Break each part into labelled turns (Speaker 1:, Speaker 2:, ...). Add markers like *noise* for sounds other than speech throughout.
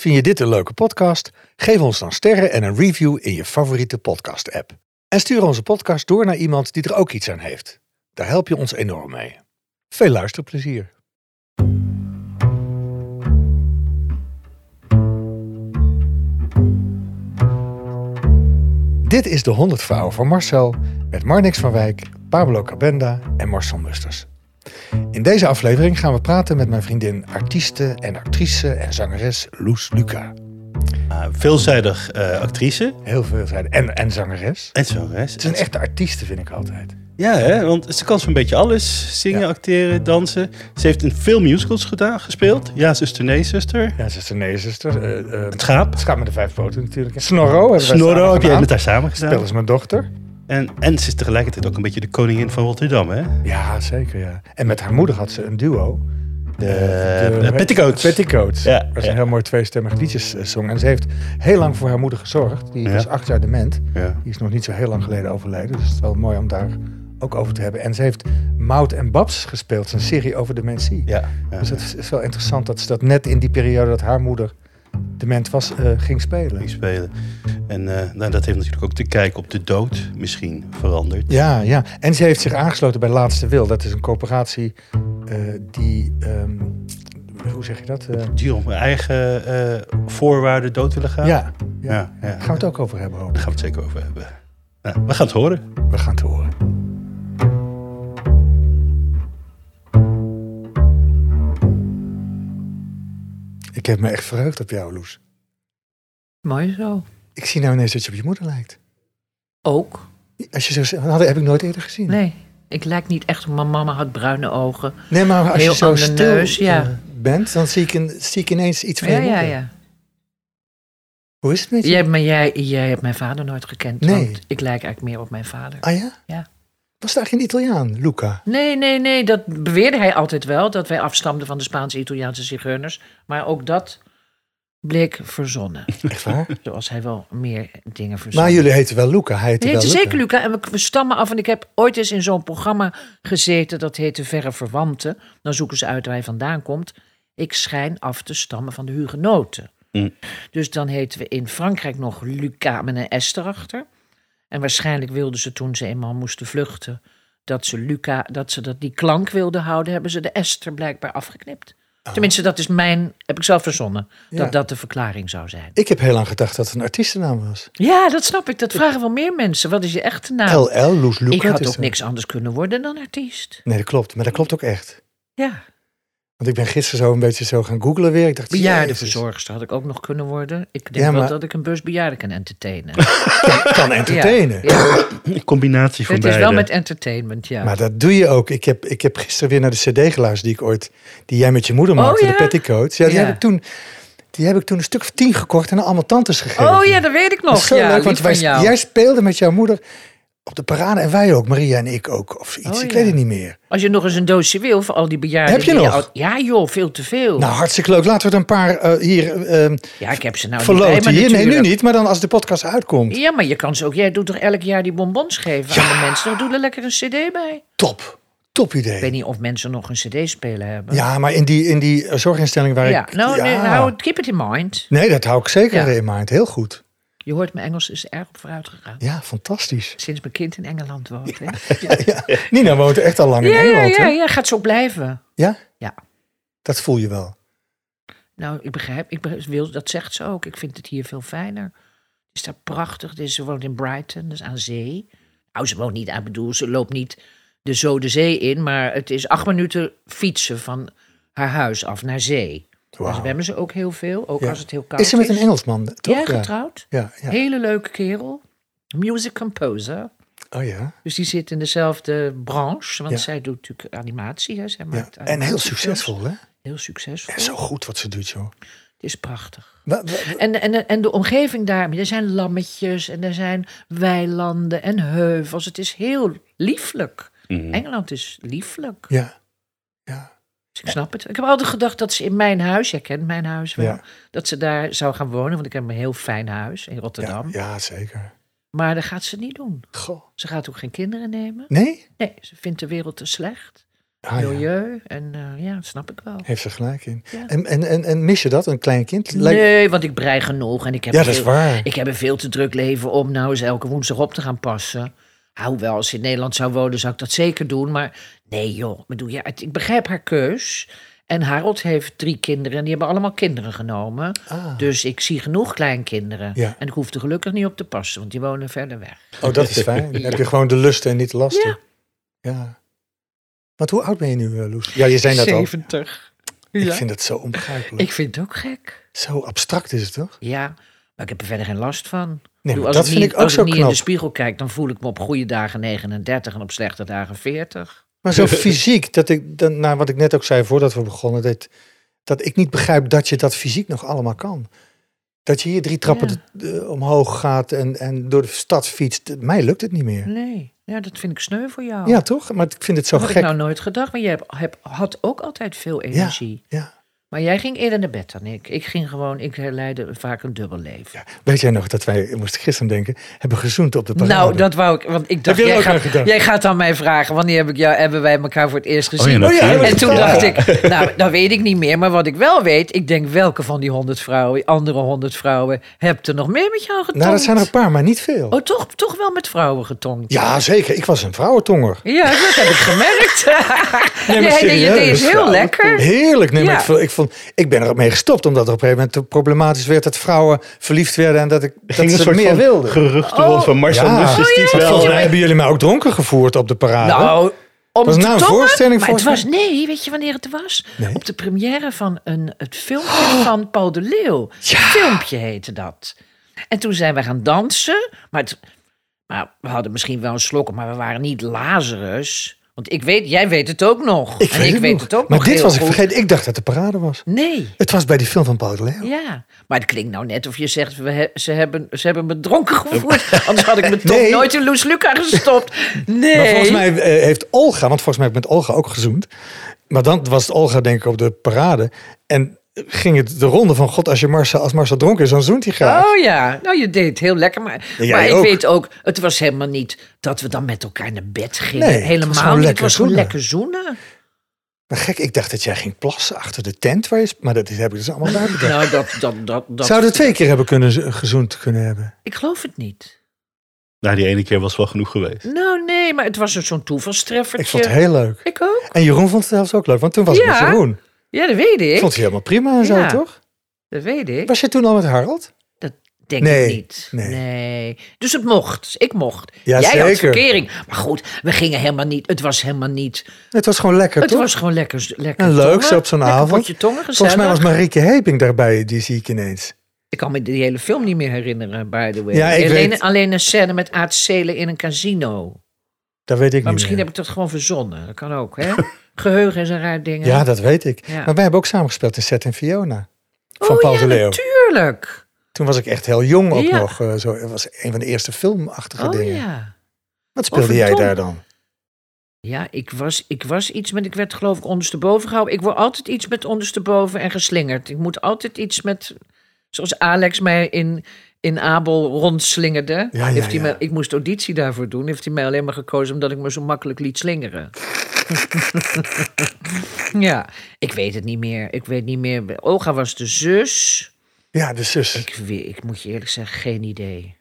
Speaker 1: Vind je dit een leuke podcast? Geef ons dan sterren en een review in je favoriete podcast-app. En stuur onze podcast door naar iemand die er ook iets aan heeft. Daar help je ons enorm mee. Veel luisterplezier. Dit is de 100 Vrouwen van Marcel met Marnix van Wijk, Pablo Cabenda en Marcel Musters. In deze aflevering gaan we praten met mijn vriendin artieste en actrice en zangeres Loes Luca.
Speaker 2: Ah, veelzijdig eh, actrice
Speaker 1: Heel veel zijn en, en zangeres.
Speaker 2: en zangeres.
Speaker 1: Het is een echte artieste, vind ik altijd.
Speaker 2: Ja, hè, want ze kan zo'n beetje alles. Zingen,
Speaker 1: Ja.
Speaker 2: acteren, dansen. Ze heeft in veel musicals gedaan, gespeeld. Ja, zuster, nee, zuster.
Speaker 1: Ja, zuster, nee, zuster. eh, eh,
Speaker 2: Het schaap.
Speaker 1: het gaat met de vijf poten natuurlijk. Snorro hebben wij samen
Speaker 2: Snorro heb jij
Speaker 1: gedaan.
Speaker 2: met haar samen gedaan.
Speaker 1: Dat is mijn dochter.
Speaker 2: En, en ze is tegelijkertijd ook een beetje de koningin van Rotterdam, hè?
Speaker 1: Ja, zeker, ja. En met haar moeder had ze een duo.
Speaker 2: eh, De, de petticoats.
Speaker 1: Petticoats.
Speaker 2: Ja,
Speaker 1: Waar ze
Speaker 2: ja.
Speaker 1: heel mooi tweestemmig liedjes eh, zong. En ze heeft heel lang voor haar moeder gezorgd. Die
Speaker 2: Ja.
Speaker 1: was acht jaar dement.
Speaker 2: Ja.
Speaker 1: Die is nog niet zo heel lang geleden overleden. Dus het is wel mooi om daar ook over te hebben. En ze heeft Mout en Babs gespeeld. Een serie over dementie.
Speaker 2: Ja, ja.
Speaker 1: Dus het is, is wel interessant dat ze dat net in die periode dat haar moeder dement was, eh, ging spelen.
Speaker 2: ging spelen. En eh, nou, dat heeft natuurlijk ook te kijken op de dood misschien veranderd.
Speaker 1: Ja, ja. En ze heeft zich aangesloten bij Laatste Wil. Dat is een coöperatie eh, die... ehm, hoe zeg je dat? Eh,
Speaker 2: Die op haar eigen eh, voorwaarden dood willen gaan.
Speaker 1: ja.
Speaker 2: ja.
Speaker 1: ja.
Speaker 2: ja.
Speaker 1: Gaan we het ook over hebben, hoop
Speaker 2: Daar gaan we het zeker over hebben. Nou, we gaan het horen.
Speaker 1: We gaan het horen. Ik heb me echt verheugd op jou, Loes.
Speaker 3: Mooi zo.
Speaker 1: Ik zie nou ineens dat je op je moeder lijkt.
Speaker 3: Ook?
Speaker 1: Als je zo zegt, dat heb ik nooit eerder gezien.
Speaker 3: Nee. Ik lijk niet echt op mijn mama, had bruine ogen.
Speaker 1: Nee, maar als
Speaker 3: Heel
Speaker 1: je zo
Speaker 3: aan de
Speaker 1: stil
Speaker 3: neus, ja.
Speaker 1: eh, bent, dan zie ik, een, zie ik ineens iets van
Speaker 3: Ja,
Speaker 1: je
Speaker 3: ja,
Speaker 1: moeder.
Speaker 3: ja.
Speaker 1: Hoe is het met je?
Speaker 3: Jij, maar jij, jij hebt mijn vader nooit gekend.
Speaker 1: Nee.
Speaker 3: Want ik lijk eigenlijk meer op mijn vader.
Speaker 1: Ah ja?
Speaker 3: Ja.
Speaker 1: Was daar geen Italiaan, Luca?
Speaker 3: Nee, nee, nee. Dat beweerde hij altijd wel. Dat wij afstamden van de Spaanse-Italiaanse zigeuners. Maar ook dat bleek
Speaker 1: *laughs*
Speaker 3: verzonnen.
Speaker 1: Echt waar?
Speaker 3: Zoals hij wel meer dingen verzon.
Speaker 1: maar jullie heten wel Luca. Hij heette
Speaker 3: Het
Speaker 1: wel
Speaker 3: heette
Speaker 1: Luca.
Speaker 3: zeker Luca. En we, we stammen af. En ik heb ooit eens in zo'n programma gezeten. Dat heette Verre Verwanten. Dan zoeken ze uit waar hij vandaan komt. Ik schijn af te stammen van de hugenoten.
Speaker 2: Mm.
Speaker 3: Dus dan heten we in Frankrijk nog Luca met een S erachter. En waarschijnlijk wilden ze toen ze eenmaal moesten vluchten... dat ze, Luca, dat ze dat die klank wilden houden... hebben ze de S er blijkbaar afgeknipt. Tenminste, dat is mijn... heb ik zelf verzonnen.
Speaker 1: Ja.
Speaker 3: Dat dat de verklaring zou zijn.
Speaker 1: Ik heb heel lang gedacht dat het een artiestennaam was.
Speaker 3: Ja, dat snap ik. Dat vragen wel meer mensen. Wat is je echte naam?
Speaker 1: LL, Loes Luca.
Speaker 3: Ah. Ik had
Speaker 1: dus,
Speaker 3: ook
Speaker 1: eh,
Speaker 3: niks anders kunnen worden dan artiest.
Speaker 1: Nee, dat klopt. Maar dat klopt ook echt.
Speaker 3: Ja.
Speaker 1: Want ik ben gisteren zo een beetje zo gaan googlen weer. Ik dacht, jezus,
Speaker 3: Bejaardenverzorgster had ik ook nog kunnen worden. Ik denk
Speaker 1: Ja, maar-
Speaker 3: wel dat ik een bus bejaarden kan entertainen.
Speaker 1: *laughs* kan entertainen.
Speaker 3: Ja, ja.
Speaker 2: Een combinatie van
Speaker 3: Het is
Speaker 2: beide.
Speaker 3: wel met entertainment, ja.
Speaker 1: Maar dat doe je ook. Ik heb, ik heb gisteren weer naar de cd geluisterd die ik ooit... die jij met je moeder
Speaker 3: Oh,
Speaker 1: maakte,
Speaker 3: ja?
Speaker 1: de petticoats. Ja, die,
Speaker 3: Ja.
Speaker 1: Heb ik toen, die heb ik toen een stuk of tien gekocht en aan allemaal tantes gegeven.
Speaker 3: oh ja, dat weet ik
Speaker 1: Dat
Speaker 3: nog.
Speaker 1: is zo
Speaker 3: ja,
Speaker 1: leuk, want
Speaker 3: lief van
Speaker 1: wij-
Speaker 3: jou.
Speaker 1: jij speelde met jouw moeder op de parade en wij ook, Maria en ik ook. Of iets,
Speaker 3: Oh,
Speaker 1: ik
Speaker 3: ja.
Speaker 1: weet het niet meer.
Speaker 3: Als je nog eens een doosje wil voor al die bejaarden.
Speaker 1: Heb je
Speaker 3: die
Speaker 1: nog?
Speaker 3: al- Ja joh, veel te veel.
Speaker 1: Nou, hartstikke leuk. Laten we er een paar eh, hier ehm
Speaker 3: ja, ik heb ze nou niet
Speaker 1: verloten.
Speaker 3: bij me
Speaker 1: Hier, nee, nu
Speaker 3: natuurlijk.
Speaker 1: niet, maar dan als de podcast uitkomt.
Speaker 3: Ja, maar je kan ze ook. Jij doet toch elk jaar die bonbons geven aan de mensen. Doe er lekker een cd bij.
Speaker 1: Top. Top idee.
Speaker 3: Ik weet niet of mensen nog een cd spelen hebben.
Speaker 1: Ja, maar in die, in die eh, zorginstelling waar
Speaker 3: Ja,
Speaker 1: ik...
Speaker 3: nou,
Speaker 1: ja.
Speaker 3: nee, hou het, keep it in mind.
Speaker 1: Nee, dat hou ik zeker
Speaker 3: Ja.
Speaker 1: in mind. Heel goed.
Speaker 3: Je hoort, mijn Engels is erg op vooruit gegaan.
Speaker 1: Ja, fantastisch. *laughs*
Speaker 3: Sinds mijn kind in Engeland woont. hè.
Speaker 1: Ja. Nina woont echt al lang in
Speaker 3: Ja, ja,
Speaker 1: Engeland,
Speaker 3: ja,
Speaker 1: hè?
Speaker 3: ja, gaat zo blijven.
Speaker 1: Ja?
Speaker 3: Ja.
Speaker 1: Dat voel je wel.
Speaker 3: Nou, ik begrijp, ik be- wil, dat zegt ze ook. Ik vind het hier veel fijner. Het is daar prachtig. Dus Ze woont in Brighton, dus aan zee. Nou, ze woont niet aan, bedoel, ze loopt niet de zo de zee in, maar het is acht minuten fietsen van haar huis af naar zee.
Speaker 1: Wauw.
Speaker 3: Wow. zwemmen ze ook heel veel, ook
Speaker 1: Ja.
Speaker 3: als het heel koud is.
Speaker 1: Is ze met een Engelsman, toch?
Speaker 3: Ja, getrouwd.
Speaker 1: Ja, ja.
Speaker 3: Hele leuke kerel. Music composer.
Speaker 1: Oh ja.
Speaker 3: Dus die zit in dezelfde branche, want
Speaker 1: Ja.
Speaker 3: zij doet natuurlijk animatie. Hè. Zij
Speaker 1: ja.
Speaker 3: maakt
Speaker 1: En heel
Speaker 3: animatiefilms.
Speaker 1: succesvol, hè?
Speaker 3: Heel succesvol.
Speaker 1: En zo goed wat ze doet, joh.
Speaker 3: Het is prachtig.
Speaker 1: Wa- wa- wa-
Speaker 3: En, en, en de omgeving daar, er zijn lammetjes en er zijn weilanden en heuvels. Het is heel lieflijk.
Speaker 2: Mhm.
Speaker 3: Engeland is lieflijk.
Speaker 1: Ja. Ja.
Speaker 3: Dus ik snap het. Ik heb altijd gedacht dat ze in mijn huis, jij kent mijn huis wel,
Speaker 1: Ja.
Speaker 3: dat ze daar zou gaan wonen. Want ik heb een heel fijn huis in
Speaker 1: Ja,
Speaker 3: Rotterdam.
Speaker 1: ja, zeker.
Speaker 3: Maar dat gaat ze niet doen.
Speaker 1: Goh.
Speaker 3: Ze gaat ook geen kinderen nemen.
Speaker 1: Nee?
Speaker 3: Nee, ze vindt de wereld te slecht.
Speaker 1: Ah, ja.
Speaker 3: milieu. En eh, ja, dat snap ik wel.
Speaker 1: Heeft ze gelijk in.
Speaker 3: Ja.
Speaker 1: En, en, en, en mis je dat, een klein kind? Lijkt-
Speaker 3: Nee, want ik brei genoeg en ik heb,
Speaker 1: ja,
Speaker 3: een
Speaker 1: dat is
Speaker 3: veel-
Speaker 1: waar.
Speaker 3: ik heb een veel te druk leven om nou eens elke woensdag op te gaan passen. Hoewel, als ze in Nederland zou wonen, zou ik dat zeker doen. Maar nee joh, ik bedoel, ja, het- ik begrijp haar keus. En Harold heeft drie kinderen en die hebben allemaal kinderen genomen.
Speaker 1: Ah.
Speaker 3: Dus ik zie genoeg kleinkinderen.
Speaker 1: Ja.
Speaker 3: En ik hoef er gelukkig niet op te passen, want die wonen verder weg.
Speaker 1: Oh, dat is fijn. Dan
Speaker 3: Ja.
Speaker 1: heb je gewoon de lusten en niet de lasten.
Speaker 3: Ja.
Speaker 1: Ja. Want hoe oud ben je nu, eh, Loes? Ja, je zei dat al.
Speaker 3: 70.
Speaker 1: Ik
Speaker 3: Ja.
Speaker 1: vind dat zo onbegrijpelijk.
Speaker 3: Ik vind het ook gek.
Speaker 1: Zo abstract is het toch?
Speaker 3: Ja, maar ik heb er verder geen last van.
Speaker 1: Nee,
Speaker 3: bedoel,
Speaker 1: maar
Speaker 3: als
Speaker 1: dat vind
Speaker 3: niet,
Speaker 1: ik ook
Speaker 3: Als ik
Speaker 1: zo
Speaker 3: niet in
Speaker 1: knap.
Speaker 3: de spiegel kijk, dan voel ik me op goede dagen 39 en op slechte dagen 40.
Speaker 1: Maar zo fysiek, dat ik, dan, nou, wat ik net ook zei voordat we begonnen, dat, dat ik niet begrijp dat je dat fysiek nog allemaal kan. Dat je hier drie trappen
Speaker 3: Ja.
Speaker 1: de- eh, omhoog gaat en, en door de stad fietst. Mij lukt het niet meer.
Speaker 3: Nee, ja, dat vind ik sneu voor jou.
Speaker 1: Ja, toch? Maar ik vind het zo
Speaker 3: dat had
Speaker 1: gek.
Speaker 3: ik nou nooit gedacht, maar jij hebt, hebt- had ook altijd veel energie.
Speaker 1: ja.
Speaker 3: Maar jij ging eerder naar bed dan ik. Ik ging gewoon, ik leidde vaak een dubbel leven.
Speaker 1: Weet jij nog dat wij, moest ik gisteren denken, hebben gezoend op de parade?
Speaker 3: nou, dat wou ik, want ik dacht,
Speaker 1: je er
Speaker 3: jij
Speaker 1: ook aan
Speaker 3: gaat,
Speaker 1: gedacht?
Speaker 3: jij gaat aan mij vragen, wanneer heb ik jou, hebben wij elkaar voor het eerst gezien?
Speaker 2: ja,
Speaker 1: Oh ja,
Speaker 2: natuurlijk.
Speaker 1: dat
Speaker 3: En toen
Speaker 1: Ja.
Speaker 3: dacht ik, nou, dat weet ik niet meer. Maar wat ik wel weet, ik denk welke van die honderd vrouwen, andere honderd vrouwen, hebt er nog meer met jou getongd?
Speaker 1: Nou, dat zijn er een paar, maar niet veel.
Speaker 3: Oh, toch, toch wel met vrouwen getongd?
Speaker 1: Ja, zeker. Ik was een vrouwentonger.
Speaker 3: Ja, dat heb ik gemerkt.
Speaker 1: *laughs* Nee, maar
Speaker 3: Jij deed- je
Speaker 1: serieus.
Speaker 3: deed het heel lekker.
Speaker 1: Heerlijk. Nee, maar
Speaker 3: Ja.
Speaker 1: ik, vond- ik, vond, ik ben er ook mee gestopt, omdat er op een gegeven moment problematisch werd dat vrouwen verliefd werden en dat ik
Speaker 2: Er
Speaker 1: dat
Speaker 2: ging een
Speaker 1: ze
Speaker 2: soort
Speaker 1: meer
Speaker 2: van
Speaker 1: wilde.
Speaker 2: geruchten
Speaker 3: Oh.
Speaker 2: rond van Marcel
Speaker 1: Ja.
Speaker 2: Lus
Speaker 1: Oh,
Speaker 2: is niet wel.
Speaker 1: Volgens mij hebben jullie mij ook dronken gevoerd op de parade.
Speaker 3: Nou, om
Speaker 1: was
Speaker 3: te
Speaker 1: nou een
Speaker 3: tongen,
Speaker 1: voorstelling
Speaker 3: maar het
Speaker 1: volgens
Speaker 3: was, nee, weet je wanneer het was?
Speaker 1: Nee. Oh.
Speaker 3: Op de première van een, het filmpje van Paul de Leeuw. Filmpje heette dat. En toen zijn we gaan dansen, maar, het, maar we hadden misschien wel een slok, maar we waren niet Lazarus. Want ik weet, jij weet het ook nog. en ik weet
Speaker 1: nog.
Speaker 3: het ook
Speaker 1: Maar
Speaker 3: nog
Speaker 1: dit
Speaker 3: heel
Speaker 1: was ik
Speaker 3: goed.
Speaker 1: vergeten. Ik dacht dat de parade was.
Speaker 3: Nee.
Speaker 1: Het was bij die film van Paul de Leeuw.
Speaker 3: Ja, maar het klinkt nou net of je zegt, we he- ze, hebben, ze hebben me dronken gevoerd.
Speaker 1: *laughs*
Speaker 3: Anders had ik me toch
Speaker 1: Nee.
Speaker 3: nooit in Loes Luca gestopt. Nee.
Speaker 1: Maar volgens mij eh, heeft Olga, want volgens mij heb ik met Olga ook gezoend. Maar dan was het Olga denk ik op de parade. En ging het de ronde van God, als, je Marcel, als Marcel dronken is, dan zoent hij graag.
Speaker 3: Oh ja, nou je deed het heel lekker. Maar,
Speaker 1: Ja, jij
Speaker 3: maar ik
Speaker 1: ook.
Speaker 3: weet ook, het was helemaal niet dat we dan met elkaar naar bed gingen.
Speaker 1: Nee, het was
Speaker 3: Helemaal
Speaker 1: gewoon
Speaker 3: niet. Het
Speaker 1: lekker
Speaker 3: was gewoon
Speaker 1: zoenen.
Speaker 3: lekker zoenen.
Speaker 1: Maar gek, ik dacht dat jij ging plassen achter de tent waar je... Maar dat is- heb ik dus allemaal daar bedacht.
Speaker 3: Nou, dat, dat, dat, dat,
Speaker 1: Zouden we twee keer hebben kunnen, z- gezoend kunnen hebben?
Speaker 3: Ik geloof het niet.
Speaker 2: Nou, die ene keer was wel genoeg geweest.
Speaker 3: Nou nee, maar het was een zo'n toevalstreffertje.
Speaker 1: Ik vond het heel leuk.
Speaker 3: Ik ook.
Speaker 1: En Jeroen vond het zelfs ook leuk, want toen was ik met
Speaker 3: Ja.
Speaker 1: Jeroen.
Speaker 3: Ja, dat weet ik.
Speaker 1: Vond hij helemaal prima en zo,
Speaker 3: Ja.
Speaker 1: toch?
Speaker 3: Dat weet ik.
Speaker 1: Was je toen al met Harold?
Speaker 3: Dat denk
Speaker 1: Nee,
Speaker 3: ik niet.
Speaker 1: nee.
Speaker 3: Nee. Dus het mocht. Ik mocht.
Speaker 1: Ja,
Speaker 3: Jij
Speaker 1: zeker.
Speaker 3: had verkering. Maar goed, we gingen helemaal niet. Het was helemaal niet.
Speaker 1: Het was gewoon lekker,
Speaker 3: het
Speaker 1: toch?
Speaker 3: was gewoon lekker. lekker
Speaker 1: En leuk,
Speaker 3: tongen,
Speaker 1: zo op zo'n
Speaker 3: lekker
Speaker 1: avond.
Speaker 3: potje tongen,
Speaker 1: Volgens mij
Speaker 3: gezellig.
Speaker 1: was Marieke Heping daarbij, die zie ik ineens.
Speaker 3: Ik kan me die hele film niet meer herinneren, by the way.
Speaker 1: Ja, ik
Speaker 3: alleen,
Speaker 1: weet-
Speaker 3: alleen een scène met Aad Seelen in een casino.
Speaker 1: Dat weet ik
Speaker 3: Maar
Speaker 1: niet
Speaker 3: misschien
Speaker 1: meer.
Speaker 3: heb ik dat gewoon verzonnen. Dat kan ook, hè? *laughs* Geheugen is een raar ding. hè?
Speaker 1: Ja, dat weet ik.
Speaker 3: Ja.
Speaker 1: Maar wij hebben ook samengespeeld in Set en Fiona. Van
Speaker 3: oh,
Speaker 1: Paul
Speaker 3: ja,
Speaker 1: de Leeuw.
Speaker 3: natuurlijk.
Speaker 1: Toen was ik echt heel jong ook
Speaker 3: Ja.
Speaker 1: nog. eh, zo. Het was een van de eerste filmachtige
Speaker 3: Oh
Speaker 1: dingen.
Speaker 3: ja. Oh,
Speaker 1: Wat speelde
Speaker 3: Over
Speaker 1: jij
Speaker 3: Tom.
Speaker 1: daar dan?
Speaker 3: Ja, ik was, ik was iets met, ik werd geloof ik ondersteboven gehouden. Ik word altijd iets met ondersteboven en geslingerd. Ik moet altijd iets met, zoals Alex mij in, in Abel rondslingerde.
Speaker 1: Ja, ja,
Speaker 3: heeft hij
Speaker 1: ja.
Speaker 3: mij, ik moest auditie daarvoor doen. Heeft hij mij alleen maar gekozen omdat ik me zo makkelijk liet slingeren. *laughs* ja, ik weet het niet meer. Ik weet niet meer. Olga was de zus.
Speaker 1: Ja, de zus. Ik,
Speaker 3: Ik, weet, ik moet je eerlijk zeggen, geen idee.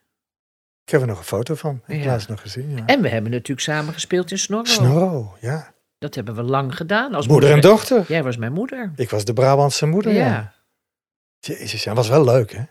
Speaker 1: heb er nog een foto van. Ik heb
Speaker 3: Ja.
Speaker 1: laatst nog gezien. Ja.
Speaker 3: En we hebben natuurlijk samen gespeeld in Snorro.
Speaker 1: Snorro, ja.
Speaker 3: Dat hebben we lang gedaan. Als
Speaker 1: Moeder en dochter.
Speaker 3: Jij was mijn moeder.
Speaker 1: Ik was de Brabantse moeder, ja.
Speaker 3: ja.
Speaker 1: Jezus, ja, was wel leuk, hè?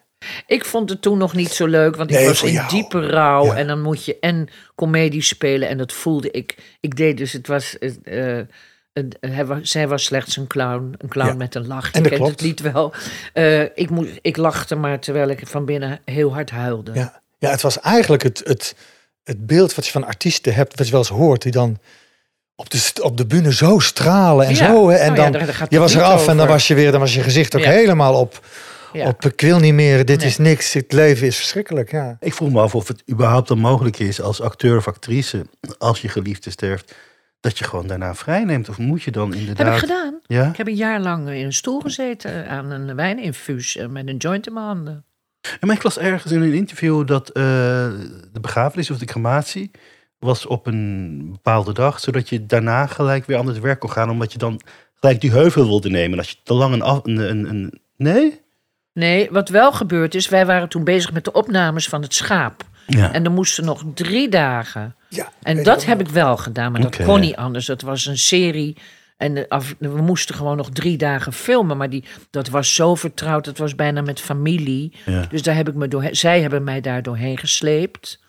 Speaker 3: Ik vond het toen nog niet zo leuk, want ik
Speaker 1: Nee,
Speaker 3: was
Speaker 1: voor
Speaker 3: in
Speaker 1: jou.
Speaker 3: diepe rouw.
Speaker 1: Ja.
Speaker 3: En dan moet je en comedie spelen. En dat voelde ik. Ik deed dus, het was... eh, eh, een- hij was- zij was slechts een clown. Een clown
Speaker 1: Ja.
Speaker 3: met een lach.
Speaker 1: En
Speaker 3: Je
Speaker 1: dat
Speaker 3: kent
Speaker 1: klopt.
Speaker 3: het lied wel. Eh, ik, moest, ik lachte maar terwijl ik van binnen heel hard huilde.
Speaker 1: Ja, ja het was eigenlijk het, het, het beeld wat je van artiesten hebt, wat je wel eens hoort, die dan op de, st- op de bühne zo stralen en
Speaker 3: Ja.
Speaker 1: zo. Hè? En
Speaker 3: Nou ja,
Speaker 1: dan,
Speaker 3: daar- daar gaat
Speaker 1: je
Speaker 3: het
Speaker 1: was
Speaker 3: lied
Speaker 1: eraf en dan
Speaker 3: over.
Speaker 1: was je weer, dan was je gezicht ook
Speaker 3: Ja.
Speaker 1: helemaal op,
Speaker 3: Ja.
Speaker 1: op ik wil niet meer, dit
Speaker 3: Nee.
Speaker 1: is niks, dit leven is verschrikkelijk. Ja.
Speaker 2: Ik vroeg me af of het überhaupt dan mogelijk is als acteur of actrice, als je geliefde sterft, dat je gewoon daarna vrijneemt. Of moet je dan
Speaker 3: Heb
Speaker 2: inderdaad...
Speaker 3: ik gedaan.
Speaker 2: Ja?
Speaker 3: Ik heb een jaar lang in een stoel gezeten eh, aan een wijninfuus eh, met een joint in mijn handen.
Speaker 2: En maar ik las ergens in een interview dat eh, de begrafenis of de crematie was op een bepaalde dag, zodat je daarna gelijk weer aan het werk kon gaan, omdat je dan gelijk die heuvel wilde nemen. En als je te lang een, af, een, een, een- Nee?
Speaker 3: Nee, wat wel gebeurd is, wij waren toen bezig met de opnames van het schaap.
Speaker 2: Ja.
Speaker 3: En er moesten nog drie dagen.
Speaker 1: Ja,
Speaker 3: En
Speaker 1: weet
Speaker 3: dat
Speaker 1: je
Speaker 3: heb ik wel gedaan, maar dat
Speaker 2: Oké.
Speaker 3: kon niet anders. Dat was een serie. En de af- we moesten gewoon nog drie dagen filmen. Maar die, dat was zo vertrouwd. Dat was bijna met familie.
Speaker 2: Ja.
Speaker 3: Dus daar heb ik me doorheen, zij hebben mij daar doorheen gesleept.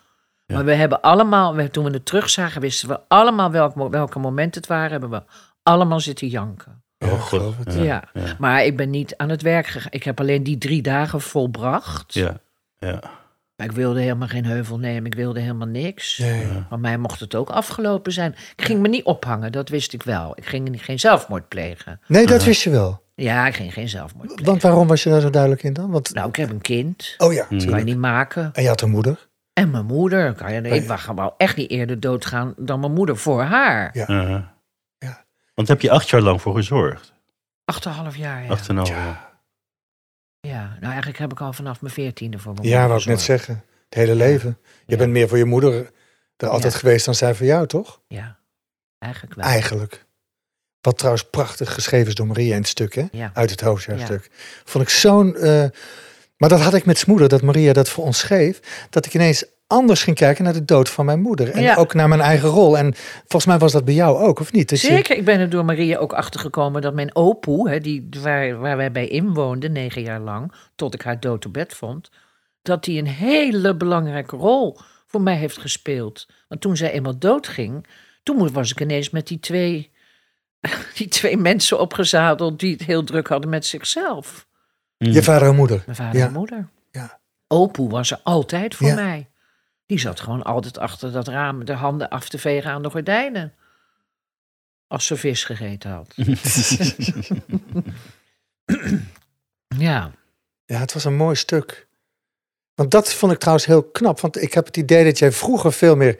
Speaker 3: Maar we hebben allemaal, we- toen we het terugzagen, wisten we allemaal welk, mo- welke momenten het waren. Hebben we allemaal zitten janken.
Speaker 1: nog.
Speaker 2: Oh,
Speaker 1: Ja,
Speaker 2: God.
Speaker 1: geloof het.
Speaker 3: Ja. Maar ik ben niet aan het werk gegaan. Ik heb alleen die drie dagen volbracht.
Speaker 2: Ja. ja.
Speaker 3: Maar ik wilde helemaal geen heuvel nemen. Ik wilde helemaal niks.
Speaker 1: Nee.
Speaker 3: Van mij mocht het ook afgelopen zijn. Ik ging me niet ophangen, dat wist ik wel. Ik ging niet- geen zelfmoord plegen.
Speaker 1: Nee, dat wist je wel.
Speaker 3: Ja, ik ging geen zelfmoord plegen.
Speaker 1: Want waarom was je daar zo duidelijk in dan? Want,
Speaker 3: Nou, ik heb een kind.
Speaker 1: oh ja,
Speaker 3: Kan je
Speaker 1: tuurlijk.
Speaker 3: niet maken.
Speaker 1: En je had een moeder.
Speaker 3: En mijn moeder. Kan je, ik wou gewoon echt niet eerder doodgaan dan mijn moeder voor haar.
Speaker 1: Ja.
Speaker 2: Uh-huh.
Speaker 1: Ja.
Speaker 2: Want daar heb je acht jaar lang voor gezorgd.
Speaker 3: Acht en een half jaar, ja.
Speaker 2: Acht en een half
Speaker 1: Tja.
Speaker 2: jaar.
Speaker 3: ja. Nou, eigenlijk heb ik al vanaf mijn veertiende voor mijn
Speaker 1: Ja,
Speaker 3: moeder
Speaker 1: wou ik net
Speaker 3: gezorgd.
Speaker 1: zeggen. Het hele leven. Je
Speaker 3: Ja.
Speaker 1: bent meer voor je moeder er altijd
Speaker 3: Ja.
Speaker 1: geweest dan zij voor jou, toch?
Speaker 3: Ja, eigenlijk wel.
Speaker 1: Eigenlijk. Wat trouwens prachtig geschreven is door Maria in het stuk, hè?
Speaker 3: Ja.
Speaker 1: Uit het hoofdjaarstuk. Vond ik zo'n... eh, maar dat had ik met z'n moeder, dat Maria dat voor ons schreef. Dat ik ineens anders ging kijken naar de dood van mijn moeder. En
Speaker 3: Ja.
Speaker 1: ook naar mijn eigen rol. En volgens mij was dat bij jou ook, of niet? Dat je-
Speaker 3: Zeker, ik ben er door Maria ook achtergekomen dat mijn opoe, hè, die, waar, waar wij bij inwoonden negen jaar lang, tot ik haar dood op bed vond, dat die een hele belangrijke rol voor mij heeft gespeeld. Want toen zij eenmaal doodging, toen mo- was ik ineens met die twee, *laughs* die twee mensen opgezadeld die het heel druk hadden met zichzelf.
Speaker 2: Hmm.
Speaker 1: je vader en moeder.
Speaker 3: Mijn vader
Speaker 1: Ja.
Speaker 3: en moeder.
Speaker 1: Ja.
Speaker 3: Opoe was er altijd voor
Speaker 1: Ja.
Speaker 3: mij. Die zat gewoon altijd achter dat raam de handen af te vegen aan de gordijnen. Als ze vis gegeten had. *clears throat* Ja,
Speaker 1: Ja, het was een mooi stuk. Want dat vond ik trouwens heel knap. Want ik heb het idee dat jij vroeger veel meer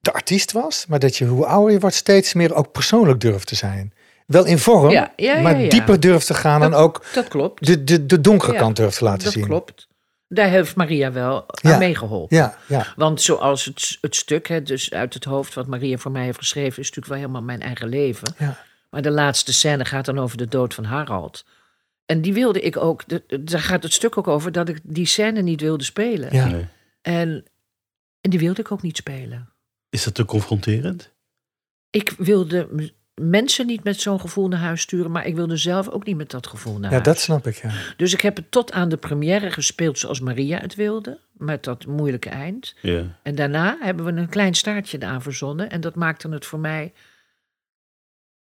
Speaker 1: de artiest was. Maar dat je hoe ouder je wordt steeds meer ook persoonlijk durft te zijn. Wel in vorm,
Speaker 3: Ja, ja, ja,
Speaker 1: maar
Speaker 3: ja.
Speaker 1: dieper durft te gaan. En ook
Speaker 3: dat klopt.
Speaker 1: de, de, de donkere
Speaker 3: Ja,
Speaker 1: kant durft te laten
Speaker 3: Dat
Speaker 1: zien.
Speaker 3: klopt. Daar heeft Maria wel
Speaker 1: Ja.
Speaker 3: aan meegeholpen.
Speaker 1: Ja, ja,
Speaker 3: Want zoals het, het stuk, hè, dus uit het hoofd wat Maria voor mij heeft geschreven, is natuurlijk wel helemaal mijn eigen leven.
Speaker 1: ja.
Speaker 3: Maar de laatste scène gaat dan over de dood van Harald. En die wilde ik ook, de- de- daar gaat het stuk ook over, dat ik die scène niet wilde spelen.
Speaker 1: ja.
Speaker 2: Nee.
Speaker 3: En, en die wilde ik ook niet spelen.
Speaker 2: Is dat te confronterend?
Speaker 3: Ik wilde m- mensen niet met zo'n gevoel naar huis sturen, maar ik wilde zelf ook niet met dat gevoel naar
Speaker 1: Ja,
Speaker 3: huis.
Speaker 1: dat snap ik. Ja.
Speaker 3: Dus ik heb het tot aan de première gespeeld zoals Maria het wilde, met dat moeilijke eind.
Speaker 2: Ja.
Speaker 3: En daarna hebben we een klein staartje eraan verzonnen en dat maakte het voor mij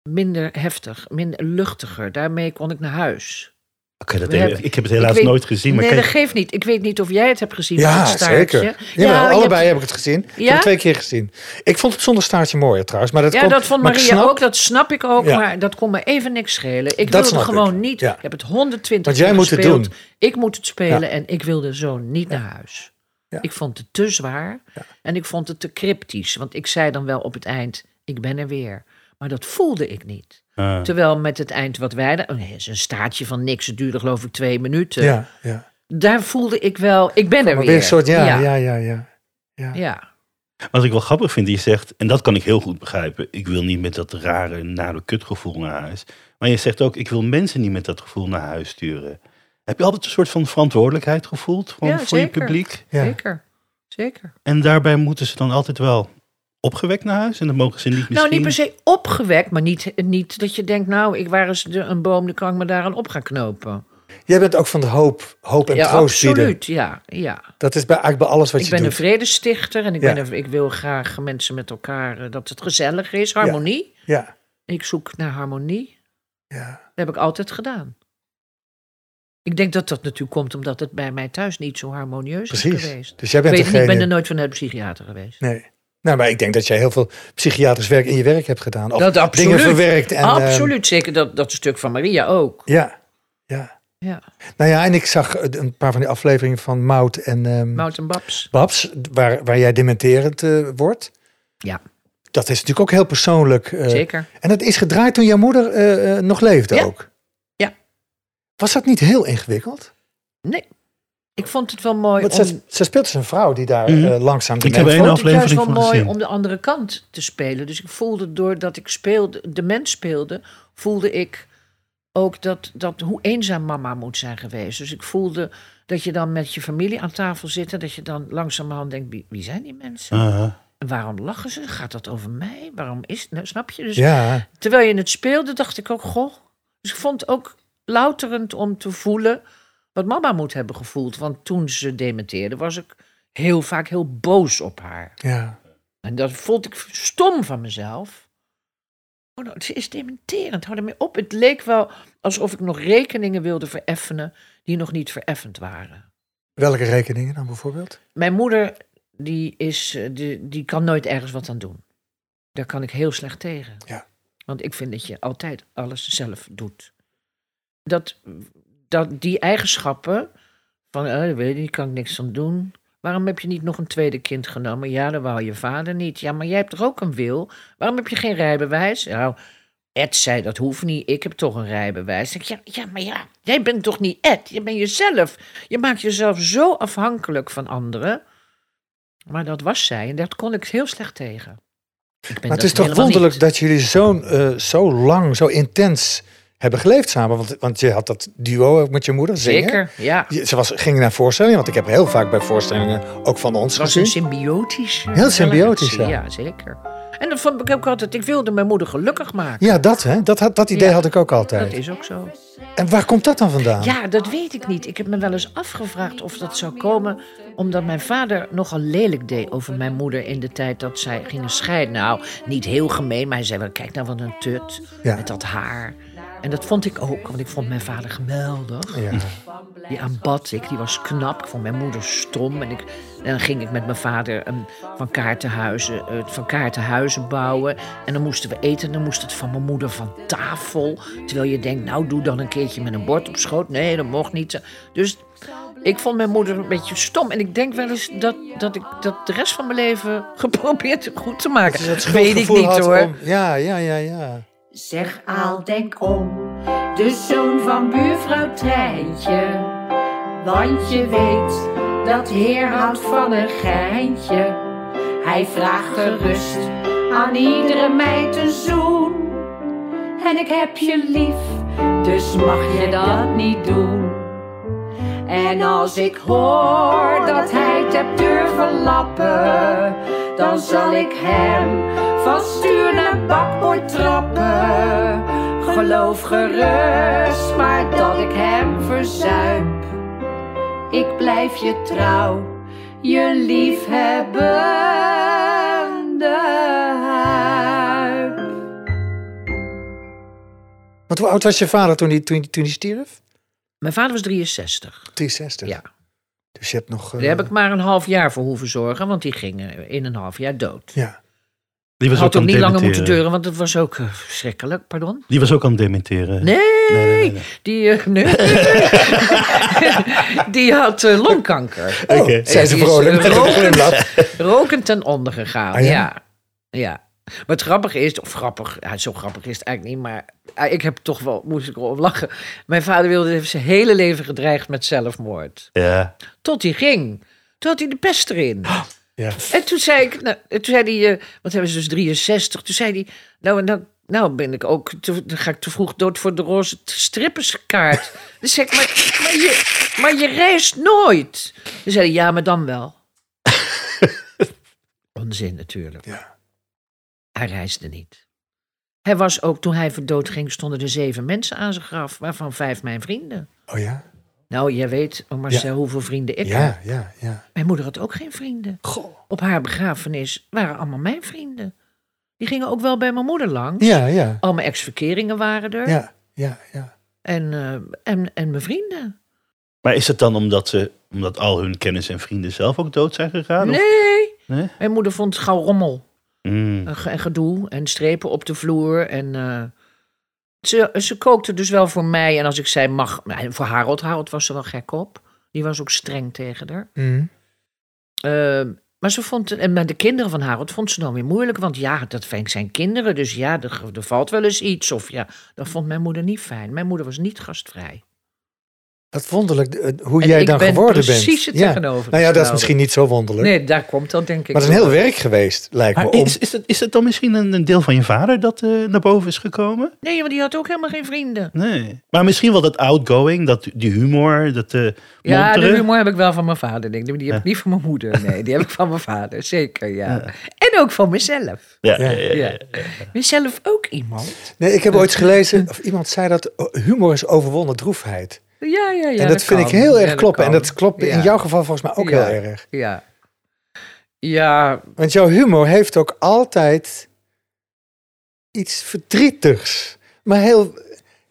Speaker 3: minder heftig, minder luchtiger. Daarmee kon ik naar huis.
Speaker 2: Oké, dat
Speaker 3: We
Speaker 2: hele-
Speaker 3: hebben-
Speaker 2: ik heb het helaas
Speaker 3: Ik weet-
Speaker 2: nooit gezien. Maar
Speaker 3: nee,
Speaker 2: kijk,
Speaker 3: dat geeft niet. Ik weet niet of jij het hebt gezien,
Speaker 1: Ja,
Speaker 3: dat staartje.
Speaker 1: zeker. Jawel,
Speaker 3: je
Speaker 1: allebei
Speaker 3: hebt-
Speaker 1: heb ik het gezien. Ik heb
Speaker 3: Ja?
Speaker 1: het twee keer gezien. Ik vond het zonder staartje mooier trouwens. Maar dat
Speaker 3: ja,
Speaker 1: komt-
Speaker 3: dat vond
Speaker 1: maar ik
Speaker 3: Maria
Speaker 1: snap-
Speaker 3: ook. Dat snap ik ook,
Speaker 1: Ja.
Speaker 3: maar dat kon me even niks schelen. Ik
Speaker 1: Dat
Speaker 3: wilde
Speaker 1: snap ik.
Speaker 3: gewoon niet.
Speaker 1: Ja.
Speaker 3: Ik heb het 120
Speaker 1: Want jij
Speaker 3: keer
Speaker 1: moet het
Speaker 3: gespeeld.
Speaker 1: doen.
Speaker 3: Ik moet het spelen en ik wilde zo niet naar huis.
Speaker 1: Ja.
Speaker 3: Ik vond het te zwaar en ik vond het te cryptisch. Want ik zei dan wel op het eind, ik ben er weer. Maar dat voelde ik niet.
Speaker 2: Ah.
Speaker 3: Terwijl met het eind wat wij... daar- Oh, nee, het is een staartje van niks. Het duurde geloof ik twee minuten.
Speaker 1: Ja, ja.
Speaker 3: Daar voelde ik wel, ik ben er
Speaker 1: Maar
Speaker 3: weer.
Speaker 1: weer een soort, ja, ja,
Speaker 3: ja.
Speaker 1: ja, ja. ja.
Speaker 3: ja.
Speaker 2: Wat ik wel grappig vind, je zegt, en dat kan ik heel goed begrijpen. Ik wil niet met dat rare, nare kutgevoel naar huis. Maar je zegt ook, ik wil mensen niet met dat gevoel naar huis sturen. Heb je altijd een soort van verantwoordelijkheid gevoeld gewoon
Speaker 3: Ja,
Speaker 2: voor je
Speaker 3: zeker.
Speaker 2: publiek?
Speaker 1: Ja.
Speaker 3: Zeker, zeker.
Speaker 2: En daarbij moeten ze dan altijd wel opgewekt naar huis? En dan mogen ze niet misschien...
Speaker 3: Nou, niet per se opgewekt, maar niet, niet dat je denkt, nou, ik waar is de, een boom, dan kan ik me daaraan op gaan knopen.
Speaker 1: Jij bent ook van de hoop, hoop en
Speaker 3: ja,
Speaker 1: troost bieden.
Speaker 3: absoluut, ja. ja.
Speaker 1: Dat is bij, eigenlijk bij alles wat
Speaker 3: Ik
Speaker 1: je
Speaker 3: ben een
Speaker 1: doet.
Speaker 3: vredestichter en ik,
Speaker 1: Ja.
Speaker 3: ben een- ik wil graag mensen met elkaar, eh, dat het gezellig is, harmonie.
Speaker 1: Ja,
Speaker 3: Ik zoek naar harmonie,
Speaker 1: ja,
Speaker 3: dat heb ik altijd gedaan. Ik denk dat dat natuurlijk komt omdat het bij mij thuis niet zo harmonieus is
Speaker 1: precies.
Speaker 3: geweest.
Speaker 1: Dus jij bent
Speaker 3: Ik weet het niet,
Speaker 1: degene...
Speaker 3: ik ben er nooit vanuit de psychiater geweest.
Speaker 1: Nee. Nou, maar ik denk dat jij heel veel psychiatrisch werk in je werk hebt gedaan. Of
Speaker 3: Dat absoluut.
Speaker 1: dingen verwerkt. En, ehm,
Speaker 3: Absoluut, zeker dat, dat stuk van Maria ook.
Speaker 1: ja, ja.
Speaker 3: Ja,
Speaker 1: Nou ja, en ik zag eh, een paar van die afleveringen van Mout en ehm,
Speaker 3: Mout en Babs.
Speaker 1: Babs, waar, waar jij dementerend eh, wordt.
Speaker 3: Ja,
Speaker 1: Dat is natuurlijk ook heel persoonlijk. eh,
Speaker 3: zeker.
Speaker 1: En dat is gedraaid toen jouw moeder eh, eh, nog leefde
Speaker 3: Ja.
Speaker 1: ook.
Speaker 3: Ja.
Speaker 1: Was dat niet heel ingewikkeld?
Speaker 3: Nee. Ik vond het wel mooi
Speaker 1: Want
Speaker 3: om...
Speaker 1: ze, ze speelt dus een vrouw die daar
Speaker 2: Mhm.
Speaker 1: eh, langzaam de
Speaker 2: Ik heb
Speaker 1: mens
Speaker 2: één
Speaker 1: wordt.
Speaker 2: af-
Speaker 3: vond het juist
Speaker 2: aflevering
Speaker 3: wel
Speaker 2: van
Speaker 3: mooi
Speaker 2: gezien.
Speaker 3: om de andere kant te spelen. Dus ik voelde doordat ik speelde, de mens speelde, voelde ik ook dat, dat hoe eenzaam mama moet zijn geweest. Dus ik voelde dat je dan met je familie aan tafel zit en dat je dan langzamerhand denkt: wie, wie zijn die mensen?
Speaker 2: Ah,
Speaker 3: En waarom lachen ze? Gaat dat over mij? Waarom is nou, snap je? Dus
Speaker 1: Ja,
Speaker 3: terwijl je het speelde, dacht ik ook: goh. Dus ik vond het ook louterend om te voelen wat mama moet hebben gevoeld. Want toen ze dementeerde, was ik heel vaak heel boos op haar.
Speaker 1: ja.
Speaker 3: En dat vond ik stom van mezelf. Oh, nou, ze is dementerend, hou ermee op. Het leek wel alsof ik nog rekeningen wilde vereffenen die nog niet vereffend waren.
Speaker 1: Welke rekeningen dan bijvoorbeeld?
Speaker 3: Mijn moeder, die, is, eh, die, die kan nooit ergens wat aan doen. Daar kan ik heel slecht tegen.
Speaker 1: Ja.
Speaker 3: Want ik vind dat je altijd alles zelf doet. Dat, dat die eigenschappen van, eh, dat weet ik, niet, kan ik niks aan doen. Waarom heb je niet nog een tweede kind genomen? Ja, dat wou je vader niet. Ja, maar jij hebt toch ook een wil? Waarom heb je geen rijbewijs? Nou, Ed zei, dat hoeft niet. Ik heb toch een rijbewijs. Ik, ja, ja, maar ja, jij bent toch niet Ed? Je bent jezelf. Je maakt jezelf zo afhankelijk van anderen. Maar dat was zij en daar kon ik heel slecht tegen. Ik ben
Speaker 1: Maar het
Speaker 3: dat
Speaker 1: is toch
Speaker 3: helemaal
Speaker 1: wonderlijk
Speaker 3: niet.
Speaker 1: dat jullie zo, zo lang, zo intens hebben geleefd samen. Want, want je had dat duo ook met je moeder zingen.
Speaker 3: Zeker, ja.
Speaker 1: Je- Ze was, ging naar voorstellingen, want ik heb heel vaak bij voorstellingen ook van ons
Speaker 3: Het was een
Speaker 1: gezien.
Speaker 3: symbiotisch. eh,
Speaker 1: Heel symbiotisch,
Speaker 3: relatie,
Speaker 1: ja.
Speaker 3: Ja, zeker. En dat vond ik ook altijd. Ik wilde mijn moeder gelukkig maken.
Speaker 1: Ja, dat hè, dat, had- dat idee
Speaker 3: Ja.
Speaker 1: had ik ook
Speaker 3: Dat
Speaker 1: altijd.
Speaker 3: is ook zo.
Speaker 1: En waar komt dat dan vandaan?
Speaker 3: Ja, dat weet ik niet. Ik heb me wel eens afgevraagd of dat zou komen omdat mijn vader nogal lelijk deed over mijn moeder in de tijd dat zij gingen scheiden. Nou, niet heel gemeen, maar hij zei wel, kijk nou wat een tut
Speaker 1: Ja.
Speaker 3: met dat haar. En dat vond ik ook, want ik vond mijn vader geweldig.
Speaker 1: Ja.
Speaker 3: Die aanbad ik, die was knap. Ik vond mijn moeder stom. En, ik, en dan ging ik met mijn vader ehm, van, kaartenhuizen, eh, van kaartenhuizen bouwen. En dan moesten we eten en dan moest het van mijn moeder van tafel. Terwijl je denkt, nou doe dan een keertje met een bord op schoot. Nee, dat mocht niet. Dus ik vond mijn moeder een beetje stom. En ik denk wel eens dat, dat ik dat de rest van mijn leven *laughs* geprobeerd heb goed te maken.
Speaker 1: Dus dat
Speaker 3: weet ik
Speaker 1: schuldgevoel
Speaker 3: niet
Speaker 1: had
Speaker 3: hoor.
Speaker 1: om- ja, ja, ja, ja.
Speaker 4: Zeg Aal, denk om, de zoon van buurvrouw Treintje. Want je weet dat heer houdt van een geintje. Hij vraagt gerust aan iedere meid een zoen. En ik heb je lief, dus mag je dat niet doen. En als ik hoor dat hij het hebt durven lappen, dan zal ik hem van stuur naar bakboord trappen. Geloof gerust maar dat ik hem verzuip. Ik blijf je trouw, je liefhebbende huip.
Speaker 1: Want hoe oud was je vader toen hij toen, toen die stierf?
Speaker 3: Mijn vader was 63.
Speaker 1: 63.
Speaker 3: Ja.
Speaker 1: Dus je hebt nog... eh,
Speaker 3: Daar heb ik maar een half jaar voor hoeven zorgen, want die ging eh, in een half jaar dood.
Speaker 1: Ja.
Speaker 2: die was ook
Speaker 3: had ook
Speaker 2: aan
Speaker 3: niet
Speaker 2: het
Speaker 3: langer moeten
Speaker 2: dementeren.
Speaker 3: deuren, want het was ook eh, verschrikkelijk, pardon.
Speaker 2: Die was ook aan het dementeren.
Speaker 3: Nee,
Speaker 2: nee, nee.
Speaker 3: die,
Speaker 2: *laughs*
Speaker 3: eh, nee. *laughs* die had eh, longkanker.
Speaker 1: Oh,
Speaker 2: Oké.
Speaker 1: zijn ze
Speaker 3: Die is,
Speaker 1: vrolijk
Speaker 3: eh,
Speaker 1: met een
Speaker 2: *laughs*
Speaker 3: roken. *laughs*
Speaker 1: glimlach.
Speaker 3: Rokend ten onder gegaan,
Speaker 1: Ah, ja?
Speaker 3: ja? ja. Maar het grappige is, of grappig, ja, zo grappig is het eigenlijk niet, maar eh, ik heb toch wel, moest ik erop lachen. Mijn vader wilde heeft zijn hele leven gedreigd met zelfmoord.
Speaker 2: Ja.
Speaker 3: Tot hij ging. Toen had hij de pest erin.
Speaker 1: Ja.
Speaker 3: En toen zei ik, nou, en toen zei hij, eh, want hij was dus 63. Toen zei hij, nou, en dan, nou ben ik ook, te- dan ga ik te vroeg dood voor de roze t- stripperskaart. *laughs* Dus zei ik, maar, maar, je, maar je reist nooit. Toen zei hij, ja, maar dan wel. *laughs* Onzin natuurlijk.
Speaker 1: Ja.
Speaker 3: Hij reisde niet. Hij was ook, toen hij voor dood ging, stonden er zeven mensen aan zijn graf, waarvan vijf mijn vrienden.
Speaker 1: Oh ja?
Speaker 3: Nou, jij weet, oh Marcel, hoeveel vrienden ik heb.
Speaker 1: Ja, ja, ja.
Speaker 3: Mijn moeder had ook geen vrienden. Op haar begrafenis waren allemaal mijn vrienden. Die gingen ook wel bij mijn moeder lang.
Speaker 1: Ja, ja.
Speaker 3: Al mijn ex-verkeringen waren er.
Speaker 1: Ja, ja, ja.
Speaker 3: En, eh, en, en mijn vrienden.
Speaker 2: Maar is het dan omdat, ze, omdat al hun kennis en vrienden zelf ook dood zijn gegaan? of-
Speaker 3: Nee.
Speaker 2: Nee?
Speaker 3: Mijn moeder vond gauw rommel.
Speaker 2: Mm.
Speaker 3: En ge- en gedoe. En strepen op de vloer. En eh, ze, ze kookte dus wel voor mij. En als ik zei mag... nou, en Voor Harold. Harold was er wel gek op. Die was ook streng tegen haar.
Speaker 1: Mm.
Speaker 3: Eh, maar ze vond, en met de kinderen van Harold vond ze dan weer moeilijk. Want ja, dat vind ik zijn kinderen. Dus ja, er, er valt wel eens iets. Of ja, dat vond mijn moeder niet fijn. Mijn moeder was niet gastvrij.
Speaker 1: Dat wonderlijk, eh, hoe
Speaker 3: En
Speaker 1: jij
Speaker 3: ik
Speaker 1: dan
Speaker 3: ben
Speaker 1: geworden bent.
Speaker 3: precies het
Speaker 1: ja.
Speaker 3: tegenover,
Speaker 1: Nou ja, dat is
Speaker 3: geloof
Speaker 1: misschien niet zo wonderlijk.
Speaker 3: Nee, daar komt dat denk ik.
Speaker 1: maar het is een heel werk geweest, lijkt me.
Speaker 2: Maar
Speaker 1: Om,
Speaker 2: is, is, dat, is dat dan misschien een, een deel van je vader dat eh, naar boven is gekomen?
Speaker 3: Nee, want die had ook helemaal geen vrienden.
Speaker 2: Nee. Maar misschien wel dat outgoing, dat, die humor, dat eh
Speaker 3: Ja, de
Speaker 2: montere.
Speaker 3: humor heb ik wel van mijn vader. Denk ik. Die heb ik niet van mijn moeder. Nee, die heb ik van mijn vader. Zeker, ja. En ook van mezelf.
Speaker 2: Ja,
Speaker 1: Ja.
Speaker 2: ja, ja, ja.
Speaker 3: Ja. Mezelf ook iemand.
Speaker 1: nee, ik heb ooit gelezen, of iemand zei dat oh, humor is overwonnen droefheid.
Speaker 3: Ja, ja, ja.
Speaker 1: en dat, vind
Speaker 3: kan.
Speaker 1: ik heel
Speaker 3: Ja,
Speaker 1: erg kloppen. En
Speaker 3: kan.
Speaker 1: dat klopt in
Speaker 3: Ja.
Speaker 1: jouw geval volgens mij ook
Speaker 3: Ja.
Speaker 1: heel erg.
Speaker 3: Ja. Ja,
Speaker 1: Want jouw humor heeft ook altijd iets verdrietigs. Maar heel,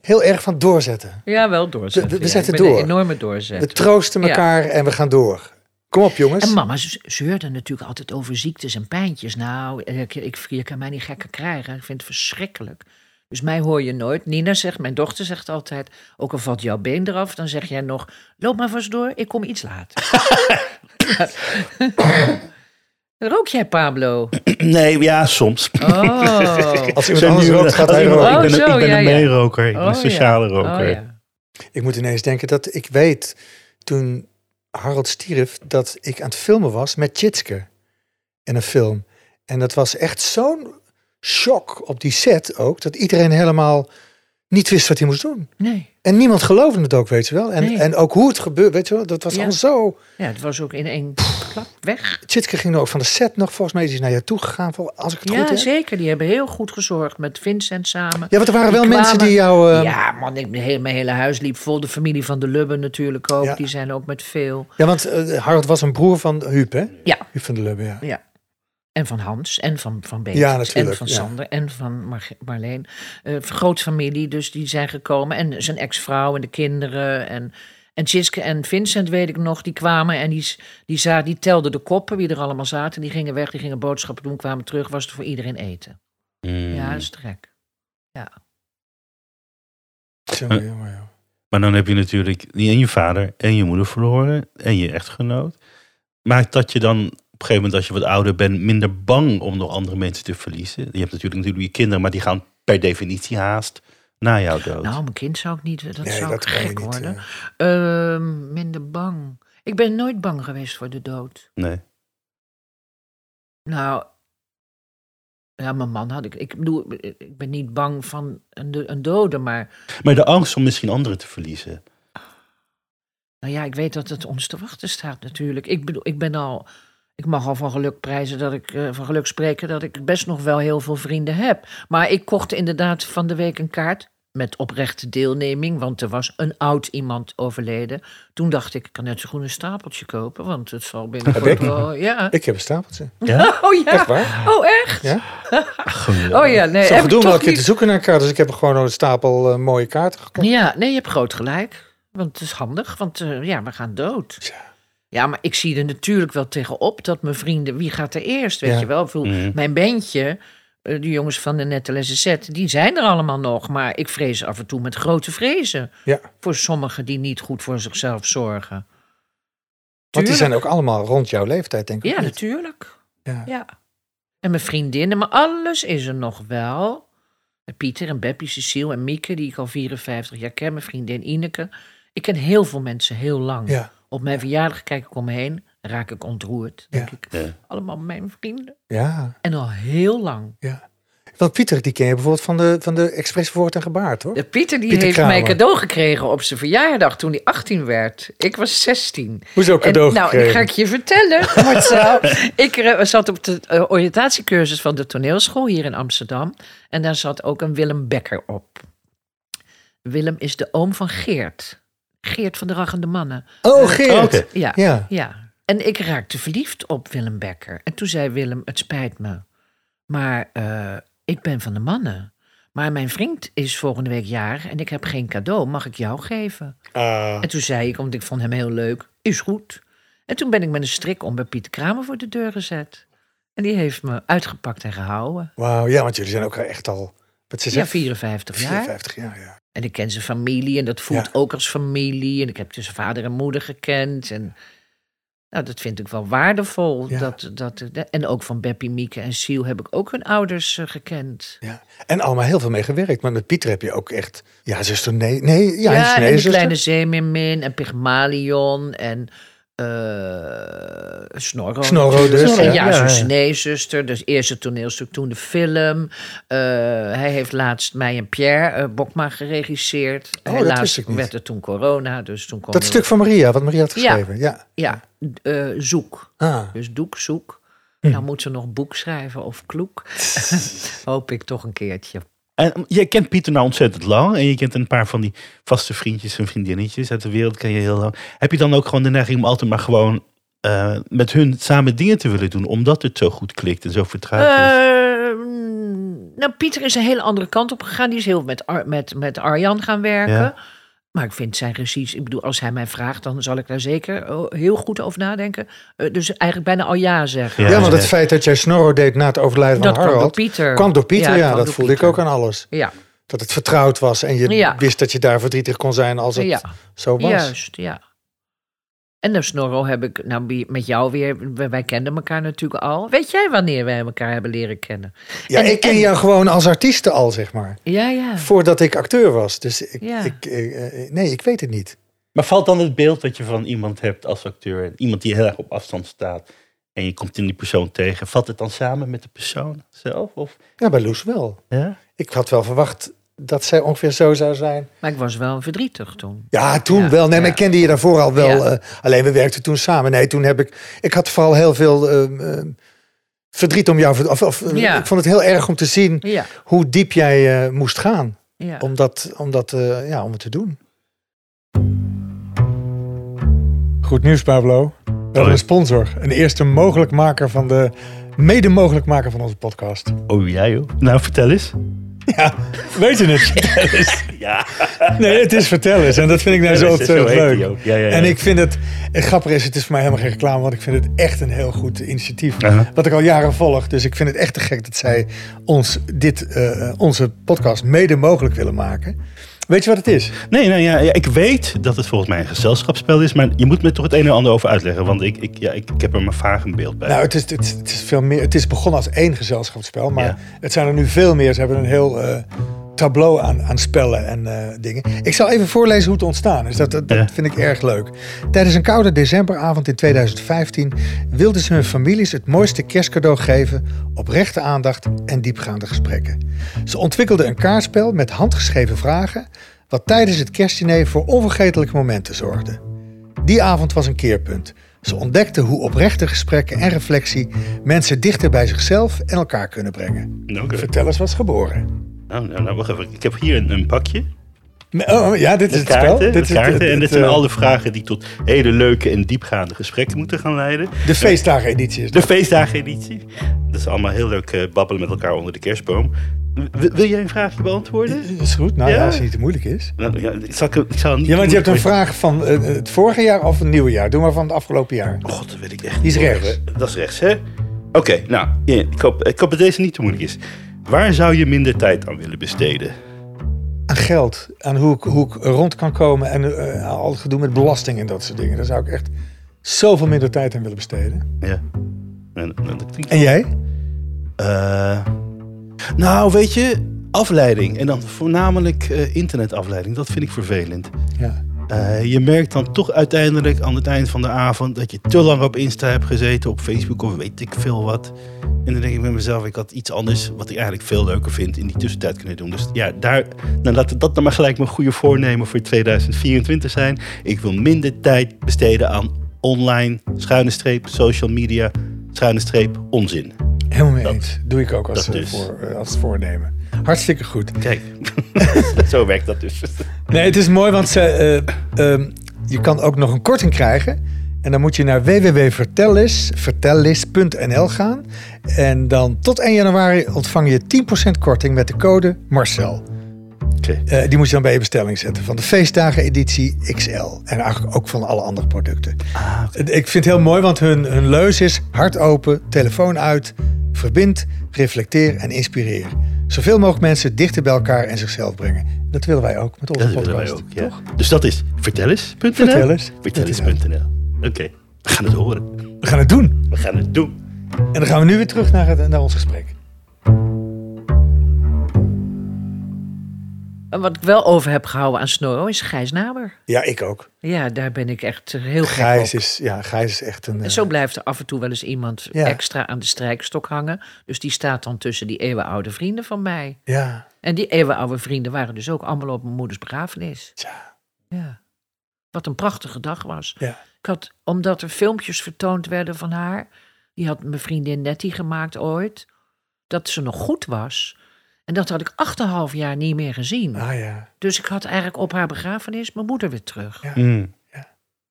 Speaker 1: heel erg van doorzetten.
Speaker 3: ja, wel doorzetten.
Speaker 1: We- we
Speaker 3: ja.
Speaker 1: zetten
Speaker 3: ik ben
Speaker 1: door.
Speaker 3: Een enorme
Speaker 1: We
Speaker 3: doorzetten.
Speaker 1: troosten
Speaker 3: Ja.
Speaker 1: elkaar en we gaan door. Kom op jongens.
Speaker 3: En mama ze- zeurde natuurlijk altijd over ziektes en pijntjes. Nou, ik, ik, je kan mij niet gekker krijgen. Ik vind het verschrikkelijk. Dus mij hoor je nooit. Nina zegt, mijn dochter zegt altijd... ook al valt jouw been eraf, dan zeg jij nog... loop maar vast door, ik kom iets
Speaker 1: *laughs*
Speaker 3: later. Rook jij,
Speaker 1: *laughs*
Speaker 3: Pablo?
Speaker 2: Nee, ja, *clears throat* soms.
Speaker 3: Oh,
Speaker 1: Als iemand
Speaker 2: Zijn
Speaker 1: anders
Speaker 2: nu-
Speaker 1: rookt, gaat
Speaker 2: als
Speaker 1: hij
Speaker 2: iemand-
Speaker 1: roken.
Speaker 3: Oh,
Speaker 2: Ik ben,
Speaker 3: zo,
Speaker 2: ik ben
Speaker 3: ja,
Speaker 2: een
Speaker 3: ja.
Speaker 2: meeroker, ik ben
Speaker 3: Oh,
Speaker 2: een
Speaker 3: ja.
Speaker 2: sociale
Speaker 3: Oh,
Speaker 2: roker.
Speaker 3: ja.
Speaker 1: Ik moet ineens denken dat ik weet, toen Harold stierf, dat ik aan het filmen was met Chitske. In een film. En dat was echt zo'n shock op die set ook, dat iedereen helemaal niet wist wat hij moest doen.
Speaker 3: Nee,
Speaker 1: En niemand geloofde het ook, weet je wel. En,
Speaker 3: Nee.
Speaker 1: en ook hoe het gebeurde, weet je wel. Dat was
Speaker 3: Ja.
Speaker 1: allemaal zo...
Speaker 3: ja, het was ook in één klap weg.
Speaker 1: Chitske ging ook van de set nog, volgens mij is hij naar jou toe gegaan, vol- als ik het goed
Speaker 3: Ja,
Speaker 1: heb.
Speaker 3: zeker. Die hebben heel goed gezorgd met Vincent samen.
Speaker 1: Ja, want er waren
Speaker 3: Die
Speaker 1: wel mensen
Speaker 3: kwamen-
Speaker 1: die jou... eh, ja.
Speaker 3: Ja, man, ik, mijn, hele, mijn hele huis liep vol. De familie van de Lubben natuurlijk ook.
Speaker 1: Ja.
Speaker 3: Die zijn ook met veel.
Speaker 1: want eh, Harold was een broer van Huub, hè?
Speaker 3: Ja.
Speaker 1: Huub van de Lubbe, ja.
Speaker 3: ja. En van Hans en van, van Beatrix
Speaker 1: Ja, natuurlijk,
Speaker 3: en van
Speaker 1: ja.
Speaker 3: Sander en van Mar- Marleen. Eh grootfamilie, dus die zijn gekomen. En zijn ex-vrouw en de kinderen. En, en Siske en Vincent, weet ik nog, die kwamen en die, s- die, za- die telden de koppen wie er allemaal zaten. Die gingen weg, die gingen boodschappen doen, kwamen terug. Was er voor iedereen eten.
Speaker 2: Hmm.
Speaker 3: Ja, dat is trek. Ja.
Speaker 1: Jongen, jongen, jongen.
Speaker 2: Maar dan heb je natuurlijk en je vader en je moeder verloren en je echtgenoot. Maakt dat je dan op een gegeven moment als je wat ouder bent minder bang om nog andere mensen te verliezen? Je hebt natuurlijk natuurlijk je kinderen, maar die gaan per definitie haast na jouw dood.
Speaker 3: Nou, mijn kind zou ik niet, dat
Speaker 1: Nee,
Speaker 3: zou
Speaker 1: dat
Speaker 3: ik
Speaker 1: kan je
Speaker 3: gek
Speaker 1: niet.
Speaker 3: worden.
Speaker 1: eh.
Speaker 3: Ehm, minder bang. Ik ben nooit bang geweest voor de dood.
Speaker 2: nee.
Speaker 3: Nou, ja, mijn man had ik. Ik bedoel, ik ben niet bang van een, do- een dode, maar.
Speaker 2: Maar de angst om misschien anderen te verliezen.
Speaker 3: Nou ja, ik weet dat het ons te wachten staat natuurlijk. Ik bedoel, ik ben al. Ik mag al van geluk prijzen dat ik. eh, van geluk spreken dat ik best nog wel heel veel vrienden heb. Maar ik kocht inderdaad van de week een kaart. Met oprechte deelneming, want er was een oud iemand overleden. Toen dacht ik, ik kan net zo goed een stapeltje kopen, want het
Speaker 1: *laughs*
Speaker 3: zal binnenkort
Speaker 1: ik?
Speaker 3: wel... Ja.
Speaker 1: Ik heb een stapeltje.
Speaker 2: Ja?
Speaker 3: *laughs* Oh ja.
Speaker 1: Echt waar?
Speaker 3: Oh, echt?
Speaker 2: Gelukkig.
Speaker 3: Oh ja, nee.
Speaker 1: Zo
Speaker 3: heb
Speaker 1: gedoe
Speaker 3: ik
Speaker 1: om
Speaker 3: toch
Speaker 1: elke keer te
Speaker 3: niet-
Speaker 1: zoeken naar elkaar. Dus ik heb gewoon een stapel eh, mooie kaarten gekocht.
Speaker 3: Ja, nee, je hebt groot gelijk. Want het is handig, want eh, ja, we gaan dood.
Speaker 1: Tja.
Speaker 3: Ja, maar ik zie er natuurlijk wel tegenop dat mijn vrienden... Wie gaat er eerst, weet
Speaker 1: Ja.
Speaker 3: je wel? Ik bedoel,
Speaker 2: Mhm.
Speaker 3: Mijn bandje, eh, de jongens van de Nette Z, die zijn er allemaal nog. Maar ik vrees af en toe met grote vrezen.
Speaker 1: Ja.
Speaker 3: Voor sommigen die niet goed voor zichzelf zorgen.
Speaker 1: Want die
Speaker 3: Tuurlijk.
Speaker 1: zijn ook allemaal rond jouw leeftijd, denk ik.
Speaker 3: Ja,
Speaker 1: of niet?
Speaker 3: natuurlijk.
Speaker 1: Ja.
Speaker 3: Ja. En mijn vriendinnen, maar alles is er nog wel. Pieter en Beppie, Cecile en Mieke, die ik al 54 jaar ken. Mijn vriendin Ineke. Ik ken heel veel mensen heel lang.
Speaker 1: Ja.
Speaker 3: Op mijn verjaardag kijk ik om me heen, raak ik ontroerd. Denk
Speaker 1: Ja.
Speaker 3: ik,
Speaker 2: Ja.
Speaker 3: allemaal mijn vrienden.
Speaker 1: ja,
Speaker 3: En al heel lang.
Speaker 1: ja. Want Pieter, die ken je bijvoorbeeld van de, van de Express Woord en Gebaar, toch?
Speaker 3: De Pieter die
Speaker 1: Pieter
Speaker 3: heeft
Speaker 1: Kramer.
Speaker 3: mij cadeau gekregen op zijn verjaardag toen hij 18 werd. Ik was 16.
Speaker 1: Hoezo cadeau
Speaker 3: en, Nou,
Speaker 1: gekregen?
Speaker 3: ik ga ik je vertellen,
Speaker 1: *laughs*
Speaker 3: Marcel. ik eh, zat op de eh, oriëntatiecursus van de toneelschool hier in Amsterdam. En daar zat ook een Willem Becker op. Willem is de oom van Geert. Geert van de Rachende Mannen.
Speaker 1: Oh, Geert.
Speaker 2: Oh, oké.
Speaker 3: Eh, Ja.
Speaker 1: Ja.
Speaker 3: Ja, en ik raakte verliefd op Willem Becker. En toen zei Willem, het spijt me, maar eh, ik ben van de mannen. Maar mijn vriend is volgende week jarig en ik heb geen cadeau. Mag ik jou geven?
Speaker 1: Ah,
Speaker 3: En toen zei ik, omdat ik vond hem heel leuk, is goed. En toen ben ik met een strik om bij Pieter Kramer voor de deur gezet. En die heeft me uitgepakt en gehouden.
Speaker 1: Wauw, ja, want jullie zijn ook echt al... Wat ze
Speaker 3: Ja,
Speaker 1: zeggen,
Speaker 3: 54 jaar.
Speaker 1: 54 jaar, ja.
Speaker 3: En ik ken zijn familie en dat voelt
Speaker 1: Ja.
Speaker 3: ook als familie. En ik heb dus vader en moeder gekend. En Nou, dat vind ik wel waardevol.
Speaker 1: Ja.
Speaker 3: Dat, dat, en ook van Beppie, Mieke en Siel heb ik ook hun ouders eh, gekend.
Speaker 1: Ja. En allemaal heel veel mee gewerkt. Maar met Pieter heb je ook echt... Ja, zuster, nee. nee ja,
Speaker 3: en
Speaker 1: nee,
Speaker 3: de
Speaker 1: zuster.
Speaker 3: kleine zeemermin en Pygmalion en eh Snorro.
Speaker 1: Snorro dus,
Speaker 3: natuurlijk.
Speaker 1: ja.
Speaker 3: En eh, ja,
Speaker 1: Ja, ja.
Speaker 3: zuster, nee, zuster. Dus eerst het toneelstuk, toen de film. Eh, hij heeft laatst mij en Pierre eh, Bokma geregisseerd.
Speaker 1: Oh, dat
Speaker 3: Helaas
Speaker 1: wist ik niet.
Speaker 3: werd er toen corona, dus toen kon
Speaker 1: Dat
Speaker 3: er-
Speaker 1: stuk van Maria, wat Maria had
Speaker 3: Ja.
Speaker 1: geschreven. Ja.
Speaker 3: Ja, eh, zoek.
Speaker 1: Ah.
Speaker 3: Dus doek, zoek.
Speaker 1: Hm.
Speaker 3: Nou moet ze nog boek schrijven of kloek. *laughs* Hoop ik toch een keertje.
Speaker 2: En um, jij kent Pieter nou ontzettend lang. En je kent een paar van die vaste vriendjes en vriendinnetjes uit de wereld. Ken je heel lang. Heb je dan ook gewoon de neiging om altijd maar gewoon eh, met hun samen dingen te willen doen. Omdat het zo goed klikt en zo vertrouwd is.
Speaker 3: Eh, nou, Pieter is een hele andere kant op gegaan. Die is heel met, Ar- met, met Arjan gaan werken.
Speaker 2: Ja.
Speaker 3: Maar ik vind zijn regies, ik bedoel, als hij mij vraagt, dan zal ik daar zeker eh, heel goed over nadenken. Eh, dus eigenlijk bijna al ja zeggen.
Speaker 1: Ja,
Speaker 2: Ja,
Speaker 1: want
Speaker 2: ja.
Speaker 1: het feit dat jij Snorro deed na het overlijden
Speaker 3: dat
Speaker 1: van
Speaker 3: kwam door
Speaker 1: Harald...
Speaker 3: Pieter.
Speaker 1: kwam door Pieter, ja.
Speaker 3: kwam
Speaker 1: dat
Speaker 3: door
Speaker 1: voelde ik
Speaker 3: Pieter.
Speaker 1: ook aan alles.
Speaker 3: Ja,
Speaker 1: Dat het vertrouwd was en je
Speaker 3: Ja.
Speaker 1: wist dat je daar verdrietig kon zijn als het
Speaker 3: ja.
Speaker 1: zo was.
Speaker 3: Juist, ja. En dan Snorro heb ik, nou wie- met jou weer, wij, wij kenden elkaar natuurlijk al. Weet jij wanneer wij elkaar hebben leren kennen?
Speaker 1: Ja,
Speaker 3: En-
Speaker 1: ik ken
Speaker 3: en-
Speaker 1: jou gewoon als artiest al, zeg maar.
Speaker 3: Ja, ja.
Speaker 1: Voordat ik acteur was. Dus ik,
Speaker 3: Ja.
Speaker 1: ik, eh, eh, nee, ik weet het niet.
Speaker 2: Maar valt dan het beeld dat je van iemand hebt als acteur. Iemand die heel erg op afstand staat. En je komt in die persoon tegen. Valt het dan samen met de persoon zelf? Of,
Speaker 1: Ja, bij Loes wel.
Speaker 2: ja?
Speaker 1: Ik had wel verwacht dat zij ongeveer zo zou zijn.
Speaker 3: Maar ik was wel verdrietig toen.
Speaker 1: Ja, toen
Speaker 3: Ja,
Speaker 1: wel. Nee, maar
Speaker 3: ja.
Speaker 1: ik kende je daarvoor al wel.
Speaker 3: Ja.
Speaker 1: eh, alleen we werkten toen samen. Nee, toen heb ik. Ik had vooral heel veel ehm, ehm, verdriet om jou. Of, of, eh,
Speaker 3: Ja.
Speaker 1: Ik vond het heel erg om te zien
Speaker 3: Ja,
Speaker 1: hoe diep jij eh, moest gaan.
Speaker 3: ja.
Speaker 1: Om, dat, om, dat, eh, ja, om het te doen. Goed nieuws, Pablo. We hebben een sponsor. Een eerste mogelijk maker van de. Mede mogelijk maker van onze podcast.
Speaker 2: Oh ja joh. Nou vertel eens.
Speaker 1: Ja, weet je het?
Speaker 2: *laughs* Ja.
Speaker 1: Nee, het is vertel eens. En dat vind ik nou zo
Speaker 2: Vertel eens, zo
Speaker 1: ontzettend
Speaker 2: heet die
Speaker 1: leuk.
Speaker 2: ook. Ja, ja, ja.
Speaker 1: En ik vind het, het grappig is, het is voor mij helemaal geen reclame, want ik vind het echt een heel goed initiatief.
Speaker 2: Aha.
Speaker 1: Wat ik al jaren volg. Dus ik vind het echt te gek dat zij ons dit, eh, onze podcast mede mogelijk willen maken. Weet je wat het is?
Speaker 2: Nee, nou ja, ja, ik weet dat het volgens mij een gezelschapsspel is, maar je moet me toch het een en ander over uitleggen, want ik, ik, ja, ik, ik heb er maar vaag een beeld bij.
Speaker 1: Nou, het is, het, is- het is veel meer. Het is begonnen als één gezelschapsspel, maar
Speaker 2: Ja.
Speaker 1: het zijn er nu veel meer. Ze hebben een heel eh, tableau aan, aan spellen en eh, dingen. Ik zal even voorlezen hoe het ontstaan is. Dat, dat, dat
Speaker 2: Ja.
Speaker 1: vind ik erg leuk. Tijdens een koude decemberavond in 2015 wilden ze hun families het mooiste kerstcadeau geven, oprechte aandacht en diepgaande gesprekken. Ze ontwikkelden een kaartspel met handgeschreven vragen, wat tijdens het kerstdiner voor onvergetelijke momenten zorgde. Die avond was een keerpunt. Ze ontdekten hoe oprechte gesprekken en reflectie mensen dichter bij zichzelf en elkaar kunnen brengen.
Speaker 2: nou, oké.
Speaker 1: Vertel eens wat is geboren.
Speaker 2: nou, nou, nou, wacht even. Ik heb hier een, een pakje
Speaker 1: Oh, ja, dit is
Speaker 2: met
Speaker 1: het spel.
Speaker 2: kaarten, met
Speaker 1: Dit is het-
Speaker 2: kaarten en dit
Speaker 1: het,
Speaker 2: zijn
Speaker 1: eh,
Speaker 2: al de vragen die tot hele leuke en diepgaande gesprekken moeten gaan leiden.
Speaker 1: De feestdageneditie is
Speaker 2: De
Speaker 1: dat.
Speaker 2: feestdageneditie. Dat is allemaal heel leuk eh, babbelen met elkaar onder de kerstboom. W- wil jij een vraagje beantwoorden?
Speaker 1: Is goed, nou ja,
Speaker 2: Ja.
Speaker 1: als het niet te moeilijk is.
Speaker 2: Nou, ja, ik zal, ik- ik zal niet
Speaker 1: Ja, want je hebt een
Speaker 2: moeilijk-
Speaker 1: vraag van eh, het vorige jaar of een nieuwe jaar. Doe maar van het afgelopen jaar.
Speaker 2: Oh, God, dat weet ik echt
Speaker 1: Die is
Speaker 2: niet. Oh,
Speaker 1: rechts.
Speaker 2: Dat is rechts, hè? Oké, nou, ja, ik, hoop, ik hoop dat deze niet te moeilijk is. Waar zou je minder tijd aan willen besteden?
Speaker 1: Aan geld, aan hoe ik, hoe ik rond kan komen en eh, aan al het gedoe met belasting en dat soort dingen. Daar zou ik echt zoveel minder tijd aan willen besteden.
Speaker 2: Ja. En, en Nou, dat klinkt-
Speaker 1: En jij?
Speaker 2: Eh, nou, weet je, afleiding. En dan voornamelijk eh, internetafleiding. Dat vind ik vervelend.
Speaker 1: Ja.
Speaker 2: Eh, je merkt dan toch uiteindelijk aan het eind van de avond dat je te lang op Insta hebt gezeten, op Facebook of weet ik veel wat. En dan denk ik bij mezelf, ik had iets anders wat ik eigenlijk veel leuker vind in die tussentijd kunnen doen. Dus ja, daar, nou, laten we dat dan maar gelijk mijn goede voornemen voor 2024 zijn. Ik wil minder tijd besteden aan online, schuine streep, social media, schuine streep, onzin.
Speaker 1: Helemaal mee
Speaker 2: Dat-
Speaker 1: eens. Doe ik ook als,
Speaker 2: dat
Speaker 1: eh,
Speaker 2: dus.
Speaker 1: voor, eh, als voornemen. Hartstikke goed.
Speaker 2: Kijk, *laughs* zo werkt dat dus.
Speaker 1: Nee, het is mooi, want ze, eh, ehm, je kan ook nog een korting krijgen. En dan moet je naar www.vertellis, vertellis.nl gaan. En dan tot 1 januari ontvang je 10% korting met de code Marcel.
Speaker 2: Oké.
Speaker 1: Eh, die moet je dan bij je bestelling zetten. Van de feestdagen editie XL. En eigenlijk ook van alle andere producten. Eh, Ik vind het heel mooi, want hun, hun leus is hart open, telefoon uit, verbind, reflecteer en inspireer. Zoveel mogelijk mensen dichter bij elkaar en zichzelf brengen. Dat willen wij ook met onze
Speaker 2: Dat willen
Speaker 1: podcast.
Speaker 2: wij ook, ja. Dus dat is vertellis.nl.
Speaker 1: Vertel eens.
Speaker 2: Vertellis.nl. Oké. We gaan het horen.
Speaker 1: We gaan het doen.
Speaker 2: We gaan het doen.
Speaker 1: En dan gaan we nu weer terug naar, het, naar ons gesprek.
Speaker 3: En wat ik wel over heb gehouden aan Snow is Gijs Naber.
Speaker 1: Ja, ik ook.
Speaker 3: Ja, daar ben ik echt eh, heel gek op.
Speaker 1: Gijs is, ja, Gijs is echt een... eh,
Speaker 3: En zo blijft er af en toe wel eens iemand
Speaker 1: Ja.
Speaker 3: extra aan de strijkstok hangen. Dus die staat dan tussen die eeuwenoude vrienden van mij.
Speaker 1: Ja,
Speaker 3: En die eeuwenoude vrienden waren dus ook allemaal op mijn moeders begrafenis.
Speaker 1: tja,
Speaker 3: Ja. Wat een prachtige dag was.
Speaker 1: ja.
Speaker 3: Ik had, omdat er filmpjes vertoond werden van haar. Die had mijn vriendin Nettie gemaakt ooit. Dat ze nog goed was. En dat had ik 8,5 jaar niet meer gezien.
Speaker 1: Ah ja,
Speaker 3: Dus ik had eigenlijk op haar begrafenis mijn moeder weer terug.
Speaker 1: Ja.
Speaker 2: Mm.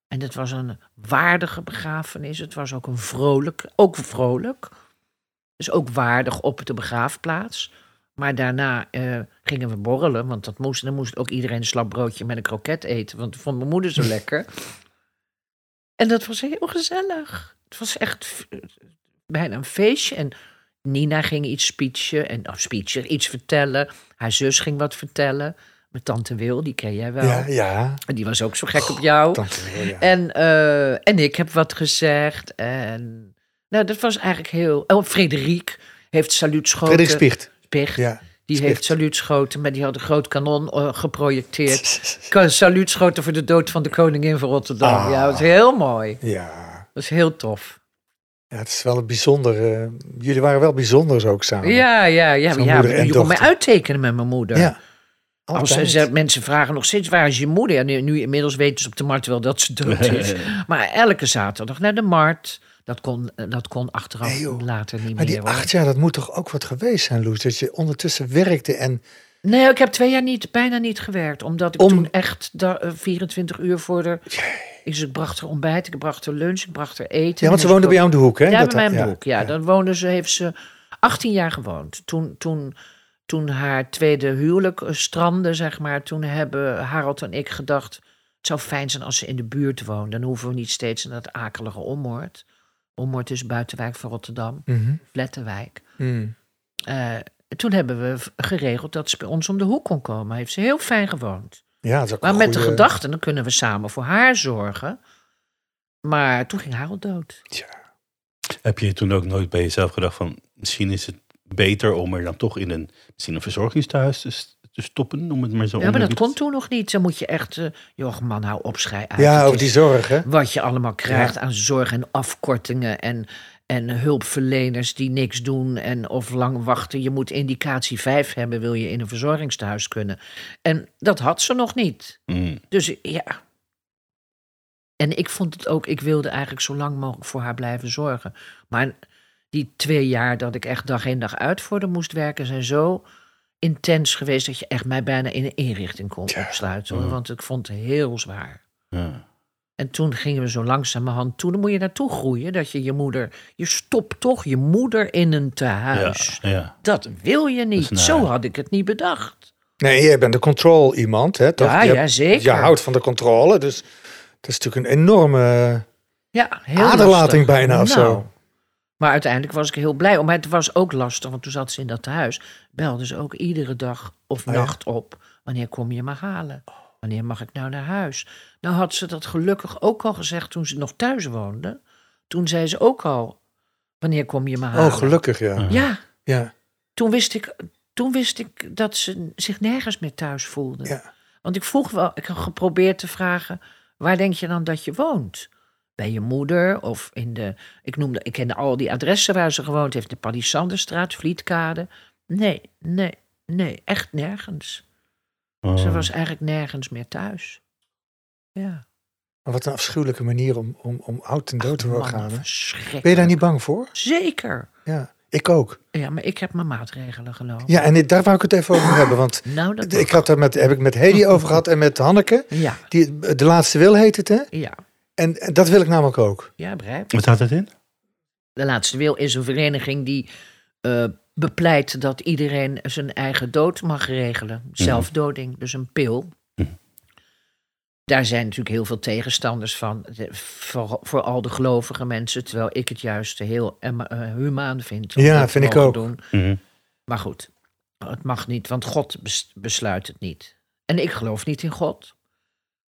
Speaker 3: En het was een waardige begrafenis. Het was ook een vrolijk, ook vrolijk. Dus ook waardig op de begraafplaats. Maar daarna eh, gingen we borrelen, want dat moest, dan moest ook iedereen een slap broodje met een kroket eten. Want dat vond mijn moeder zo lekker. En dat was heel gezellig. Het was echt f- bijna een feestje. En Nina ging iets speechen, en, of speechen, iets vertellen. Haar zus ging wat vertellen. Mijn tante Wil, die ken jij wel.
Speaker 1: ja, ja.
Speaker 3: En die was ook zo gek op jou.
Speaker 1: Tante Wil, ja.
Speaker 3: En, eh, en ik heb wat gezegd. En, nou, dat was eigenlijk heel... Oh, Frederik heeft saluutschoten.
Speaker 1: Frederik Spiecht.
Speaker 3: Spicht.
Speaker 1: Ja.
Speaker 3: Die
Speaker 1: Spicht.
Speaker 3: heeft saluutschoten, maar die had een groot kanon eh, geprojecteerd. *laughs* Ka- Saluutschoten voor de dood van de koningin van Rotterdam.
Speaker 1: Ah.
Speaker 3: Ja, dat was heel mooi.
Speaker 1: Ja.
Speaker 3: Dat was heel tof.
Speaker 1: ja, het is wel een bijzonder... eh, jullie waren wel bijzonders ook samen.
Speaker 3: Ja, ja, ja.
Speaker 1: Oh, Zo'n
Speaker 3: ja
Speaker 1: moeder en
Speaker 3: je kon mij
Speaker 1: dochter.
Speaker 3: uittekenen met mijn moeder.
Speaker 1: ja.
Speaker 3: Als ze,
Speaker 1: Altijd.
Speaker 3: ze- mensen vragen nog steeds, waar is je moeder? Ja, nu, nu inmiddels weten ze op de markt wel dat
Speaker 1: *laughs*
Speaker 3: ze dood is. maar elke zaterdag naar de markt. Dat kon, eh, dat kon achteraf
Speaker 1: Nee, joh.
Speaker 3: later niet
Speaker 1: Maar
Speaker 3: meer.
Speaker 1: die
Speaker 3: hoor.
Speaker 1: acht jaar, dat moet toch ook wat geweest zijn, Loes? Dat je ondertussen werkte en...
Speaker 3: Nee, ik heb twee jaar niet, bijna niet gewerkt. Omdat ik
Speaker 1: Om-
Speaker 3: toen echt da- eh, 24 uur voor de... Dus ik bracht er ontbijt, ik bracht er lunch, ik bracht er eten.
Speaker 1: Ja, want ze
Speaker 3: Dus
Speaker 1: woonde bij
Speaker 3: ik-
Speaker 1: jou om de hoek, hè?
Speaker 3: Ja,
Speaker 1: Dat-
Speaker 3: bij mijn broek. Ja,
Speaker 1: ja.
Speaker 3: dan woonde ze, heeft ze 18 jaar gewoond. Toen, toen, toen haar tweede huwelijk eh, strandde, zeg maar, toen hebben Harold en ik gedacht. Het zou fijn zijn als ze in de buurt woont. Dan hoeven we niet steeds in dat akelige ommoord. Ommoord is buitenwijk van Rotterdam,
Speaker 1: Mhm.
Speaker 3: Lettenwijk.
Speaker 1: Mm.
Speaker 3: Eh, toen hebben we v- geregeld dat ze bij ons om de hoek kon komen. Heeft ze heel fijn gewoond.
Speaker 1: Ja, dat is ook
Speaker 3: Maar
Speaker 1: een
Speaker 3: met de
Speaker 1: goeie-
Speaker 3: gedachte, dan kunnen we samen voor haar zorgen. Maar toen ging Harold dood.
Speaker 1: Tja.
Speaker 2: *laughs* Heb je toen ook nooit bij jezelf gedacht van... misschien is het beter om er dan toch in een, misschien een verzorgingstehuis te, s- te stoppen? Om het maar zo
Speaker 3: Ja, maar dat
Speaker 2: onderlicht-
Speaker 3: kon toen nog niet. Dan moet je echt, eh, joh man, hou op, schei uit.
Speaker 1: Ja,
Speaker 3: Het
Speaker 1: over
Speaker 3: is
Speaker 1: die zorg, hè?
Speaker 3: Wat je allemaal krijgt aan zorg en afkortingen en, en hulpverleners die niks doen en of lang wachten. Je moet indicatie 5 hebben, wil je in een verzorgingstehuis kunnen. En dat had ze nog niet.
Speaker 2: Mm.
Speaker 3: Dus ja. En ik vond het ook, ik wilde eigenlijk zo lang mogelijk voor haar blijven zorgen. Maar die twee jaar dat ik echt dag in dag uit voor haar moest werken, zijn zo intens geweest dat je echt mij bijna in een inrichting kon
Speaker 1: Tja. Mm.
Speaker 3: opsluiten. hoor.
Speaker 2: Mhm.
Speaker 3: Want ik vond het heel zwaar.
Speaker 2: Ja.
Speaker 3: En toen gingen we zo langzamerhand toe. Dan moet je naartoe groeien dat je je moeder. Je stopt toch je moeder in een
Speaker 2: Ja,
Speaker 3: tehuis.
Speaker 2: ja.
Speaker 3: Dat wil je niet.
Speaker 2: Dat is naar.
Speaker 3: zo had ik het niet bedacht.
Speaker 1: Nee, jij bent de control iemand, hè? Toch?
Speaker 3: Ja,
Speaker 1: Je-
Speaker 3: ja, zeker.
Speaker 1: Je houdt van de controle, dus dat is natuurlijk een enorme...
Speaker 3: Ja, heel
Speaker 1: Aderlating
Speaker 3: lastig. Nou,
Speaker 1: bijna of zo.
Speaker 3: Maar uiteindelijk was ik heel blij om. Maar het was ook lastig, want toen zat ze in dat tehuis. Belde ze ook iedere dag of
Speaker 1: Oh ja.
Speaker 3: nacht op. Wanneer kom je me halen? Wanneer mag ik nou naar huis? Nou had ze dat gelukkig ook al gezegd toen ze nog thuis woonde. Toen zei ze ook al, wanneer kom je me halen?
Speaker 1: Oh, gelukkig, ja.
Speaker 3: Ja,
Speaker 1: Ja,
Speaker 3: toen wist ik, toen wist ik dat ze zich nergens meer thuis voelde.
Speaker 1: ja.
Speaker 3: Want ik vroeg wel, ik heb geprobeerd te vragen, waar denk je dan dat je woont? Bij je moeder of in de, ik noemde, ik kende al die adressen waar ze gewoond heeft, de Palisanderstraat, Vlietkade. Nee, nee, nee, echt nergens. Ze
Speaker 2: Oh.
Speaker 3: was eigenlijk nergens meer thuis. Ja.
Speaker 1: Maar wat een afschuwelijke manier om, om, om oud en dood te
Speaker 3: Man,
Speaker 1: gaan. hè?
Speaker 3: verschrikkelijk.
Speaker 1: Ben je daar niet bang voor?
Speaker 3: Zeker.
Speaker 1: Ja, ik ook.
Speaker 3: Ja, maar ik heb mijn maatregelen genomen.
Speaker 1: Ja, en dit- daar wou ik het even
Speaker 3: *laughs*
Speaker 1: over hebben, want
Speaker 3: Nou, dat
Speaker 1: ik had daar met, heb ik met
Speaker 3: *laughs*
Speaker 1: Hedy over gehad en met Hanneke.
Speaker 3: Ja,
Speaker 1: Die, de laatste wil heet het, hè?
Speaker 3: ja,
Speaker 1: En, en dat wil ik namelijk ook.
Speaker 3: ja, begrijp.
Speaker 2: Wat staat dat in?
Speaker 3: De Laatste Wil is een vereniging die eh, bepleit dat iedereen zijn eigen dood mag regelen.
Speaker 1: Mhm.
Speaker 3: Zelfdoding, dus een pil. Daar zijn natuurlijk heel veel tegenstanders van, de- voor, voor al de gelovige mensen. Terwijl ik het juist heel em- eh, humaan vind. om
Speaker 1: Ja,
Speaker 3: dat te
Speaker 1: vind ik
Speaker 3: mogen
Speaker 1: ook.
Speaker 3: doen.
Speaker 2: Mhm.
Speaker 3: Maar goed, het mag niet, want God bes- besluit het niet. En ik geloof niet in God.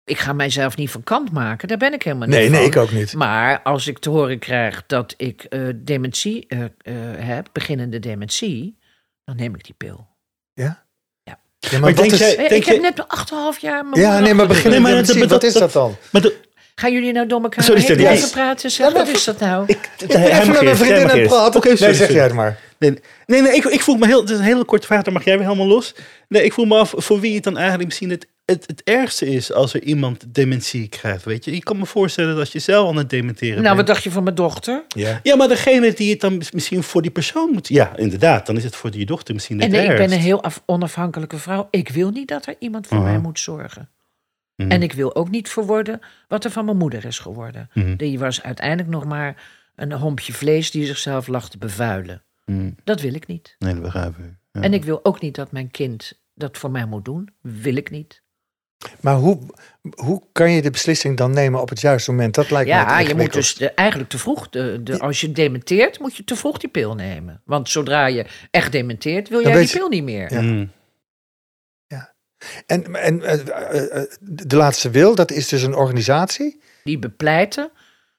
Speaker 3: Ik ga mijzelf niet van kant maken, daar ben ik helemaal
Speaker 1: Nee,
Speaker 3: niet
Speaker 1: nee,
Speaker 3: van.
Speaker 1: ik ook niet.
Speaker 3: Maar als ik te horen krijg dat ik eh, dementie eh, eh, heb, beginnende dementie, dan neem ik die pil.
Speaker 1: Ja?
Speaker 3: Ja.
Speaker 1: Ja,
Speaker 2: Maar
Speaker 1: wat
Speaker 2: denk
Speaker 1: is-
Speaker 2: jij-
Speaker 3: Eh, Ik,
Speaker 2: denk
Speaker 3: heb
Speaker 2: je-
Speaker 3: net 8,5 jaar. mijn
Speaker 1: Ja,
Speaker 3: moeder
Speaker 1: nee, maar
Speaker 3: achter de
Speaker 1: begin
Speaker 3: rug.
Speaker 2: Nee, maar
Speaker 1: dementie,
Speaker 2: dat-
Speaker 1: wat is
Speaker 2: dat-
Speaker 1: dat dan?
Speaker 2: Maar de,
Speaker 3: Gaan jullie nou door elkaar
Speaker 2: Sorry,
Speaker 3: heen
Speaker 2: Steady.
Speaker 3: blijven
Speaker 2: Nee.
Speaker 3: praten? Zeg,
Speaker 1: Ja,
Speaker 3: wat
Speaker 1: maar-
Speaker 3: is dat nou?
Speaker 1: Ik ik ben
Speaker 2: hij
Speaker 1: even met
Speaker 2: markeert,
Speaker 1: mijn vriendin
Speaker 2: hij
Speaker 1: aan het
Speaker 2: markeert.
Speaker 1: praten.
Speaker 2: Oké,
Speaker 1: nee,
Speaker 2: sorry,
Speaker 1: zeg
Speaker 2: sorry.
Speaker 1: jij het maar.
Speaker 2: nee, nee, nee, ik, ik vroeg me heel... Het is een hele korte vraag, dan mag jij weer helemaal los. Nee, ik vroeg me af voor wie het dan eigenlijk misschien het, het, het ergste is... als er iemand dementie krijgt, weet je. Ik kan me voorstellen dat als je zelf aan het dementeren
Speaker 3: Nou, wat
Speaker 2: bent...
Speaker 3: dacht je van mijn dochter?
Speaker 1: Ja.
Speaker 2: Ja, maar degene die het dan misschien voor die persoon moet... Ja, inderdaad, dan is het voor die dochter misschien het
Speaker 3: En nee, ik ben
Speaker 2: ergst.
Speaker 3: een heel af- onafhankelijke vrouw. Ik wil niet dat er iemand voor
Speaker 2: Aha.
Speaker 3: mij moet zorgen.
Speaker 1: Hm.
Speaker 2: Mhm.
Speaker 3: En ik wil ook niet voor worden wat er van mijn moeder is geworden.
Speaker 1: Hm.
Speaker 2: Mhm.
Speaker 3: Die was uiteindelijk nog maar een hompje vlees die zichzelf lag te bevuilen.
Speaker 2: Hm,
Speaker 3: Dat wil ik niet.
Speaker 2: Nee, dat begrijp ik. Ja.
Speaker 3: En ik wil ook niet dat mijn kind dat voor mij moet doen. Wil ik niet.
Speaker 1: Maar hoe, hoe kan je de beslissing dan nemen op het juiste moment? Dat lijkt me
Speaker 3: Ja,
Speaker 1: het
Speaker 3: je moet
Speaker 1: ingewikkeld.
Speaker 3: dus de- eigenlijk te vroeg, de, de, als je dementeert, moet je te vroeg die pil nemen. Want zodra je echt dementeert, wil
Speaker 1: Dan
Speaker 3: jij die
Speaker 1: weet je-
Speaker 3: pil niet meer.
Speaker 1: Ja.
Speaker 2: Hm.
Speaker 1: En, en eh, eh, eh, de laatste wil, dat is dus een organisatie.
Speaker 3: die bepleiten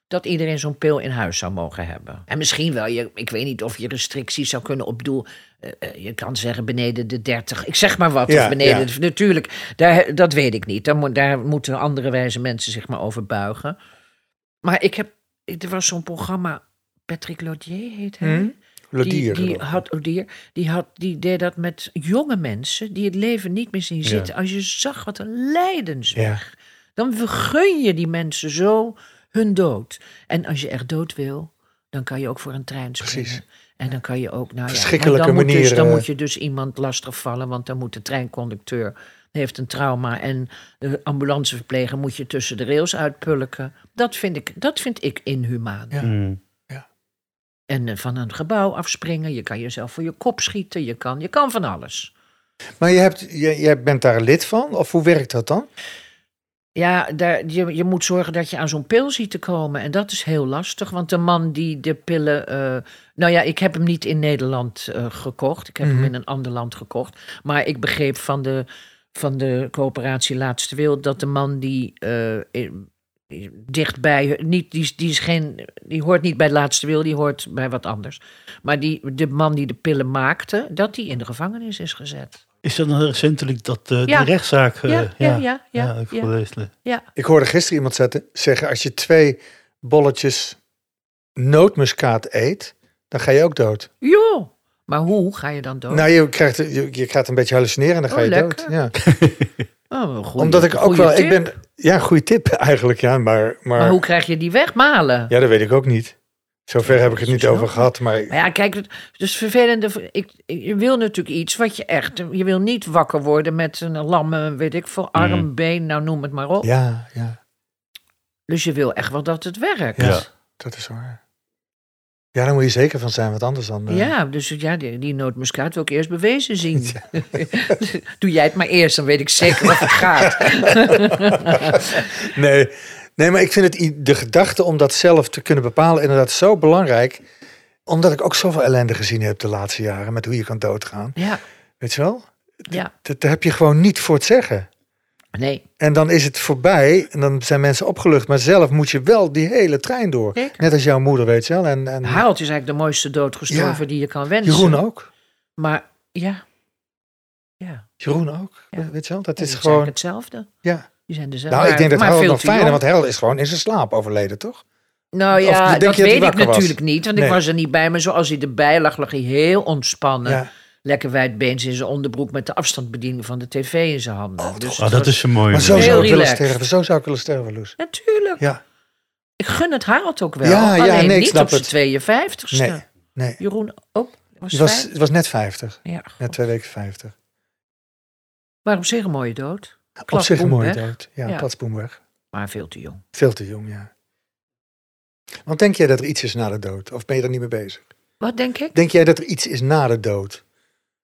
Speaker 3: dat iedereen zo'n pil in huis zou mogen hebben. En misschien wel, je, ik weet niet of je restricties zou kunnen opdoen. Eh, eh, je kan zeggen beneden de 30, ik zeg maar wat,
Speaker 1: Ja,
Speaker 3: of beneden
Speaker 1: ja.
Speaker 3: de- Natuurlijk, daar, dat weet ik niet. Daar, moet- daar moeten andere wijze mensen zich maar over buigen. Maar ik heb, ik- er was zo'n programma, Patrick Lodier heet hij.
Speaker 1: Hmm.
Speaker 3: Die,
Speaker 1: Lodier.
Speaker 3: die, had, oh, dier, die, had, die deed dat met jonge mensen die het leven niet meer zien zitten. Als je zag wat een lijdensweg. Dan vergun je die mensen zo hun dood. En als je echt dood wil, dan kan je ook voor een trein springen.
Speaker 1: Precies.
Speaker 3: En dan kan je ook... Nou ja,
Speaker 1: Verschrikkelijke
Speaker 3: maar dan moet Dus,
Speaker 1: manieren.
Speaker 3: dan moet je dus iemand lastig vallen, want dan moet de treinconducteur... heeft een trauma en de ambulanceverpleger moet je tussen de rails uitpulken. Dat vind ik, dat vind ik inhumaan.
Speaker 1: Ja.
Speaker 2: Hm.
Speaker 3: En eh, van een gebouw afspringen, je kan jezelf voor je kop schieten, je kan, je kan van alles.
Speaker 1: Maar je hebt, je, jij bent daar lid van? Of hoe werkt dat dan?
Speaker 3: Ja, daar, je, je moet zorgen dat je aan zo'n pil ziet te komen. En dat is heel lastig, want de man die de pillen... eh, nou ja, ik heb hem niet in Nederland eh, gekocht. Ik heb
Speaker 1: Mhm.
Speaker 3: hem in een ander land gekocht. Maar ik begreep van de, van de coöperatie Laatste Wil... dat de man die eh, in- dichtbij... Niet, die, is- die, is geen, die hoort niet bij Laatste Wil, die hoort bij wat anders. Maar die, de man die de pillen maakte, dat die in de gevangenis is gezet.
Speaker 2: Is dat nou recentelijk dat eh,
Speaker 3: Ja.
Speaker 2: de rechtszaak... eh,
Speaker 3: Ja, ja, ja, ja,
Speaker 2: ja, ik
Speaker 3: ja.
Speaker 2: gelezen.
Speaker 3: Ja,
Speaker 1: Ik hoorde gisteren iemand zetten- zeggen: als je twee bolletjes nootmuskaat eet, dan ga je ook dood.
Speaker 3: joh. Maar hoe ga je dan dood?
Speaker 1: Nou, je krijgt, je, je gaat een beetje hallucineren en dan ga
Speaker 3: Oh,
Speaker 1: je
Speaker 3: lekker.
Speaker 1: dood. Ja.
Speaker 3: Oh, een goeie-
Speaker 1: Omdat ik ook
Speaker 3: goeie
Speaker 1: wel, ik
Speaker 3: tip.
Speaker 1: ben, ja, goede tip *laughs* eigenlijk, ja, maar, maar,
Speaker 3: Maar hoe krijg je die weg? Malen.
Speaker 1: ja, dat weet ik ook niet. Zover heb ik het niet
Speaker 3: Snap
Speaker 1: over
Speaker 3: ik.
Speaker 1: gehad, maar
Speaker 3: Maar ja, kijk, het- dus vervelende. v- Ik, ik- je wil natuurlijk iets wat je echt. Je wil niet wakker worden met een lamme, weet ik veel, arm, been, nou noem het maar op.
Speaker 1: Mm. ja, ja,
Speaker 3: Dus je wil echt wel dat het werkt.
Speaker 1: ja,
Speaker 2: Ja.
Speaker 1: dat is waar. Ja, daar moet je zeker van zijn, want anders dan. eh,
Speaker 3: Ja, dus ja, die, die nootmuskaat wil ik eerst bewezen zien. *laughs* Doe jij het maar eerst, dan weet ik zeker wat het
Speaker 1: *laughs*
Speaker 3: gaat.
Speaker 1: Nee, nee, maar ik vind het, i- de gedachte om dat zelf te kunnen bepalen inderdaad zo belangrijk. Omdat ik ook zoveel ellende gezien heb de laatste jaren met hoe je kan doodgaan.
Speaker 3: Ja,
Speaker 1: Weet je wel?
Speaker 3: ja.
Speaker 1: Dat, daar heb je gewoon niet voor het zeggen.
Speaker 3: Nee,
Speaker 1: En dan is het voorbij en dan zijn mensen opgelucht. Maar zelf moet je wel die hele trein door.
Speaker 3: Zeker.
Speaker 1: Net als jouw moeder, weet je wel. En, en
Speaker 3: Harold is eigenlijk de mooiste dood gestorven
Speaker 1: Ja.
Speaker 3: die je kan wensen.
Speaker 1: Jeroen ook.
Speaker 3: Maar ja. Ja.
Speaker 1: Jeroen ook.
Speaker 3: Ja.
Speaker 1: Weet je wel? Dat
Speaker 3: Het
Speaker 1: is
Speaker 3: is
Speaker 1: gewoon.
Speaker 3: eigenlijk hetzelfde.
Speaker 1: Ja.
Speaker 3: Die zijn dezelfde.
Speaker 1: Nou, ik denk dat
Speaker 3: maar
Speaker 1: Harold
Speaker 3: veel
Speaker 1: nog
Speaker 3: te
Speaker 1: fijner,
Speaker 3: jong.
Speaker 1: want Harold is gewoon in zijn slaap overleden, toch?
Speaker 3: Nou
Speaker 1: of
Speaker 3: ja,
Speaker 1: denk
Speaker 3: dat
Speaker 1: je dat hij
Speaker 3: weet ik
Speaker 1: wakker was?
Speaker 3: natuurlijk niet, want
Speaker 1: Nee.
Speaker 3: ik was er niet bij. Maar zoals hij erbij lag, lag hij heel ontspannen.
Speaker 1: Ja.
Speaker 3: Lekker wijdbeens in zijn onderbroek met de afstandsbediening van de tv in zijn handen.
Speaker 1: Oh,
Speaker 3: dus
Speaker 2: Ah,
Speaker 3: het
Speaker 2: dat
Speaker 3: was-
Speaker 2: is een mooie.
Speaker 1: Maar zo
Speaker 3: Heel
Speaker 1: zou ik willen
Speaker 3: relaxed.
Speaker 1: sterven. Zo zou ik willen sterven, Loes.
Speaker 3: Natuurlijk.
Speaker 1: Ja.
Speaker 3: Ik gun het Harold ook wel.
Speaker 1: Ja, ja,
Speaker 3: alleen
Speaker 1: nee, ik
Speaker 3: niet
Speaker 1: snap
Speaker 3: op zijn
Speaker 1: het.
Speaker 3: 52ste.
Speaker 1: Nee. Nee.
Speaker 3: Jeroen ook. Was
Speaker 1: Het was,
Speaker 3: vijf-
Speaker 1: het was net 50.
Speaker 3: ja,
Speaker 1: Net twee weken 50.
Speaker 3: maar op zich een mooie dood.
Speaker 1: Op
Speaker 3: Klap,
Speaker 1: zich een
Speaker 3: boem,
Speaker 1: mooie
Speaker 3: weg.
Speaker 1: dood. Ja,
Speaker 3: Ja.
Speaker 1: platsboemweg.
Speaker 3: Maar veel te jong.
Speaker 1: Veel te jong, ja. Want denk jij dat er iets is na de dood? Of ben je er niet mee bezig?
Speaker 3: Wat denk ik?
Speaker 1: Denk jij dat er iets is na de dood?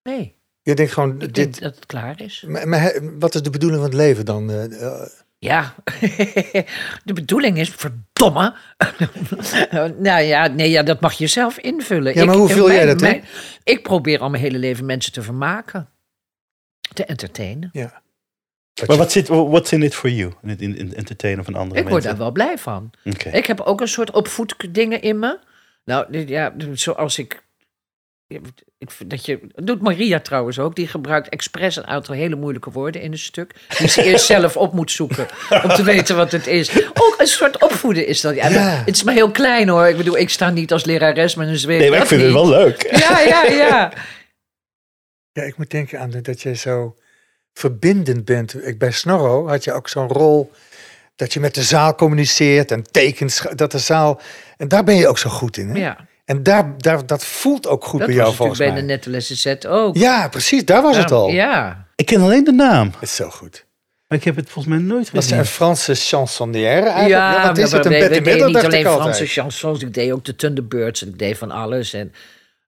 Speaker 3: Nee,
Speaker 1: Je denkt gewoon,
Speaker 3: ik
Speaker 1: dit,
Speaker 3: denk dat het klaar is.
Speaker 1: maar, maar hè, wat is de bedoeling van het leven dan? eh, eh,
Speaker 3: Ja, *laughs* de bedoeling is, verdomme. *laughs* nou ja, nee, ja, dat mag je zelf invullen. eh,
Speaker 1: Ja, maar hoe vul jij dat in?
Speaker 3: Ik probeer al mijn hele leven mensen te vermaken, te entertainen.
Speaker 1: ja. Dat
Speaker 2: Maar
Speaker 1: je-
Speaker 2: wat zit, what's in it for you? In het in, in het entertainen van andere
Speaker 3: Ik word
Speaker 2: mensen?
Speaker 3: daar wel blij van.
Speaker 2: Oké.
Speaker 3: Ik heb ook een soort opvoeddingen in me. Nou, dit- ja, zoals ik... ik vind dat je, dat doet Maria trouwens ook. Die gebruikt expres een aantal hele moeilijke woorden in een stuk. Die ze eerst zelf op moet zoeken. Om te weten wat het is. Ook een soort opvoeden is dat. Ja,
Speaker 1: Ja.
Speaker 3: maar Het is maar heel klein hoor. Ik bedoel, ik sta niet als lerares met een zweep.
Speaker 2: Nee, maar ik
Speaker 3: Dat
Speaker 2: vind het
Speaker 3: niet.
Speaker 2: wel leuk.
Speaker 3: Ja, ja, ja.
Speaker 1: Ja, ik moet denken aan dat jij zo verbindend bent. Ik, bij Snorro had je ook zo'n rol dat je met de zaal communiceert en tekens, dat de zaal... En daar ben je ook zo goed in, hè?
Speaker 3: ja.
Speaker 1: En daar, daar, dat voelt ook goed
Speaker 3: Dat
Speaker 1: bij
Speaker 3: was
Speaker 1: jou,
Speaker 3: natuurlijk
Speaker 1: volgens
Speaker 3: bij
Speaker 1: mij.
Speaker 3: de nette lessen set ook. Nou,
Speaker 1: Ja, precies, daar was het al.
Speaker 3: Ja.
Speaker 2: Ik ken alleen de naam.
Speaker 1: Het is zo goed.
Speaker 2: Maar ik heb het volgens mij nooit
Speaker 1: Dat is een
Speaker 2: gezien.
Speaker 1: Franse chansonnière
Speaker 3: Ja,
Speaker 1: eigenlijk. Ja, dat is
Speaker 3: maar
Speaker 1: het, een
Speaker 3: we, we
Speaker 1: Bette
Speaker 3: deden
Speaker 1: Midler,
Speaker 3: niet
Speaker 1: dacht ik
Speaker 3: alleen
Speaker 1: altijd.
Speaker 3: Franse chansons. Ik deed ook de Thunderbirds en ik deed van alles. En,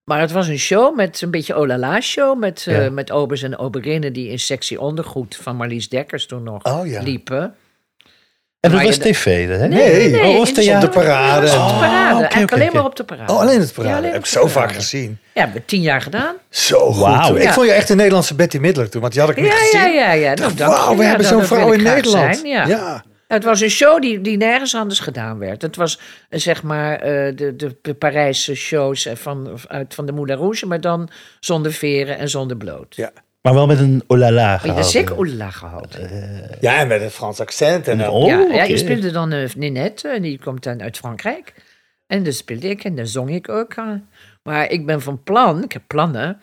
Speaker 3: maar het was een show met een beetje olala show. Met, eh,
Speaker 2: Ja.
Speaker 3: met obers en oberinnen die in sectie ondergoed van Marlies Dekkers toen nog
Speaker 1: Oh ja.
Speaker 3: liepen.
Speaker 2: En dat
Speaker 3: Maar
Speaker 2: was
Speaker 3: je-
Speaker 2: tv, hè?
Speaker 1: Nee.
Speaker 2: Oh, was het
Speaker 3: in
Speaker 2: theater?
Speaker 1: Op de parade.
Speaker 3: Ja, op de
Speaker 1: Oh,
Speaker 3: parade.
Speaker 2: oké,
Speaker 3: Eigenlijk
Speaker 2: oké,
Speaker 3: alleen
Speaker 2: oké.
Speaker 3: maar op de parade.
Speaker 1: Oh, alleen het
Speaker 3: Ja,
Speaker 1: praten.
Speaker 3: alleen
Speaker 1: heb ik
Speaker 3: op
Speaker 1: zo
Speaker 3: de
Speaker 1: vaak
Speaker 3: parade.
Speaker 1: gezien.
Speaker 3: Ja, hebben we tien jaar gedaan.
Speaker 1: Zo goed.
Speaker 2: Wauw.
Speaker 1: Ik
Speaker 3: Ja.
Speaker 1: vond je echt een Nederlandse Betty Midler toen, want die had ik niet
Speaker 3: Ja,
Speaker 1: gezien.
Speaker 3: ja, ja, ja. Nou, dank je.
Speaker 1: Wauw, we
Speaker 3: Ja,
Speaker 1: hebben
Speaker 3: dat-
Speaker 1: zo'n
Speaker 3: dat wil
Speaker 1: vrouw
Speaker 3: ik
Speaker 1: in
Speaker 3: graag
Speaker 1: Nederland.
Speaker 3: zijn, ja.
Speaker 1: ja.
Speaker 3: Het was een show die, die nergens anders gedaan werd. Het was eh, zeg maar eh, de, de, de Parijse shows eh, van, uit, van de Moulin Rouge, maar dan zonder veren en zonder bloot.
Speaker 1: Ja.
Speaker 2: Maar wel met een olala
Speaker 3: Maar je hebt
Speaker 2: gehouden.
Speaker 3: zeker oelala gehouden.
Speaker 1: Ja, en met een Frans accent. En
Speaker 2: Oh,
Speaker 3: ja, ja,
Speaker 2: oké.
Speaker 3: ik speelde dan eh, Ninette en die komt dan uit Frankrijk. En dat speelde ik en dan zong ik ook. eh. Maar ik ben van plan, ik heb plannen,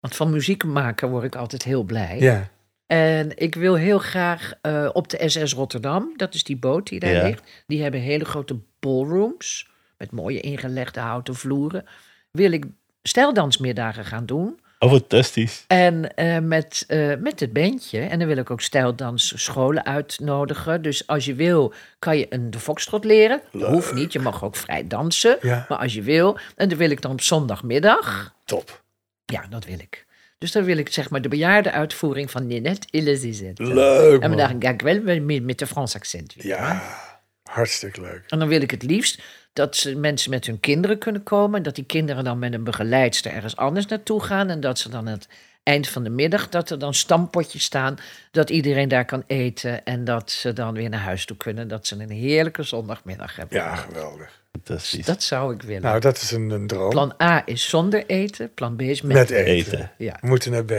Speaker 3: want van muziek maken word ik altijd heel blij.
Speaker 1: Ja.
Speaker 3: En ik wil heel graag eh, op de SS Rotterdam, dat is die boot die daar
Speaker 2: Ja.
Speaker 3: ligt. Die hebben hele grote ballrooms met mooie ingelegde houten vloeren. Wil ik stijldansmiddagen gaan doen.
Speaker 2: Oh, fantastisch.
Speaker 3: En eh, met, eh, met het bandje. En dan wil ik ook stijldansscholen uitnodigen. Dus als je wil, kan je een de foxtrot leren. Dat hoeft niet, je mag ook vrij dansen.
Speaker 1: Ja.
Speaker 3: Maar als je wil. En dat wil ik dan op zondagmiddag.
Speaker 1: Top.
Speaker 3: Ja, dat wil ik. Dus dan wil ik zeg maar de bejaarde uitvoering van Ninette Illezizet.
Speaker 1: Leuk,
Speaker 3: En
Speaker 1: man.
Speaker 3: dan ga ik wel weer met, met de Frans accent weer.
Speaker 1: Ja, hartstikke leuk.
Speaker 3: En dan wil ik het liefst dat ze, mensen met hun kinderen kunnen komen. En dat die kinderen dan met een begeleidster ergens anders naartoe gaan. En dat ze dan aan het eind van de middag, dat er dan stampotjes staan. Dat iedereen daar kan eten. En dat ze dan weer naar huis toe kunnen. Dat ze een heerlijke zondagmiddag hebben.
Speaker 1: Ja, geweldig.
Speaker 2: Fantastisch.
Speaker 3: Dat zou ik willen.
Speaker 1: Nou, dat is een, een droom.
Speaker 3: plan A is zonder eten. Plan B is met,
Speaker 1: Met eten.
Speaker 2: Eten.
Speaker 3: Ja,
Speaker 1: We moeten naar B.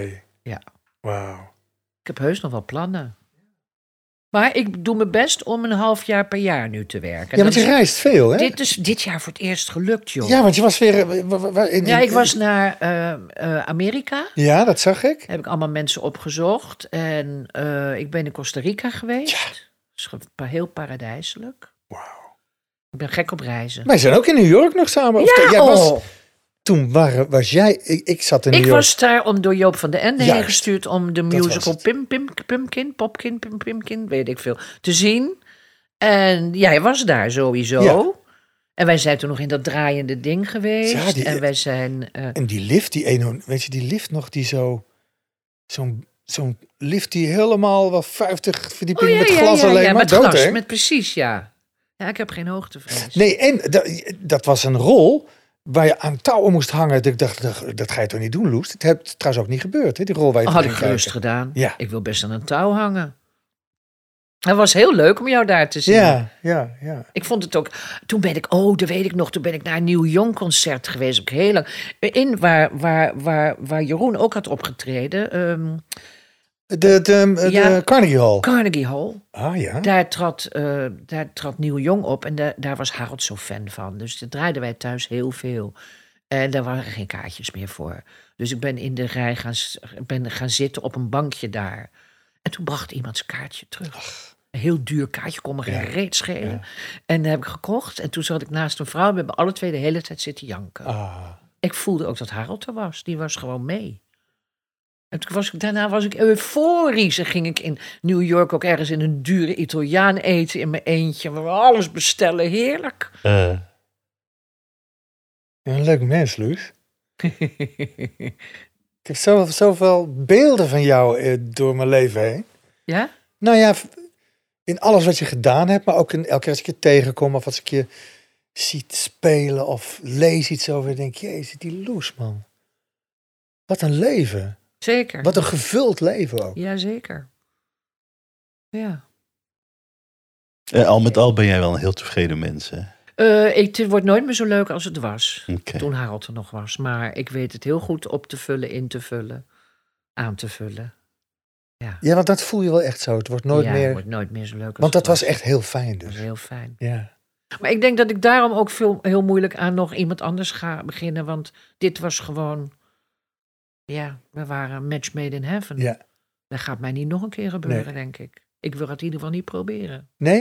Speaker 3: ja.
Speaker 1: Wauw.
Speaker 3: Ik heb heus nog wel plannen. Maar ik doe mijn best om een half jaar per jaar nu te werken.
Speaker 1: Ja, want
Speaker 3: Dat
Speaker 1: je
Speaker 3: is-
Speaker 1: reist veel, hè?
Speaker 3: dit is dit jaar voor het eerst gelukt, joh.
Speaker 1: Ja, want je was weer... eh, wa- wa- wa- in-
Speaker 3: Ja,
Speaker 1: in-
Speaker 3: ik was naar eh, eh, Amerika.
Speaker 1: Ja, dat zag ik.
Speaker 3: Heb ik allemaal mensen opgezocht. En eh, ik ben in Costa Rica geweest. is ge- pa- heel paradijselijk.
Speaker 1: Wauw.
Speaker 3: Ik ben gek op reizen.
Speaker 1: Wij zijn ook in New York nog samen. Of te- jij was,
Speaker 3: oh.
Speaker 1: toen waren, was jij... Ik, ik zat in New
Speaker 3: ik
Speaker 1: York.
Speaker 3: was daar om door Joop van den Ende heen
Speaker 1: Juist.
Speaker 3: gestuurd om de
Speaker 1: was
Speaker 3: musical
Speaker 1: het.
Speaker 3: Pim, Pim, Pimkin, Popkin, Pim, Pimkin, weet ik veel, te zien. En jij was daar sowieso.
Speaker 1: Ja.
Speaker 3: En wij zijn toen nog in dat draaiende ding geweest.
Speaker 1: Ja, die-
Speaker 3: en wij zijn... eh,
Speaker 1: En die lift, die ene... Weet je, die lift nog die zo... Zo'n zo'n lift die helemaal wel 50
Speaker 3: Oh,
Speaker 1: verdiepingen met glas alleen maar.
Speaker 3: met
Speaker 1: dood,
Speaker 3: glas,
Speaker 1: hè?
Speaker 3: met precies, ja. Ja, ik heb geen hoogtevrees.
Speaker 1: Nee, en da- dat was een rol waar je aan touwen moest hangen. Dat Ik dacht, dat- dat ga je toch niet doen, Loes? Dat heb trouwens ook niet gebeurd, hè? die rol waar je
Speaker 3: Oh,
Speaker 1: voor
Speaker 3: had ik
Speaker 1: ging
Speaker 3: gerust
Speaker 1: kijken.
Speaker 3: gedaan.
Speaker 1: Ja.
Speaker 3: Ik wil best aan een touw hangen. Het was heel leuk om jou daar te zien.
Speaker 1: Ja, ja, ja.
Speaker 3: Ik vond het ook. Toen ben ik, oh, dat weet ik nog. Toen ben ik naar een Nieuw Jong concert geweest. Ook heel lang. eh, In waar, waar, waar, waar Jeroen ook had opgetreden. ehm,
Speaker 1: De, de, de
Speaker 3: Ja.
Speaker 1: Carnegie Hall.
Speaker 3: Carnegie Hall.
Speaker 1: ah ja.
Speaker 3: Daar trad, eh, daar trad Nieuw Jong op en daar- daar was Harold zo fan van. Dus dat draaiden wij thuis heel veel. En daar waren geen kaartjes meer voor. Dus ik ben in de rij gaan, s- ben gaan zitten op een bankje daar. En toen bracht iemand zijn kaartje terug. Een heel duur kaartje, kon me geen reet schelen. En dat heb ik gekocht. En toen zat ik naast een vrouw. We hebben alle twee de hele tijd zitten janken.
Speaker 1: Ah.
Speaker 3: Ik voelde ook dat Harold er was. Die was gewoon mee. En toen was ik, daarna was ik euforisch. En ging ik in New York ook ergens in een dure Italiaan eten in mijn eentje. Waar we alles bestellen. Heerlijk. *laughs*
Speaker 2: Eh,
Speaker 1: Ja, een leuk mens, Loes. Ik heb zoveel, zoveel beelden van jou eh, door mijn leven heen.
Speaker 3: ja?
Speaker 1: Nou ja, v- in alles wat je gedaan hebt, maar ook in elke keer als ik je tegenkom of als ik je ziet spelen of lees iets over, denk je, jezus, die Loes, man. Wat een leven.
Speaker 3: Zeker.
Speaker 1: Wat een gevuld leven ook.
Speaker 3: Jazeker. Ja.
Speaker 2: Eh, al met al ben jij wel een heel tevreden mens, hè?
Speaker 3: Eh, ik, het wordt nooit meer zo leuk als het was.
Speaker 2: Oké.
Speaker 3: Toen Harald er nog was. Maar ik weet het heel goed op te vullen, in te vullen, aan te vullen.
Speaker 1: Ja, want dat voel je wel echt zo. Het wordt nooit
Speaker 3: ja,
Speaker 1: meer...
Speaker 3: Het wordt nooit meer zo leuk als
Speaker 1: Want
Speaker 3: het
Speaker 1: dat was echt heel fijn
Speaker 3: Dat
Speaker 1: dus.
Speaker 3: was heel fijn.
Speaker 1: Ja.
Speaker 3: Maar ik denk dat ik daarom ook veel, heel moeilijk aan nog iemand anders ga beginnen. Want dit was gewoon. Ja, we waren match made in heaven.
Speaker 1: ja.
Speaker 3: Dat gaat mij niet nog een keer gebeuren, denk ik. Ik wil het in ieder geval niet proberen.
Speaker 1: Nee?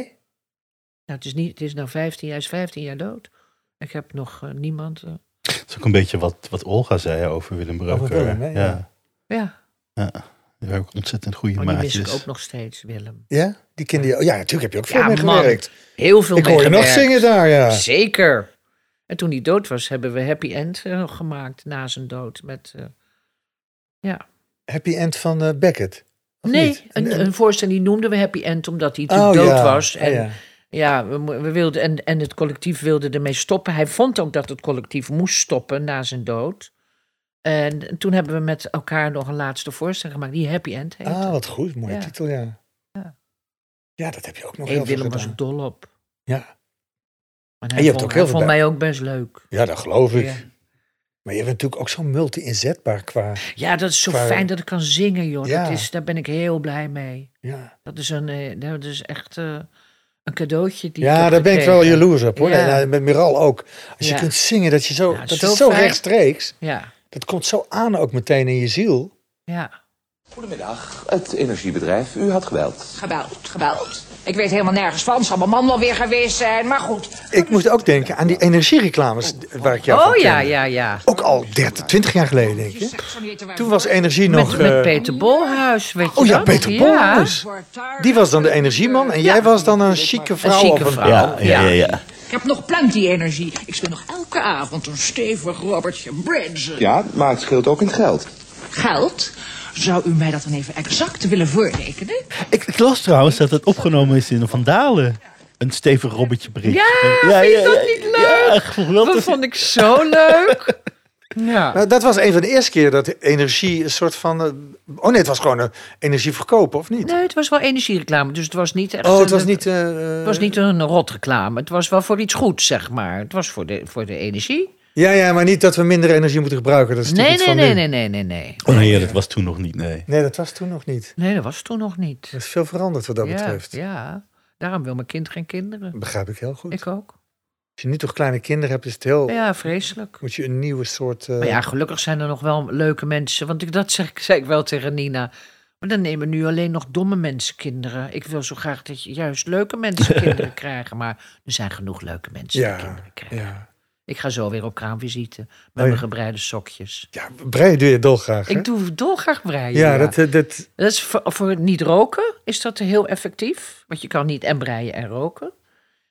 Speaker 3: Nou, het is, niet, het is nou 15 jaar, is 15 jaar dood. Ik heb nog eh, niemand. eh,
Speaker 2: Dat is ook een beetje wat, wat Olga zei over Willem Breuker.
Speaker 1: Willem, hè? Ja.
Speaker 2: ja.
Speaker 3: ja,
Speaker 2: Die waren ook ontzettend goede
Speaker 3: maar Oh, die mis ik
Speaker 2: maatjes.
Speaker 3: ook nog steeds, Willem.
Speaker 1: Ja? Die kinderen... Ja, natuurlijk heb je ook veel
Speaker 3: Ja,
Speaker 1: mee
Speaker 3: man.
Speaker 1: gewerkt.
Speaker 3: Heel veel
Speaker 1: Ik hoor je nog
Speaker 3: meegewerkt.
Speaker 1: zingen daar, ja.
Speaker 3: Zeker. En toen hij dood was, hebben we Happy End eh, nog gemaakt na zijn dood. Met, eh, ja.
Speaker 1: Happy End van eh, Beckett. Of niet?
Speaker 3: Nee, een, een voorstelling die noemden we Happy End omdat hij toen
Speaker 1: Oh,
Speaker 3: dood
Speaker 1: ja.
Speaker 3: was. En,
Speaker 1: Ja.
Speaker 3: Ja, we, mo- we wilden, en, en het collectief wilde ermee stoppen. Hij vond ook dat het collectief moest stoppen na zijn dood. En toen hebben we met elkaar nog een laatste voorstelling gemaakt, die Happy End heette.
Speaker 1: Ah, wat goed. Mooie
Speaker 3: Ja.
Speaker 1: titel, ja.
Speaker 3: Ja.
Speaker 1: Ja, dat heb je ook nog
Speaker 3: Hey,
Speaker 1: heel
Speaker 3: Willem
Speaker 1: veel
Speaker 3: was
Speaker 1: gedaan.
Speaker 3: er dol op.
Speaker 1: Ja.
Speaker 3: En hij
Speaker 1: En je hebt
Speaker 3: vond,
Speaker 1: ook heel
Speaker 3: hij
Speaker 1: veel
Speaker 3: vond mij ook best leuk.
Speaker 1: ja, dat geloof ik.
Speaker 3: Ja.
Speaker 1: Maar je bent natuurlijk ook zo multi-inzetbaar qua...
Speaker 3: Ja, dat is zo
Speaker 1: Qua-
Speaker 3: fijn dat ik kan zingen, joh.
Speaker 1: Ja.
Speaker 3: Dat is, daar ben ik heel blij mee.
Speaker 1: Ja,
Speaker 3: Dat is, een, eh, dat is echt eh, een cadeautje. Die
Speaker 1: ja
Speaker 3: heb
Speaker 1: daar ben ik wel
Speaker 3: gekregen.
Speaker 1: jaloers op, hoor.
Speaker 3: Ja.
Speaker 1: En, eh, met Miral ook. Als je
Speaker 3: Ja.
Speaker 1: kunt zingen, dat, je zo,
Speaker 3: Ja,
Speaker 1: dat
Speaker 3: zo
Speaker 1: is zo
Speaker 3: fijn.
Speaker 1: rechtstreeks.
Speaker 3: Ja,
Speaker 1: Dat komt zo aan ook meteen in je ziel.
Speaker 3: ja.
Speaker 5: Goedemiddag, het energiebedrijf. U had geweld.
Speaker 6: Gebeld, gebeld. Ik weet helemaal nergens van. Zal mijn man wel weer geweest zijn, maar goed.
Speaker 1: Ik moest ook denken aan die energiereclames eh, waar ik jou van
Speaker 3: Oh ja,
Speaker 1: kende.
Speaker 3: ja, ja.
Speaker 1: Ook al 30, 20 jaar geleden, denk ik. hè? Toen was energie
Speaker 3: Met,
Speaker 1: nog...
Speaker 3: met
Speaker 1: eh,
Speaker 3: Peter Bolhuis, weet je
Speaker 1: oh ja,
Speaker 3: dat?
Speaker 1: Peter Bolhuis. Die was dan de energieman en jij was dan een chique
Speaker 3: Een
Speaker 1: vrouw.
Speaker 3: chique
Speaker 1: of
Speaker 3: vrouw.
Speaker 2: Ja, ja, ja.
Speaker 3: Ja.
Speaker 2: ja.
Speaker 6: Ik heb nog plenty energie. Ik speel nog elke avond een stevig robbertje bridge.
Speaker 5: Ja, maar het scheelt ook in geld.
Speaker 6: Geld? Zou u mij dat dan even exact willen voorrekenen?
Speaker 2: Ik, ik las trouwens dat het opgenomen is in een Vandalen. Een stevig robbertje bericht.
Speaker 3: Ja, vind je dat niet leuk?
Speaker 2: geweldig.
Speaker 3: Dat vond ik zo
Speaker 1: *laughs*
Speaker 3: leuk. Ja.
Speaker 1: Nou, dat was een van de eerste keer dat energie een soort van... eh, oh nee, het was gewoon eh, energie verkopen, of niet?
Speaker 3: Nee, het was wel energiereclame, dus het was niet echt
Speaker 1: Oh, het
Speaker 3: een-
Speaker 1: was niet... eh,
Speaker 3: het was niet een rotreclame. Het was wel voor iets goeds, zeg maar. Het was voor de, voor de energie.
Speaker 1: Ja, ja, maar niet dat we minder energie moeten gebruiken. Dat is
Speaker 3: Nee,
Speaker 1: natuurlijk
Speaker 3: nee,
Speaker 1: iets
Speaker 3: nee,
Speaker 1: van
Speaker 3: nee, nee, nee, nee.
Speaker 2: Oh nee, ja, dat was toen nog niet, nee.
Speaker 1: nu. Nee, dat was toen nog niet.
Speaker 3: Nee, dat was toen nog niet.
Speaker 1: Er is veel veranderd wat dat
Speaker 3: Ja,
Speaker 1: betreft.
Speaker 3: ja, daarom wil mijn kind geen kinderen.
Speaker 1: Begrijp ik heel goed.
Speaker 3: Ik ook.
Speaker 1: Als je nu toch kleine kinderen hebt, is het heel...
Speaker 3: Ja, vreselijk.
Speaker 1: Moet je een nieuwe soort... eh,
Speaker 3: Maar ja, gelukkig zijn er nog wel leuke mensen. Want ik, dat zeg, ik- zei ik wel tegen Nina. Maar dan nemen nu alleen nog domme mensen kinderen. Ik wil zo graag dat je juist leuke
Speaker 1: *laughs*
Speaker 3: mensen kinderen krijgen. Maar er zijn genoeg leuke mensen die
Speaker 1: ja,
Speaker 3: kinderen krijgen.
Speaker 1: ja.
Speaker 3: Ik ga zo weer op kraamvisite. Met
Speaker 1: ja.
Speaker 3: mijn gebreide sokjes.
Speaker 1: ja, breien doe je dolgraag, hè?
Speaker 3: Ik doe dolgraag breien.
Speaker 1: ja, dat, eh, dat...
Speaker 3: Dat is voor, voor het niet roken is dat heel effectief. Want je kan niet en breien en roken.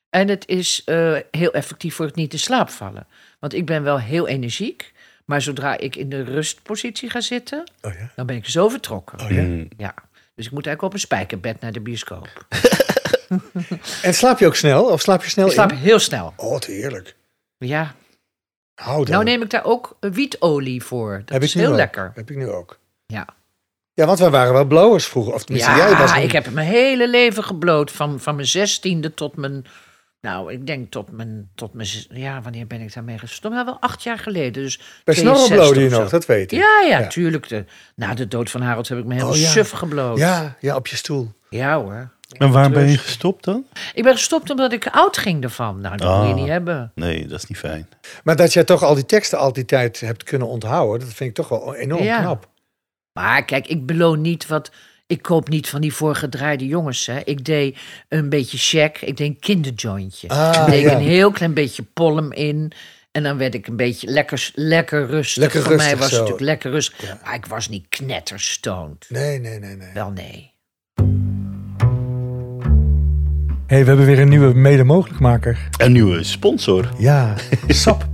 Speaker 3: En het is eh, heel effectief voor het niet in slaap vallen. Want ik ben wel heel energiek. Maar zodra ik in de rustpositie ga zitten,
Speaker 1: Oh ja.
Speaker 3: dan ben ik zo vertrokken.
Speaker 1: Oh, ja.
Speaker 2: Mm.
Speaker 3: Ja. Dus ik moet eigenlijk op een spijkerbed naar de bioscoop.
Speaker 1: Oh, En slaap je ook snel? Of slaap je snel
Speaker 3: Ik slaap
Speaker 1: in?
Speaker 3: heel snel.
Speaker 1: Oh, wat heerlijk.
Speaker 3: Ja.
Speaker 1: Houd
Speaker 3: Nou
Speaker 1: dan.
Speaker 3: neem ik daar ook wietolie voor. Dat
Speaker 1: Heb
Speaker 3: is
Speaker 1: ik nu
Speaker 3: heel
Speaker 1: ook.
Speaker 3: lekker.
Speaker 1: Heb ik nu ook.
Speaker 3: Ja.
Speaker 1: Ja, want wij waren wel blowers vroeger. Of tenminste,
Speaker 3: Ja,
Speaker 1: jij was een-
Speaker 3: ik heb mijn hele leven gebloot. Van, van mijn zestiende tot mijn... Nou, ik denk tot mijn, tot mijn... zes- Ja, wanneer ben ik daarmee gestopt? Nou, wel acht jaar geleden. Dus
Speaker 1: Bij Snorre
Speaker 3: 62
Speaker 1: blode je
Speaker 3: of zo.
Speaker 1: nog, dat weet ik.
Speaker 3: Ja, ja,
Speaker 1: Ja.
Speaker 3: tuurlijk. De, na de dood van Harold heb ik me helemaal
Speaker 1: Oh, ja.
Speaker 3: suf gebloot.
Speaker 1: ja, ja, op je stoel.
Speaker 3: Ja, hoor.
Speaker 2: En waar ben je gestopt dan?
Speaker 3: Ik ben gestopt omdat ik oud ging ervan. Nou, dat moet je
Speaker 2: Ah.
Speaker 3: niet hebben.
Speaker 2: Nee, dat is niet fijn.
Speaker 1: Maar dat jij toch al die teksten al die tijd hebt kunnen onthouden, dat vind ik toch wel enorm
Speaker 3: Ja.
Speaker 1: knap.
Speaker 3: Maar kijk, ik beloon niet wat... Ik koop niet van die voorgedraaide jongens. Hè. Ik deed een beetje check. Ik deed een kinderjointje.
Speaker 1: Ah,
Speaker 3: Ik deed
Speaker 1: ja.
Speaker 3: een heel klein beetje polm in. En dan werd ik een beetje lekker, lekker rustig.
Speaker 1: Lekker
Speaker 3: Voor mij
Speaker 1: rustig
Speaker 3: was
Speaker 1: zo.
Speaker 3: het natuurlijk lekker rustig. Maar ik was niet knetterstoned.
Speaker 1: Nee, nee, nee, nee.
Speaker 3: Wel nee.
Speaker 1: hey, we hebben weer een nieuwe mede-mogelijkmaker.
Speaker 2: Een nieuwe sponsor.
Speaker 1: *laughs* Ja,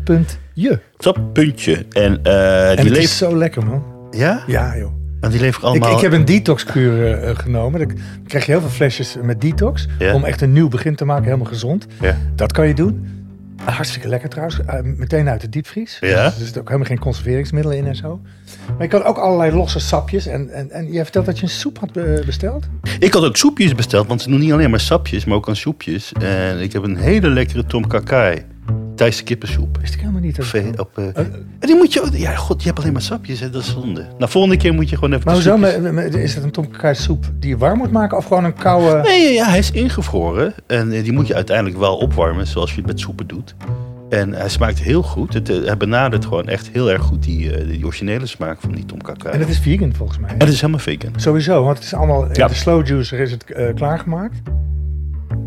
Speaker 1: sap.je.
Speaker 2: Dat puntje. En eh,
Speaker 1: En
Speaker 2: die
Speaker 1: het is
Speaker 2: levert...
Speaker 1: zo lekker, man.
Speaker 2: Ja?
Speaker 1: Ja, joh.
Speaker 2: Want die lever
Speaker 1: Ik,
Speaker 2: ik allemaal...
Speaker 1: ik heb een detoxkuur eh, eh, genomen. Dan krijg je heel veel flesjes met detox.
Speaker 2: Ja.
Speaker 1: Om echt een nieuw begin te maken, helemaal gezond.
Speaker 2: Ja.
Speaker 1: Dat kan je doen. Ah, Hartstikke lekker trouwens. Eh, meteen uit de diepvries.
Speaker 2: Ja.
Speaker 1: Dus er zitten ook helemaal geen conserveringsmiddelen in en zo. Maar je kan ook allerlei losse sapjes. En, en, en jij vertelt dat je een soep had be- besteld.
Speaker 2: Ik had ook soepjes besteld, want ze doen niet alleen maar sapjes, maar ook aan soepjes. En ik heb een hele lekkere Tom Kakai. Thaise kippensoep.
Speaker 1: Wist ik helemaal niet. dat-
Speaker 2: Op, eh, op, eh, en die moet je ook... Ja, god, je hebt alleen maar sapjes, hè, dat is zonde. Nou, volgende keer moet je gewoon even
Speaker 1: Maar
Speaker 2: de
Speaker 1: hoezo?
Speaker 2: soepjes-
Speaker 1: Maar- maar Is dat een tomkakai soep die je warm moet maken? Of gewoon een koude...
Speaker 2: Nee, ja, hij is ingevroren. En eh, die moet je uiteindelijk wel opwarmen, zoals je het met soepen doet. En hij smaakt heel goed. Het, eh, hij benadert gewoon echt heel erg goed die, eh, die originele smaak van die Tom Kakai.
Speaker 1: En
Speaker 2: En
Speaker 1: dat is vegan volgens mij.
Speaker 2: het is helemaal vegan.
Speaker 1: Sowieso, want het is allemaal... in
Speaker 2: Ja.
Speaker 1: De slow juicer is het eh, klaargemaakt.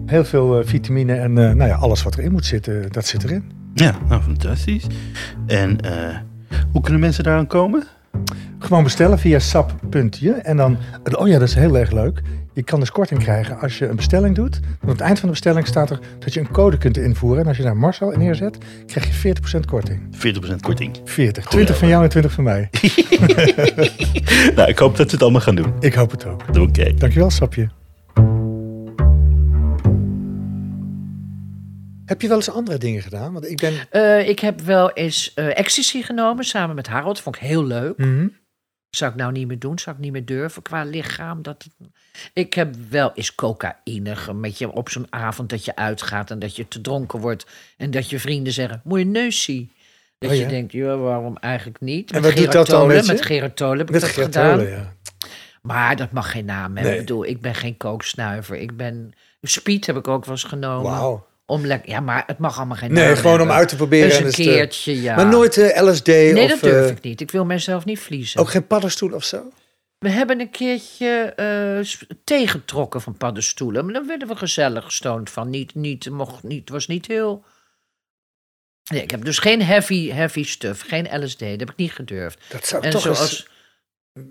Speaker 1: Heel veel eh, vitamine en eh, nou ja, alles wat erin moet zitten, dat zit erin.
Speaker 2: Ja, nou fantastisch. En eh, hoe kunnen mensen daaraan komen?
Speaker 1: Gewoon bestellen via sap.je. En dan, oh ja, dat is heel erg leuk. Je kan dus korting krijgen als je een bestelling doet. Want aan het eind van de bestelling staat er dat je een code kunt invoeren. En als je daar Marcel in neerzet, krijg je 40% korting.
Speaker 2: 40% korting.
Speaker 1: 40. 20 van jou en 20 van mij.
Speaker 2: nou, ik hoop dat ze het allemaal gaan doen. eh,
Speaker 1: Ik hoop het ook.
Speaker 2: Oké.
Speaker 1: Dankjewel, Sapje. Heb je wel eens andere dingen gedaan? Want ik ben...
Speaker 3: Eh, ik heb wel eens eh ecstasy genomen samen met Harold. Vond ik heel leuk.
Speaker 1: Mhm.
Speaker 3: Zou ik nou niet meer doen, zou ik niet meer durven qua lichaam. Dat het- Ik heb wel eens cocaïne ge- met je op zo'n avond dat je uitgaat en dat je te dronken wordt. En dat je vrienden zeggen, moet je een neus zien. Dat
Speaker 1: Oh ja?
Speaker 3: je denkt, ja, waarom eigenlijk niet?
Speaker 1: En wat doet dat dan
Speaker 3: Gerard Tolen,
Speaker 1: met je?
Speaker 3: Met Gerard Tolen heb ik
Speaker 1: Met
Speaker 3: dat
Speaker 1: Geert
Speaker 3: gedaan.
Speaker 1: Holen, ja.
Speaker 3: Maar dat mag geen naam hebben.
Speaker 1: Nee.
Speaker 3: Ik bedoel, ik ben geen kooksnuiver. Ik ben... Speed heb ik ook wel eens genomen.
Speaker 1: Wauw.
Speaker 3: Om lekker- ja, maar het mag allemaal geen naam
Speaker 1: Nee, gewoon om
Speaker 3: hebben.
Speaker 1: uit te proberen.
Speaker 3: Eens
Speaker 1: en
Speaker 3: een
Speaker 1: eens te-
Speaker 3: keertje, ja.
Speaker 1: Maar nooit eh, LSD
Speaker 3: Nee,
Speaker 1: of
Speaker 3: dat durf
Speaker 1: eh,
Speaker 3: ik niet. Ik wil mezelf niet verliezen.
Speaker 1: ook geen paddenstoel of zo?
Speaker 3: We hebben een keertje eh, sp- thee getrokken van paddenstoelen. Maar daar werden we gezellig gestoond van. Niet, niet, mocht niet, was niet heel... Nee, ik heb dus geen heavy, heavy stuff. Geen LSD. Dat heb ik niet gedurfd.
Speaker 1: Dat zou
Speaker 3: en
Speaker 1: toch eens-
Speaker 3: zoals...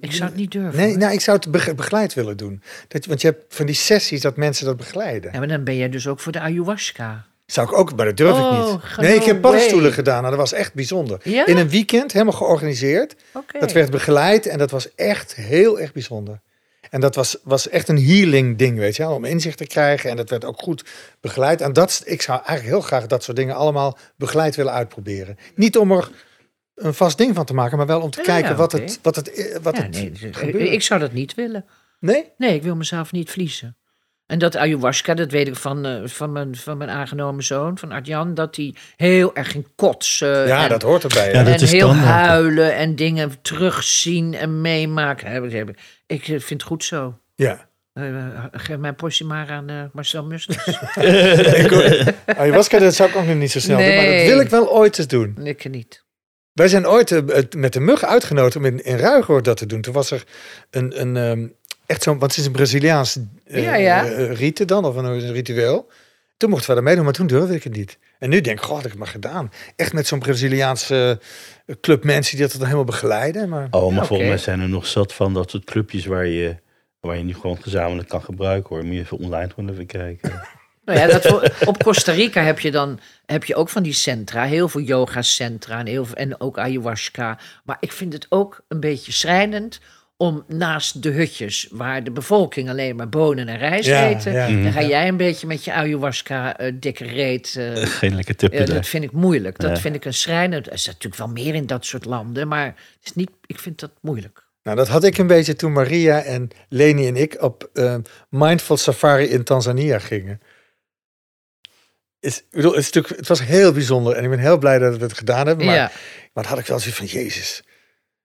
Speaker 3: Ik zou het niet durven.
Speaker 1: Nee, nou, ik zou het bege- begeleid willen doen. Dat, want je hebt van die sessies dat mensen dat begeleiden.
Speaker 3: Ja, maar dan ben jij dus ook voor de ayahuasca.
Speaker 1: Zou ik ook, maar dat durf
Speaker 3: Oh,
Speaker 1: ik niet.
Speaker 3: ga
Speaker 1: Nee, ik
Speaker 3: no
Speaker 1: heb paddenstoelen
Speaker 3: way.
Speaker 1: gedaan. Nou, dat was echt bijzonder.
Speaker 3: Ja?
Speaker 1: In een weekend, helemaal georganiseerd.
Speaker 3: Oké.
Speaker 1: Dat werd begeleid en dat was echt heel erg bijzonder. En dat was, was echt een healing ding, weet je wel. Om inzicht te krijgen en dat werd ook goed begeleid. En dat, ik zou eigenlijk heel graag dat soort dingen allemaal begeleid willen uitproberen. Niet om er een vast ding van te maken, maar wel om te
Speaker 3: Ja,
Speaker 1: kijken wat
Speaker 3: oké.
Speaker 1: het, wat het, eh, wat
Speaker 3: Ja,
Speaker 1: het
Speaker 3: nee, dus-
Speaker 1: gebeurt.
Speaker 3: ik zou dat niet willen.
Speaker 1: nee?
Speaker 3: Nee, ik wil mezelf niet verliezen. En dat ayahuasca, dat weet ik van, eh, van, mijn, van mijn aangenomen zoon, van Arjan, dat hij heel erg ging kotsen.
Speaker 1: Ja,
Speaker 3: en,
Speaker 1: dat hoort erbij.
Speaker 2: Ja,
Speaker 1: hè?
Speaker 2: dat
Speaker 3: en
Speaker 2: is
Speaker 3: heel
Speaker 2: standaard.
Speaker 3: huilen en dingen terugzien en meemaken. Heb ik- heb ik- Ik eh, vind het goed zo.
Speaker 1: ja.
Speaker 3: Eh, geef mijn portie maar aan eh, Marcel Musters. *laughs*
Speaker 1: Ik hoor- Ah, Ayahuasca, dat zou ik ook nog niet zo snel doen. Maar dat
Speaker 3: Nee.
Speaker 1: wil ik wel ooit eens doen.
Speaker 3: ik niet.
Speaker 1: Wij zijn ooit eh, het- met de mug uitgenodigd om in, in Ruigoord dat te doen. Toen was er een, een ehm, echt zo'n, want het is een Braziliaans eh
Speaker 3: Ja, ja.
Speaker 1: eh, rite dan, of een, een ritueel. Toen mochten we daar meedoen, maar toen durfde ik het niet. En nu denk ik, god, ik heb het maar gedaan. Echt met zo'n Braziliaanse eh, club mensen die dat dan helemaal begeleiden. Maar
Speaker 2: Oh, maar
Speaker 3: Oké.
Speaker 2: volgens mij zijn er nog zat van dat soort clubjes waar je, waar je nu gewoon gezamenlijk kan gebruiken hoor. Moet je even online gewoon even kijken.
Speaker 3: Nou ja, dat voor- op Costa Rica heb je dan heb je ook van die centra, heel veel yogacentra en, heel veel, en ook ayahuasca. Maar ik vind het ook een beetje schrijnend om naast de hutjes waar de bevolking alleen maar bonen en rijst
Speaker 1: Ja,
Speaker 3: eten,
Speaker 1: ja.
Speaker 3: dan ga jij een beetje met je ayahuasca eh, dikke reet.
Speaker 2: *laughs*
Speaker 3: eh,
Speaker 2: Geen lekker tipje
Speaker 3: eh,
Speaker 2: daar.
Speaker 3: dat vind ik moeilijk. Dat
Speaker 2: Ja.
Speaker 3: vind ik een schrijnend. Er is natuurlijk wel meer in dat soort landen, maar het is niet, ik vind dat moeilijk.
Speaker 1: nou, dat had ik een beetje toen Maria en Leni en ik op ehm, Mindful Safari in Tanzania gingen. Is, ik bedoel, het, is natuurlijk, het was heel bijzonder en ik ben heel blij dat we het gedaan hebben. Maar,
Speaker 3: Ja,
Speaker 1: maar dan had ik wel zoiets van, jezus,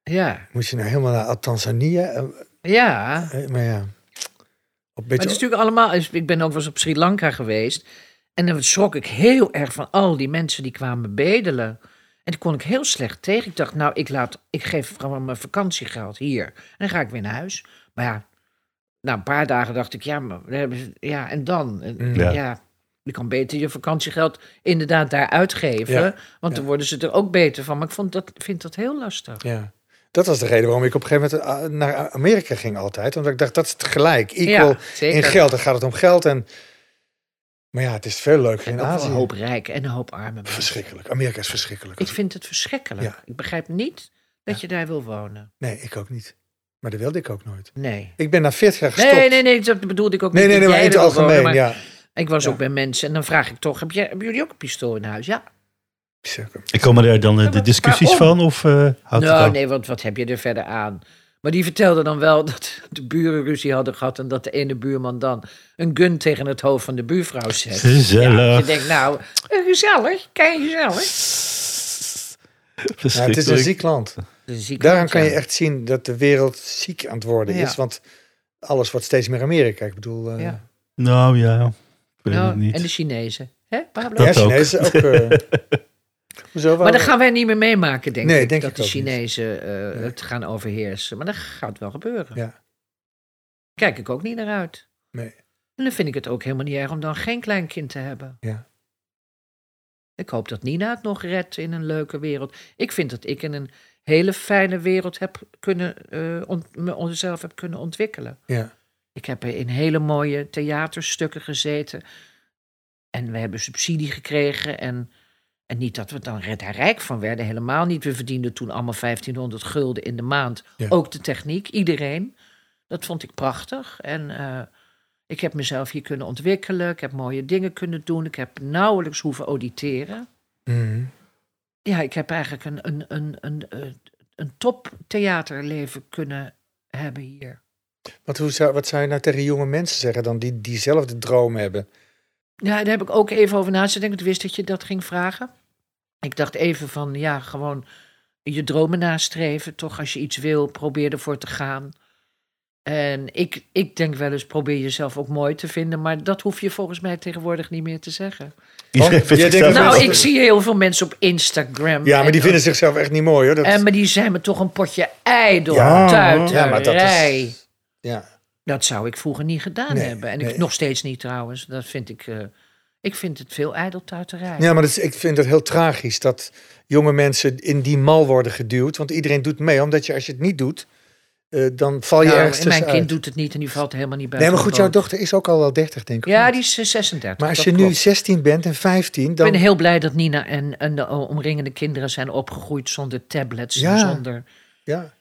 Speaker 3: ja,
Speaker 1: Moet je nou helemaal naar Tanzania? Eh,
Speaker 3: ja.
Speaker 1: eh, Maar ja, op een
Speaker 3: Maar
Speaker 1: beetje...
Speaker 3: het is natuurlijk allemaal. dus Ik ben ook wel eens op Sri Lanka geweest. En dan schrok ik heel erg van al die mensen die kwamen bedelen. En die kon ik heel slecht tegen. Ik dacht, nou, ik, laat, ik geef gewoon mijn vakantiegeld hier. En dan ga ik weer naar huis. Maar ja, na een paar dagen dacht ik, ja, maar, we hebben- ja en dan?
Speaker 1: Mm.
Speaker 3: En,
Speaker 2: Ja.
Speaker 3: ja. je kan beter je vakantiegeld inderdaad daar uitgeven.
Speaker 1: Ja,
Speaker 3: Want dan worden ze er ook beter van. Maar ik vond dat, vind dat heel lastig.
Speaker 1: ja. Dat was de reden waarom ik op een gegeven moment eh, naar Amerika ging altijd. Omdat ik dacht, dat is het gelijk. Equal
Speaker 3: zeker.
Speaker 1: in geld, dan gaat het om geld. En... Maar ja, het is veel leuker
Speaker 3: En
Speaker 1: in
Speaker 3: ook wel
Speaker 1: Azië.
Speaker 3: een hoop rijken en een hoop armen. mensen.
Speaker 1: Verschrikkelijk. Amerika is verschrikkelijk.
Speaker 3: Ik vind het verschrikkelijk.
Speaker 1: Ja.
Speaker 3: Ik begrijp niet dat je daar wil wonen.
Speaker 1: Nee, ik ook niet. Maar dat wilde ik ook nooit.
Speaker 3: Nee.
Speaker 1: Ik ben na 40 jaar gestopt.
Speaker 3: Nee, nee, nee, dat bedoelde ik ook
Speaker 1: Nee,
Speaker 3: niet.
Speaker 1: nee, nee,
Speaker 3: dat
Speaker 1: maar in
Speaker 3: jij
Speaker 1: het
Speaker 3: er wil
Speaker 1: algemeen,
Speaker 3: wonen, maar
Speaker 1: ja.
Speaker 3: Ik was ook bij mensen en dan vraag ik toch, heb jij, hebben jullie ook een pistool in huis? Ja.
Speaker 1: Circum.
Speaker 2: En Komen daar dan eh, de discussies
Speaker 3: waarom?
Speaker 2: van? Of eh houdt het
Speaker 3: nou,
Speaker 2: ook?
Speaker 3: nee, want wat heb je er verder aan? Maar die vertelde dan wel *laughs* dat de buren ruzie hadden gehad en dat de ene buurman dan een gun tegen het hoofd van de buurvrouw zet.
Speaker 2: Gezellig.
Speaker 3: Ja, je denkt nou, eh, gezellig, kijk gezellig.
Speaker 2: *laughs*
Speaker 1: Ja, het is een ziek land.
Speaker 3: Dat is ziek
Speaker 1: Daaraan
Speaker 3: land,
Speaker 1: kan
Speaker 3: ja.
Speaker 1: je echt zien dat de wereld ziek aan het worden
Speaker 3: Ja.
Speaker 1: is. Want alles wordt steeds meer Amerika. Ik bedoel, eh,
Speaker 3: Ja.
Speaker 2: Nou ja, ik weet
Speaker 3: Nou,
Speaker 2: het niet.
Speaker 3: en de Chinezen. Hè, Pablo?
Speaker 1: ja,
Speaker 2: Dat ook.
Speaker 1: Chinezen
Speaker 2: *laughs*
Speaker 1: ook. eh, hoezo,
Speaker 3: Maar
Speaker 1: waarom-
Speaker 3: dat gaan wij niet meer meemaken, denk
Speaker 1: Nee,
Speaker 3: ik.
Speaker 1: denk
Speaker 3: dat
Speaker 1: ik
Speaker 3: de
Speaker 1: ook niet.
Speaker 3: Chinezen eh,
Speaker 1: Nee.
Speaker 3: het gaan overheersen. Maar dat gaat wel gebeuren.
Speaker 1: Ja.
Speaker 3: Kijk ik ook niet naar uit.
Speaker 1: Nee.
Speaker 3: En dan vind ik het ook helemaal niet erg om dan geen kleinkind te hebben.
Speaker 1: Ja.
Speaker 3: Ik hoop dat Nina het nog redt in een leuke wereld. Ik vind dat ik in een hele fijne wereld heb kunnen, eh ont- me onzelf heb kunnen ontwikkelen.
Speaker 1: Ja.
Speaker 3: Ik heb in hele mooie theaterstukken gezeten. En we hebben subsidie gekregen. En, en niet dat we dan red- daar rijk van werden, helemaal niet. We verdienden toen allemaal 1500 gulden in de maand.
Speaker 1: Ja.
Speaker 3: Ook de techniek, iedereen. Dat vond ik prachtig. En eh, ik heb mezelf hier kunnen ontwikkelen. Ik heb mooie dingen kunnen doen. Ik heb nauwelijks hoeven auditeren.
Speaker 1: Mhm.
Speaker 3: Ja, ik heb eigenlijk een, een, een, een, een, een toptheaterleven kunnen hebben hier.
Speaker 1: Want hoe zou, wat zou je nou tegen jonge mensen zeggen dan die diezelfde droom hebben?
Speaker 3: Ja, daar heb ik ook even over na zitten denken. Ik wist dat je dat ging vragen. Ik dacht even van, ja, gewoon je dromen nastreven. Toch als je iets wil, probeer ervoor te gaan. En ik, ik denk wel eens, probeer jezelf ook mooi te vinden. Maar dat hoef je volgens mij tegenwoordig niet meer te zeggen.
Speaker 2: Iedereen
Speaker 1: Oh,
Speaker 2: *laughs* vindt
Speaker 1: jij denkt
Speaker 2: zichzelf
Speaker 1: dat-
Speaker 3: Nou,
Speaker 2: wel-
Speaker 3: ik zie heel veel mensen op Instagram.
Speaker 1: Ja, maar die
Speaker 3: en-
Speaker 1: vinden zichzelf echt niet mooi hoor. Dat,
Speaker 3: En, maar die zijn me toch een potje ei door
Speaker 1: Ja,
Speaker 3: tuiterij.
Speaker 1: ja, maar dat is. Ja,
Speaker 3: Dat zou ik vroeger niet gedaan
Speaker 1: Nee,
Speaker 3: hebben. En ik
Speaker 1: nee.
Speaker 3: nog steeds niet trouwens. Dat vind ik. eh, ik vind het veel ijdeltuiterij.
Speaker 1: ja maar dat is- ik vind het heel tragisch dat jonge mensen in die mal worden geduwd. Want iedereen doet mee, omdat je als je het niet doet, eh, dan val je
Speaker 3: Nou,
Speaker 1: ergens
Speaker 3: en mijn
Speaker 1: tussenuit. Dus-
Speaker 3: kind doet het niet en die valt helemaal niet bij.
Speaker 1: Nee, maar
Speaker 3: de
Speaker 1: goed, jouw
Speaker 3: boot.
Speaker 1: dochter is ook al wel 30, denk ik. of
Speaker 3: Ja,
Speaker 1: niet?
Speaker 3: die is eh, 36.
Speaker 1: maar als
Speaker 3: dat
Speaker 1: je nu
Speaker 3: klopt.
Speaker 1: 16 bent en 15,
Speaker 3: Ik
Speaker 1: dan.
Speaker 3: ben heel blij dat Nina en, en de omringende kinderen zijn opgegroeid zonder tablets, en
Speaker 1: Ja.
Speaker 3: zonder
Speaker 1: Ja,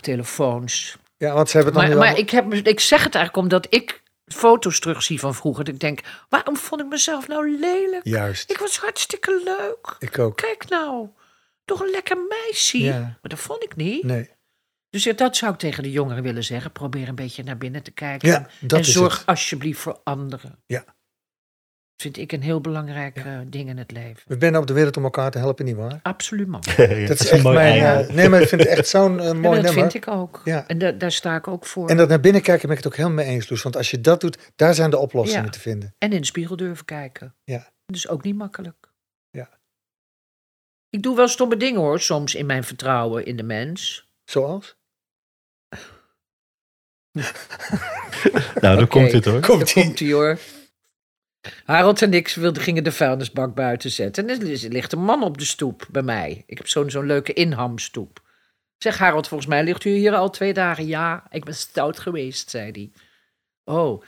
Speaker 3: telefoons.
Speaker 1: ja, want ze hebben het dan.
Speaker 3: Maar,
Speaker 1: nu
Speaker 3: maar
Speaker 1: allemaal-
Speaker 3: ik, heb, ik zeg het eigenlijk omdat ik foto's terugzie van vroeger. Dat ik denk, waarom vond ik mezelf nou lelijk?
Speaker 1: Juist,
Speaker 3: Ik was hartstikke leuk.
Speaker 1: ik ook.
Speaker 3: Kijk nou, toch een lekker meisje.
Speaker 1: Ja.
Speaker 3: Maar dat vond ik niet.
Speaker 1: Nee.
Speaker 3: Dus ja, dat zou ik tegen de jongeren willen zeggen. Probeer een beetje naar binnen te kijken.
Speaker 1: Ja, dat
Speaker 3: en
Speaker 1: is
Speaker 3: zorg
Speaker 1: het.
Speaker 3: alsjeblieft voor anderen.
Speaker 1: Ja.
Speaker 3: Vind ik een heel belangrijk eh, ding in het leven.
Speaker 1: We zijn op de wereld om elkaar te helpen, nietwaar?
Speaker 3: Absoluut.
Speaker 1: *laughs*
Speaker 3: man. Ja,
Speaker 2: *laughs* Ja,
Speaker 1: Dat is echt mijn.
Speaker 2: einde.
Speaker 1: eh, nee, maar ik vind het echt
Speaker 3: *laughs*
Speaker 1: zo'n eh, mooi
Speaker 3: dat
Speaker 1: nummer.
Speaker 3: vind ik ook.
Speaker 1: Ja.
Speaker 3: En da- daar sta ik ook voor.
Speaker 1: En
Speaker 3: En,
Speaker 1: dat naar binnen kijken ben ik het ook helemaal mee eens, Loes. Want als je dat doet, daar zijn de oplossingen
Speaker 3: Ja.
Speaker 1: te vinden.
Speaker 3: in de spiegel durven kijken.
Speaker 1: Ja.
Speaker 3: Dus ook niet makkelijk.
Speaker 1: Ja.
Speaker 3: Ik doe wel stomme dingen hoor, soms in mijn vertrouwen in de mens.
Speaker 1: Zoals?
Speaker 2: Nou, dan komt het hoor.
Speaker 1: Komt
Speaker 3: Daar
Speaker 1: ie.
Speaker 3: komt ie hoor. Harold en ik wilden, gingen de vuilnisbak buiten zetten. En er ligt een man op de stoep bij mij. Ik heb zo'n zo'n leuke inhamstoep. Ik Zeg Harold, volgens mij ligt u hier al twee dagen. Ja, ik ben stout geweest, zei hij. Oh.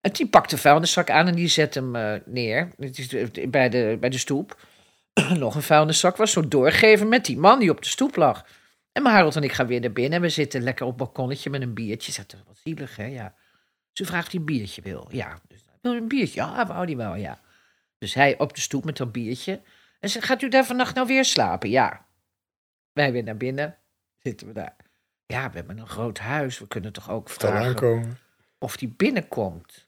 Speaker 3: En die pakt de vuilniszak aan en die zet hem eh, neer. Het is de- bij, de, bij de stoep. *clears throat* Nog een vuilniszak was zo doorgeven met die man die op de stoep lag. En maar Harold en ik gaan weer naar binnen. En we zitten lekker op het balkonnetje met een biertje. Zegt "Dat is wat zielig, hè? Ja. Ze vraagt of hij een biertje wil. Ja. Dus, wil je een biertje? Ja, wou die wel, ja. Dus hij op de stoep met dat biertje. En ze gaat u daar vannacht nou weer slapen? Ja. Wij weer naar binnen. Zitten we daar. Ja, we hebben een groot huis. We kunnen toch ook
Speaker 1: Kan
Speaker 3: vragen
Speaker 1: aankomen.
Speaker 3: of die binnenkomt.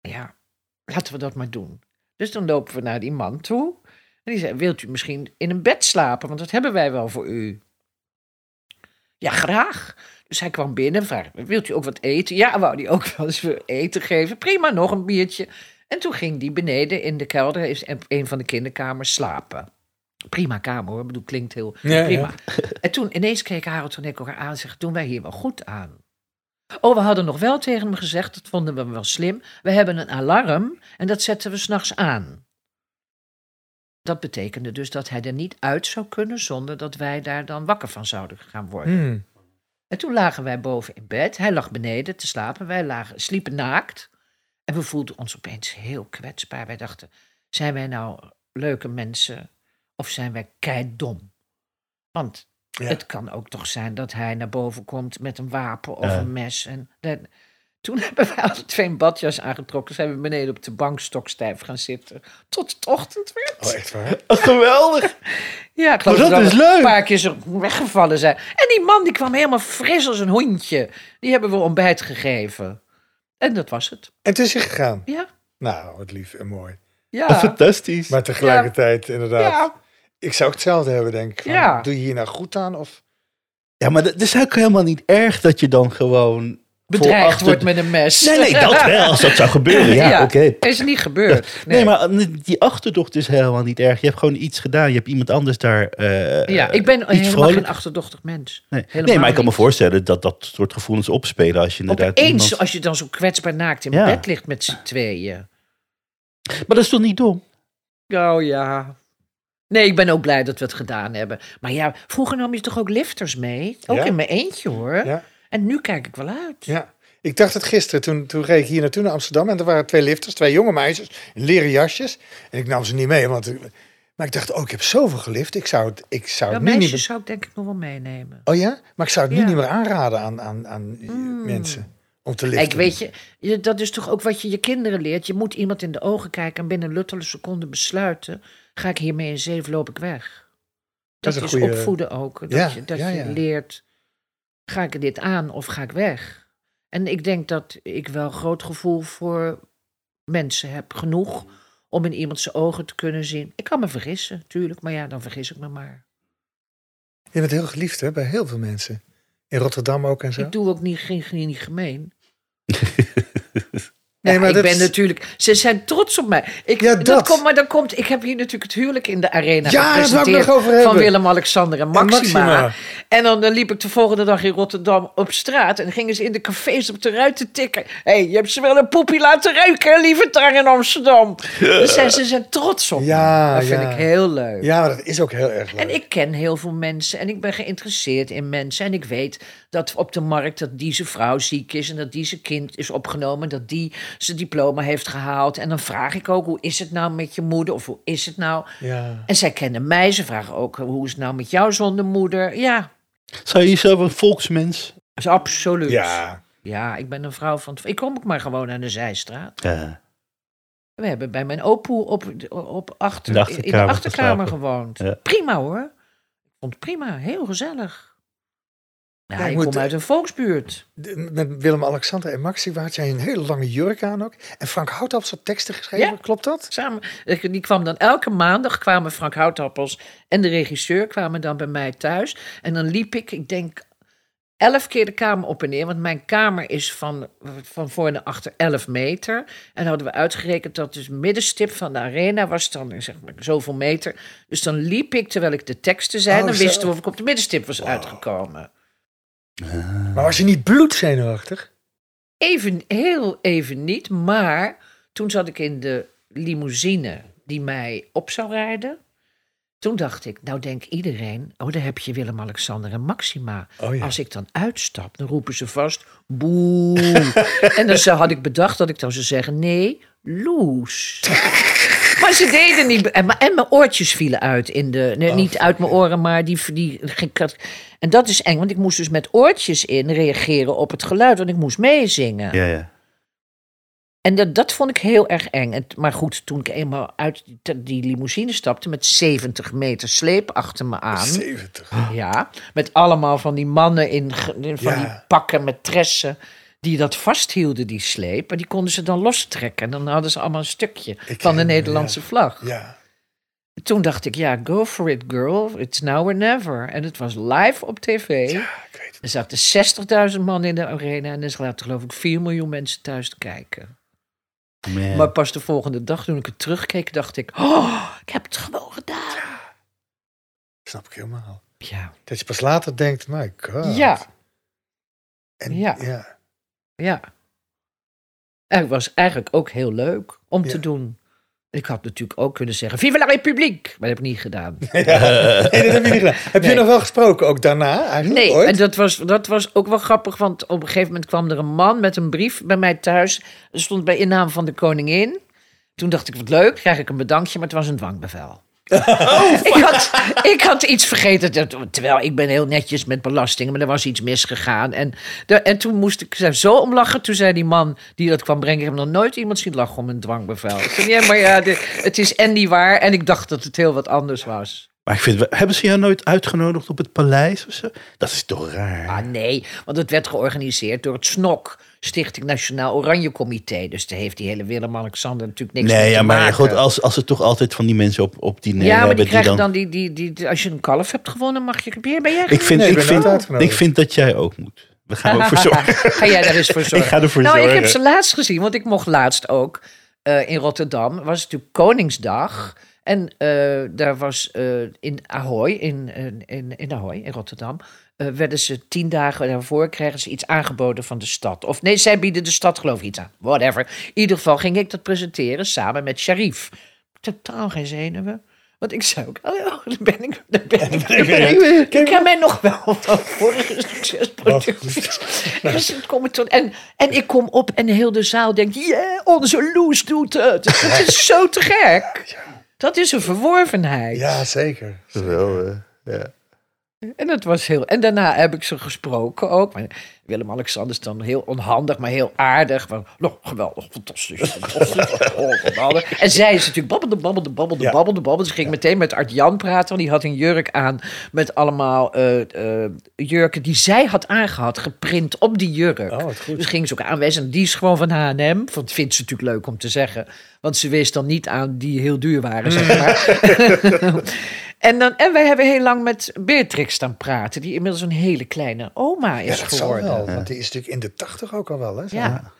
Speaker 3: Ja, laten we dat maar doen. Dus dan lopen we naar die man toe. En die zei, wilt u misschien in een bed slapen? Want dat hebben wij wel voor u. Ja, graag. Dus hij kwam binnen en vraagde, wilt u ook wat eten? Ja, wou die ook wel eens weer eten geven. Prima, nog een biertje. En toen ging die beneden in de kelder, is op een van de kinderkamers, slapen. Prima kamer hoor, Ik bedoel, klinkt heel
Speaker 1: Ja,
Speaker 3: prima. En toen ineens keek Harold en ik elkaar aan en zeggen, doen wij hier wel goed aan? Oh, we hadden nog wel tegen hem gezegd, dat vonden we wel slim. We hebben een alarm en dat zetten we s'nachts aan. Dat betekende dus dat hij er niet uit zou kunnen zonder dat wij daar dan wakker van zouden gaan worden.
Speaker 1: Hmm.
Speaker 3: En toen lagen wij boven in bed. Hij lag beneden te slapen. Wij lagen, sliepen naakt. En we voelden ons opeens heel kwetsbaar. Wij dachten, zijn wij nou leuke mensen of zijn wij keidom? Want
Speaker 1: Ja.
Speaker 3: het kan ook toch zijn dat hij naar boven komt met een wapen of
Speaker 2: Ja.
Speaker 3: een mes. En dat, Toen *laughs* hebben wij alle twee een badjas aangetrokken. Zijn we beneden op de bank stokstijf gaan zitten. Tot het ochtend werd.
Speaker 1: Oh, echt waar?
Speaker 2: *laughs* Geweldig!
Speaker 3: Ja, ik geloof
Speaker 2: Maar dat
Speaker 3: we
Speaker 2: is
Speaker 3: een
Speaker 2: leuk.
Speaker 3: paar keer zo weggevallen zijn. En die man die kwam helemaal fris als een hondje. Die hebben we ontbijt gegeven. En dat was het.
Speaker 1: En het is je gegaan.
Speaker 3: Ja.
Speaker 1: Nou, wat lief en mooi.
Speaker 3: Ja.
Speaker 2: Fantastisch.
Speaker 1: Maar tegelijkertijd,
Speaker 2: eh,
Speaker 1: inderdaad.
Speaker 3: Ja.
Speaker 1: Ik zou ook hetzelfde hebben, denk ik. Van,
Speaker 3: Ja.
Speaker 1: Doe je hier nou goed aan? Of...
Speaker 2: ja, maar dat is ook helemaal niet erg dat je dan gewoon... vol
Speaker 3: Bedreigd
Speaker 2: achter-
Speaker 3: wordt met een mes.
Speaker 2: Nee, nee,
Speaker 3: *laughs*
Speaker 2: dat wel. Als dat zou gebeuren, ja, oké.
Speaker 3: Is niet gebeurd.
Speaker 2: Nee. maar die achterdocht is helemaal niet erg. Je hebt gewoon iets gedaan. Je hebt iemand anders daar. eh,
Speaker 3: ja, ik ben helemaal
Speaker 2: vrolijk.
Speaker 3: geen achterdochtig mens.
Speaker 2: nee.
Speaker 3: helemaal
Speaker 2: nee, maar ik kan me
Speaker 3: niet.
Speaker 2: voorstellen dat dat soort gevoelens opspelen. Als je inderdaad.
Speaker 3: Opeens,
Speaker 2: iemand-
Speaker 3: als je dan zo kwetsbaar naakt in
Speaker 2: Ja.
Speaker 3: bed ligt met z'n tweeën.
Speaker 2: Maar dat is toch niet dom?
Speaker 3: Oh ja. Nee, ik ben ook blij dat we het gedaan hebben. Maar ja, vroeger nam je toch ook lifters mee? Ook
Speaker 1: Ja.
Speaker 3: in mijn eentje hoor.
Speaker 1: Ja.
Speaker 3: En nu kijk ik wel uit.
Speaker 1: ja. Ik dacht het gisteren, toen, toen reed ik hier naartoe naar Amsterdam. En er waren twee lifters, twee jonge meisjes, in leren jasjes. En ik nam ze niet mee, want... Maar ik dacht, oh, ik heb zoveel gelift. Ik zou het, ik zou
Speaker 3: Ja,
Speaker 1: het nu niet...
Speaker 3: meisjes
Speaker 1: meer-
Speaker 3: zou ik denk ik nog wel meenemen.
Speaker 1: Oh ja? Maar ik zou het nu
Speaker 3: Ja.
Speaker 1: niet meer aanraden aan, aan, aan eh, mensen om te liften.
Speaker 3: Kijk, weet je, je- dat is toch ook wat je je kinderen leert. Je moet iemand in de ogen kijken en binnen luttele seconden besluiten... ga ik hiermee in zeef, loop ik weg.
Speaker 1: Dat
Speaker 3: Dat,
Speaker 1: is een
Speaker 3: is
Speaker 1: goeie-
Speaker 3: opvoeden ook. Dat,
Speaker 1: Ja,
Speaker 3: je, dat
Speaker 1: ja,
Speaker 3: je
Speaker 1: ja.
Speaker 3: leert, ga ik dit aan of ga ik weg? En ik denk dat ik wel groot gevoel voor mensen heb. Genoeg om in iemand zijn ogen te kunnen zien. Ik kan me vergissen, tuurlijk. Maar ja, dan vergis ik me maar.
Speaker 1: Je bent heel geliefd, hè, bij heel veel mensen. In Rotterdam ook en zo.
Speaker 3: Ik doe ook niet, geen, geen- niet gemeen.
Speaker 1: Nee,
Speaker 3: Ja,
Speaker 1: maar
Speaker 3: ik
Speaker 1: dat
Speaker 3: ben
Speaker 1: is-
Speaker 3: natuurlijk. Ze zijn trots op mij. Ik,
Speaker 1: Ja,
Speaker 3: dat.
Speaker 1: dat.
Speaker 3: komt, maar dan komt. Ik heb hier natuurlijk het huwelijk in de arena.
Speaker 1: Ja, daar wou ik
Speaker 3: gepresenteerd
Speaker 1: nog over hebben.
Speaker 3: Van Willem-Alexander en Maxima.
Speaker 1: En Maxima.
Speaker 3: En dan, eh, liep ik de volgende dag in Rotterdam op straat. En gingen ze in de cafés op de ruiten tikken. Hé, hey, je hebt ze wel een poepie laten ruiken, lieve tang in Amsterdam. Dus zij- ze zijn trots op
Speaker 1: Ja,
Speaker 3: me. Dat vind
Speaker 1: ja.
Speaker 3: ik heel leuk.
Speaker 1: Ja, maar dat is ook heel erg leuk.
Speaker 3: En ik ken heel veel mensen en ik ben geïnteresseerd in mensen. En ik weet dat op de markt dat deze vrouw ziek is en dat die zijn kind is opgenomen. Dat die zijn diploma heeft gehaald. En dan vraag ik ook, hoe is het nou met je moeder? Of hoe is het nou?
Speaker 1: Ja.
Speaker 3: En zij kennen mij, ze vragen ook, hoe is het nou met jou zonder moeder? Ja,
Speaker 2: Zou je jezelf een volksmens.
Speaker 3: dat is absoluut.
Speaker 1: Dus Ja.
Speaker 3: Ja, ik ben een vrouw van... het- Ik kom ook maar gewoon aan de zijstraat.
Speaker 2: Ja.
Speaker 3: We hebben bij mijn opoe op, op achter,
Speaker 2: In de achterkamer
Speaker 3: in de achterkamer
Speaker 2: geslapen.
Speaker 3: gewoond.
Speaker 2: Ja.
Speaker 3: Prima hoor. Ik vond het prima, heel gezellig. Ja,
Speaker 1: Ja, ik
Speaker 3: ik
Speaker 1: moet,
Speaker 3: kom uit een volksbuurt.
Speaker 1: De- Met Willem-Alexander en Maxi had jij een hele lange jurk aan ook. En Frank Houthaps had teksten geschreven,
Speaker 3: Ja.
Speaker 1: klopt dat?
Speaker 3: Samen, ik- die kwam dan elke maandag, kwamen Frank Houtappels en de regisseur kwamen dan bij mij thuis. En dan liep ik, ik denk, elf keer de kamer op en neer. Want mijn kamer is van, van voor naar achter elf meter. En dan hadden we uitgerekend dat dus middenstip van de arena was dan zeg maar, zoveel meter. Dus dan liep ik terwijl ik de teksten zei.
Speaker 1: Oh,
Speaker 3: dan
Speaker 1: zo.
Speaker 3: wisten we of ik op de middenstip was uitgekomen.
Speaker 1: Maar was je niet bloedzenuwachtig?
Speaker 3: Even, heel even niet, maar toen zat ik in de limousine die mij op zou rijden. Toen dacht ik, nou denkt iedereen, oh daar heb je Willem-Alexander en Maxima.
Speaker 1: Oh ja.
Speaker 3: Als ik dan uitstap, dan roepen ze vast,
Speaker 1: *laughs*
Speaker 3: boe. en dan zou- had ik bedacht dat ik dan zou zeggen, nee, loes. maar ze deden niet, en, mijn- en mijn oortjes vielen uit in de,
Speaker 1: Oh,
Speaker 3: nee, niet uit mijn oren, maar die, die, ik had- en dat is eng, want ik moest dus met oortjes in reageren op het geluid, want ik moest meezingen.
Speaker 2: Ja, ja.
Speaker 3: En dat, dat vond ik heel erg eng. En, t- maar goed, toen ik eenmaal uit die- te- die limousine stapte met 70 meter sleep achter me aan.
Speaker 1: 70.
Speaker 3: Ja, met allemaal van die mannen in, ge- in van
Speaker 1: Ja.
Speaker 3: die pakken met tressen. Die dat vasthielden, die sleep. En die konden ze dan lostrekken. En dan hadden ze allemaal een stukje van de
Speaker 1: herinner me,
Speaker 3: Nederlandse vlag.
Speaker 1: Ja.
Speaker 3: Toen dacht ik, ja, go for it, girl. It's now or never. En het was live op tv.
Speaker 1: ja, ik weet het.
Speaker 3: Er zaten 60.000 man in de arena. En er zaten geloof ik 4 miljoen mensen thuis te kijken.
Speaker 2: Man.
Speaker 3: Maar pas de volgende dag, toen ik het terugkeek, dacht ik: Oh, ik heb het gewoon gedaan.
Speaker 1: Snap ik helemaal.
Speaker 3: Ja,
Speaker 1: Dat je pas later denkt, my god.
Speaker 3: ja,
Speaker 1: En, ja.
Speaker 3: ja. ja. En het was eigenlijk ook heel leuk om
Speaker 1: Ja.
Speaker 3: te doen. Ik had natuurlijk ook kunnen zeggen: Vive la République! Maar dat heb ik niet
Speaker 1: *laughs*
Speaker 3: gedaan.
Speaker 1: Nee, dat heb je niet gedaan. Heb je
Speaker 3: Nee.
Speaker 1: nog wel gesproken, ook daarna eigenlijk?
Speaker 3: Nee,
Speaker 1: ooit?
Speaker 3: en dat was, dat was ook wel grappig, want op een gegeven moment kwam er een man met een brief bij mij thuis. Er stond bij innaam van de koningin. Toen dacht ik: Wat leuk, krijg ik een bedankje, maar het was een dwangbevel. ik, had, ik had iets vergeten. dat- Terwijl ik ben heel netjes met belastingen, maar er was iets misgegaan. En, de- en toen moest ik er zo om lachen. Toen zei die man die dat kwam brengen: Ik heb nog nooit iemand zien lachen om een dwangbevel. Ik zei, Ja, maar ja, de- het is en niet waar. En ik dacht dat het heel wat anders was.
Speaker 2: Maar ik vind, wel- hebben ze jou nooit uitgenodigd op het paleis of zo? Dat is toch raar.
Speaker 3: Ah nee, want het werd georganiseerd door het SNOK, Stichting Nationaal Oranje Comité. Dus daar heeft die hele Willem-Alexander natuurlijk niks mee
Speaker 2: nee,
Speaker 3: te
Speaker 2: ja, maar
Speaker 3: maken.
Speaker 2: goed, als, als ze toch altijd van die mensen op, op diner
Speaker 3: ja, maar
Speaker 2: hebben
Speaker 3: die krijgen
Speaker 2: dan...
Speaker 3: dan, die, die, die, die- als je een kalf hebt gewonnen, mag je. Ben jij- ben jij
Speaker 2: Ik vind,
Speaker 1: Nee, ik
Speaker 2: ik,
Speaker 1: ben nooit
Speaker 2: vind,
Speaker 1: uitgenodigd.
Speaker 2: ik vind dat jij ook moet. We
Speaker 3: *laughs*
Speaker 2: gaan ervoor zorgen.
Speaker 3: Ga jij daar eens voor
Speaker 2: *laughs*
Speaker 3: zorgen?
Speaker 2: Ik ga ervoor
Speaker 3: nou, ik
Speaker 2: zorgen.
Speaker 3: heb ze laatst gezien, want ik mocht laatst ook eh, in Rotterdam. Was het natuurlijk Koningsdag. En eh, daar was eh, in Ahoy, in, in- in, in Ahoy, in Rotterdam, eh, werden ze tien dagen daarvoor kregen ze iets aangeboden van de stad. Of nee, zij bieden de stad geloof ik iets aan. Whatever. In ieder geval ging ik dat presenteren samen met Sharif. Totaal geen zenuwen. Want ik zei ook, oh, ja, daar ben ik, daar ben ik, daar ben ik. Ik ken mij nog wel van vorige succesproducties. *laughs* Dus het komt tot- en, en ik kom op en heel de zaal denkt, yeah, onze Loes doet het. Dat is zo te gek. Dat is een verworvenheid.
Speaker 1: Ja, zeker.
Speaker 3: En dat was heel. En daarna heb ik ze gesproken ook. Maar Willem-Alexander is dan heel onhandig, maar heel aardig. Maar, nou, geweldig,
Speaker 1: *laughs*
Speaker 3: fantastisch. fantastisch. Oh, geweldig. En zij is natuurlijk babbelde, babbelde, babbelde,
Speaker 1: Ja.
Speaker 3: babbelde, babbelde. Ze ging meteen met Art-Jan praten, want die had een jurk aan met allemaal eh, eh, jurken die zij had aangehad, geprint op die jurk.
Speaker 1: Oh, wat goed.
Speaker 3: Dus ging ze ook aanwijzen, die is gewoon van H&M. Want dat vindt ze natuurlijk leuk om te zeggen. Want ze wist dan niet aan die heel duur waren, zeg
Speaker 1: Mm.
Speaker 3: maar. en, dan, en wij hebben heel lang met Beatrix staan praten. Die inmiddels een hele kleine oma
Speaker 1: Ja,
Speaker 3: is
Speaker 1: dat zal
Speaker 3: geworden.
Speaker 1: wel, want die is natuurlijk in de tachtig ook al wel, hè?
Speaker 3: Ja.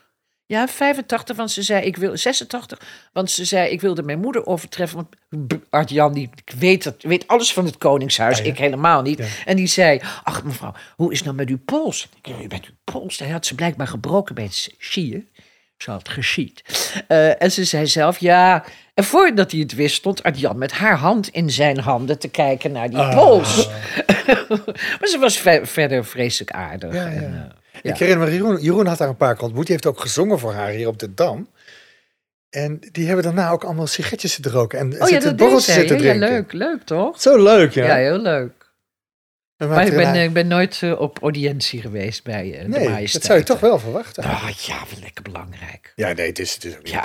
Speaker 3: Ja, 85, want ze zei, ik wil, 86, want ze zei, ik wilde mijn moeder overtreffen. Want B- Art-Jan, die ik weet, dat, weet alles van het Koningshuis, ik helemaal niet. En die zei, ach mevrouw, hoe is het nou met uw pols? Ik zei, met uw pols? Hij had ze blijkbaar gebroken bij het skiën. Ze had geschiet. Eh, en ze zei zelf, ja... En voordat hij het wist, stond Art-Jan met haar hand in zijn handen te kijken naar die
Speaker 1: Ah.
Speaker 3: pols. *laughs* maar ze was ve- verder vreselijk aardig.
Speaker 1: Ja,
Speaker 3: En,
Speaker 1: ja.
Speaker 3: eh,
Speaker 1: Ik herinner me, Jeroen, Jeroen had daar een paar keer ontmoet. Die heeft ook gezongen voor haar hier op de Dam. En die hebben daarna ook allemaal sigaretjes zitten roken. En
Speaker 3: Oh ja,
Speaker 1: zitten
Speaker 3: dat deed
Speaker 1: borrels
Speaker 3: zij.
Speaker 1: zitten
Speaker 3: Ja, ja,
Speaker 1: drinken.
Speaker 3: leuk, leuk toch?
Speaker 1: Zo leuk, ja.
Speaker 3: Ja, heel leuk.
Speaker 1: En
Speaker 3: Maar ik ben,
Speaker 1: daarna-
Speaker 3: eh, ik ben nooit eh, op audiëntie geweest bij eh, de
Speaker 1: Nee,
Speaker 3: majesteit.
Speaker 1: dat zou je toch wel verwachten.
Speaker 3: Ah, ja, wat lekker belangrijk.
Speaker 1: Ja, nee, het is, het is ook niet-
Speaker 3: Ja.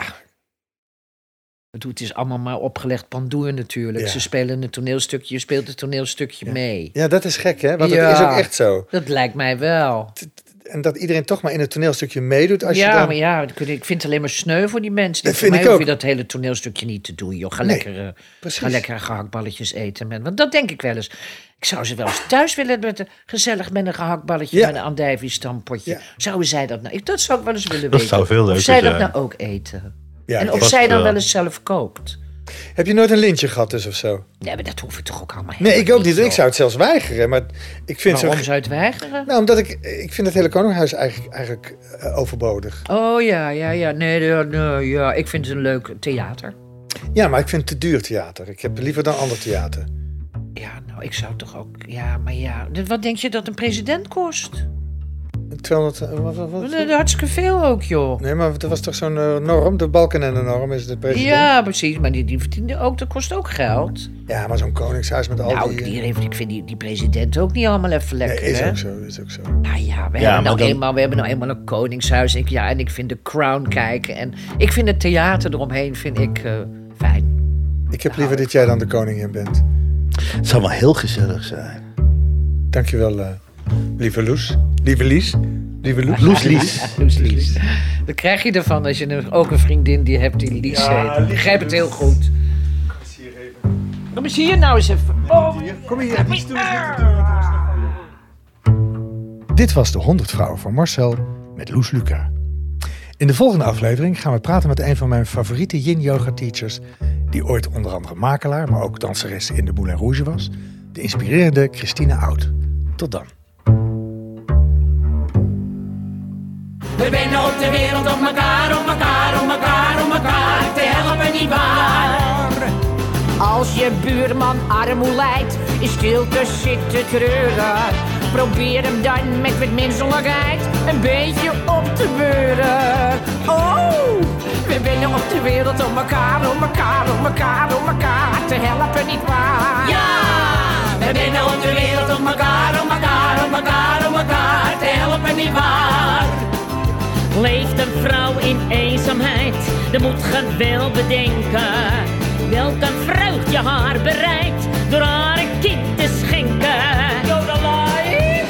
Speaker 3: Ik bedoel, Het is allemaal maar opgelegd pandoer natuurlijk.
Speaker 1: Ja.
Speaker 3: Ze spelen een toneelstukje, je speelt het toneelstukje mee.
Speaker 1: Ja, dat is gek, hè? Want
Speaker 3: Ja.
Speaker 1: het is ook echt zo.
Speaker 3: Dat lijkt mij wel.
Speaker 1: En dat iedereen toch maar in het toneelstukje meedoet als
Speaker 3: ja,
Speaker 1: je dan...
Speaker 3: maar ja, ik vind- ik vind het alleen maar sneu voor die mensen.
Speaker 1: Dat
Speaker 3: voor
Speaker 1: vind
Speaker 3: mij
Speaker 1: ik
Speaker 3: hoef
Speaker 1: ook.
Speaker 3: je dat hele toneelstukje niet te doen, joh. Ga,
Speaker 1: Nee,
Speaker 3: lekker, eh,
Speaker 1: precies.
Speaker 3: ga lekker gehaktballetjes eten. Man. Want dat denk ik wel eens. Ik zou ze wel eens thuis willen met een, gezellig met een gehaktballetje
Speaker 1: Ja.
Speaker 3: en een andijvie-stampotje.
Speaker 1: Ja.
Speaker 3: Zouden zij dat nou... Ik, dat zou ik wel eens
Speaker 2: Dat
Speaker 3: willen weten.
Speaker 2: zou veel
Speaker 3: Of
Speaker 2: leuker
Speaker 3: zij dat
Speaker 2: zijn.
Speaker 3: nou ook eten.
Speaker 1: Ja, eh,
Speaker 3: en of
Speaker 2: vast
Speaker 3: zij dan
Speaker 2: wel.
Speaker 3: wel eens zelf koopt.
Speaker 1: Heb je nooit een lintje gehad dus of zo?
Speaker 3: Nee, maar dat hoef ik toch ook allemaal
Speaker 1: Nee,
Speaker 3: helemaal
Speaker 1: ik ook niet. Ik
Speaker 3: joh.
Speaker 1: zou het zelfs weigeren. Maar ik vind zo...
Speaker 3: Waarom zou je het weigeren?
Speaker 1: Nou, omdat ik... Ik vind het hele Koningshuis eigenlijk, eigenlijk eh, overbodig.
Speaker 3: Oh ja, ja, ja. Nee, ja, nee, ja. Ik vind het een leuk theater.
Speaker 1: Ja, maar ik vind het te duur theater. Ik heb liever dan ander theater.
Speaker 3: Ja, nou, ik zou toch ook... Ja, maar ja. de- Wat denk je dat een president kost?
Speaker 1: 200... eh, Wat, wat, wat?
Speaker 3: Eh, Hartstikke veel ook, joh.
Speaker 1: Nee, maar er was toch zo'n eh, norm? De balken en de norm is de president.
Speaker 3: Ja, precies. Maar die, die verdiende ook, dat kost ook geld.
Speaker 1: Ja, maar zo'n koningshuis met al
Speaker 3: nou,
Speaker 1: die...
Speaker 3: ik,
Speaker 1: eh,
Speaker 3: die, ik vind die, die president ook niet allemaal even
Speaker 1: nee,
Speaker 3: lekker,
Speaker 1: is
Speaker 3: hè?
Speaker 1: ook zo, is ook zo.
Speaker 3: Nou ja, we,
Speaker 2: Ja,
Speaker 3: hebben
Speaker 2: maar
Speaker 3: nou
Speaker 2: dan-
Speaker 3: eenmaal, we hebben nou eenmaal een koningshuis. Ik, ja, en ik vind de Crown kijken. En ik vind het theater eromheen vind ik, eh, fijn.
Speaker 1: Ik
Speaker 3: Nou.
Speaker 1: heb liever dat jij dan de koningin bent.
Speaker 2: Het zou wel heel gezellig zijn.
Speaker 1: Dankjewel, eh lieve Loes. Lieve Lies. Lieve Loes.
Speaker 2: Loes Lies.
Speaker 3: Loes Lies. Dat krijg je ervan als je een- ook een vriendin die hebt die Lies heet. Ik begrijp het heel goed. Kom eens hier nou eens even. Oh,
Speaker 1: Kom hier. Dit was de 100 Vrouwen van Marcel met Loes Luca. In de volgende aflevering gaan we praten met een van mijn favoriete yin-yoga-teachers... die ooit onder andere makelaar, maar ook danseres in de Moulin Rouge was... de inspirerende Christine Oud. Tot dan.
Speaker 7: We winnen op de wereld op elkaar, op elkaar, op elkaar, op elkaar te helpen, niet waar? Als je buurman armoe lijdt, in stilte zit te treuren. Probeer hem dan met wat menselijkheid een beetje op te beuren. Oh, we winnen op de wereld om elkaar, om elkaar, om elkaar, om elkaar te helpen, niet niet waar.
Speaker 3: Leeft een vrouw in eenzaamheid, dan moet ge wel bedenken. Welk een vreugd je haar bereidt, door haar een kind te schenken.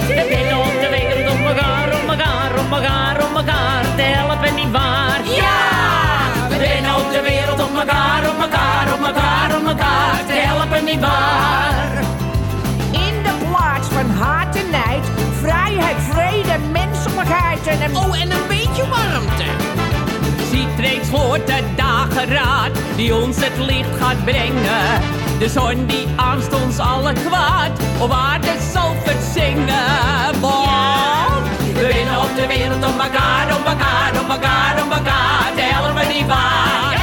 Speaker 3: We binnen op de wereld om elkaar, om elkaar, om elkaar, om elkaar te helpen, niet waar?
Speaker 7: Ja! We winnen ook de wereld op elkaar, op elkaar, op elkaar, op elkaar. Te helpen niet waar.
Speaker 8: In de plaats van haat en nijd, vrijheid, vrede, menselijkheid en een...
Speaker 9: Oh, en een beetje warmte.
Speaker 7: Ziet reeds voor de dageraad die ons het licht gaat brengen. De zon die aanst ons alle kwaad op aarde zal verzingen. Want we winnen op de wereld om elkaar, om elkaar, om elkaar, om elkaar. Tellen we niet waar.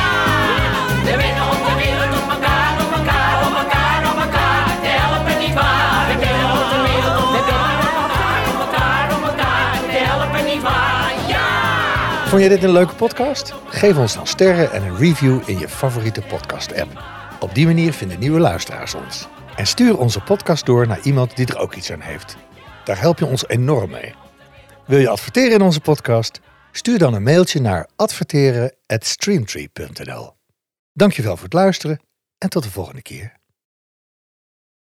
Speaker 7: We winnen op de wereld om elkaar, om elkaar, om elkaar, om elkaar. Tellen we niet waar. We winnen op de wereld om elkaar, om elkaar, om elkaar, om elkaar. Tellen we niet waar. Ja!
Speaker 1: Vond je dit een leuke podcast? Geef ons dan sterren en een review in je favoriete podcast-app. Op die manier vinden nieuwe luisteraars ons. En stuur onze podcast door naar iemand die er ook iets aan heeft. Daar help je ons enorm mee. Wil je adverteren in onze podcast? Stuur dan een mailtje naar adverteren@streamtree.nl. Dankjewel voor het luisteren en tot de volgende keer.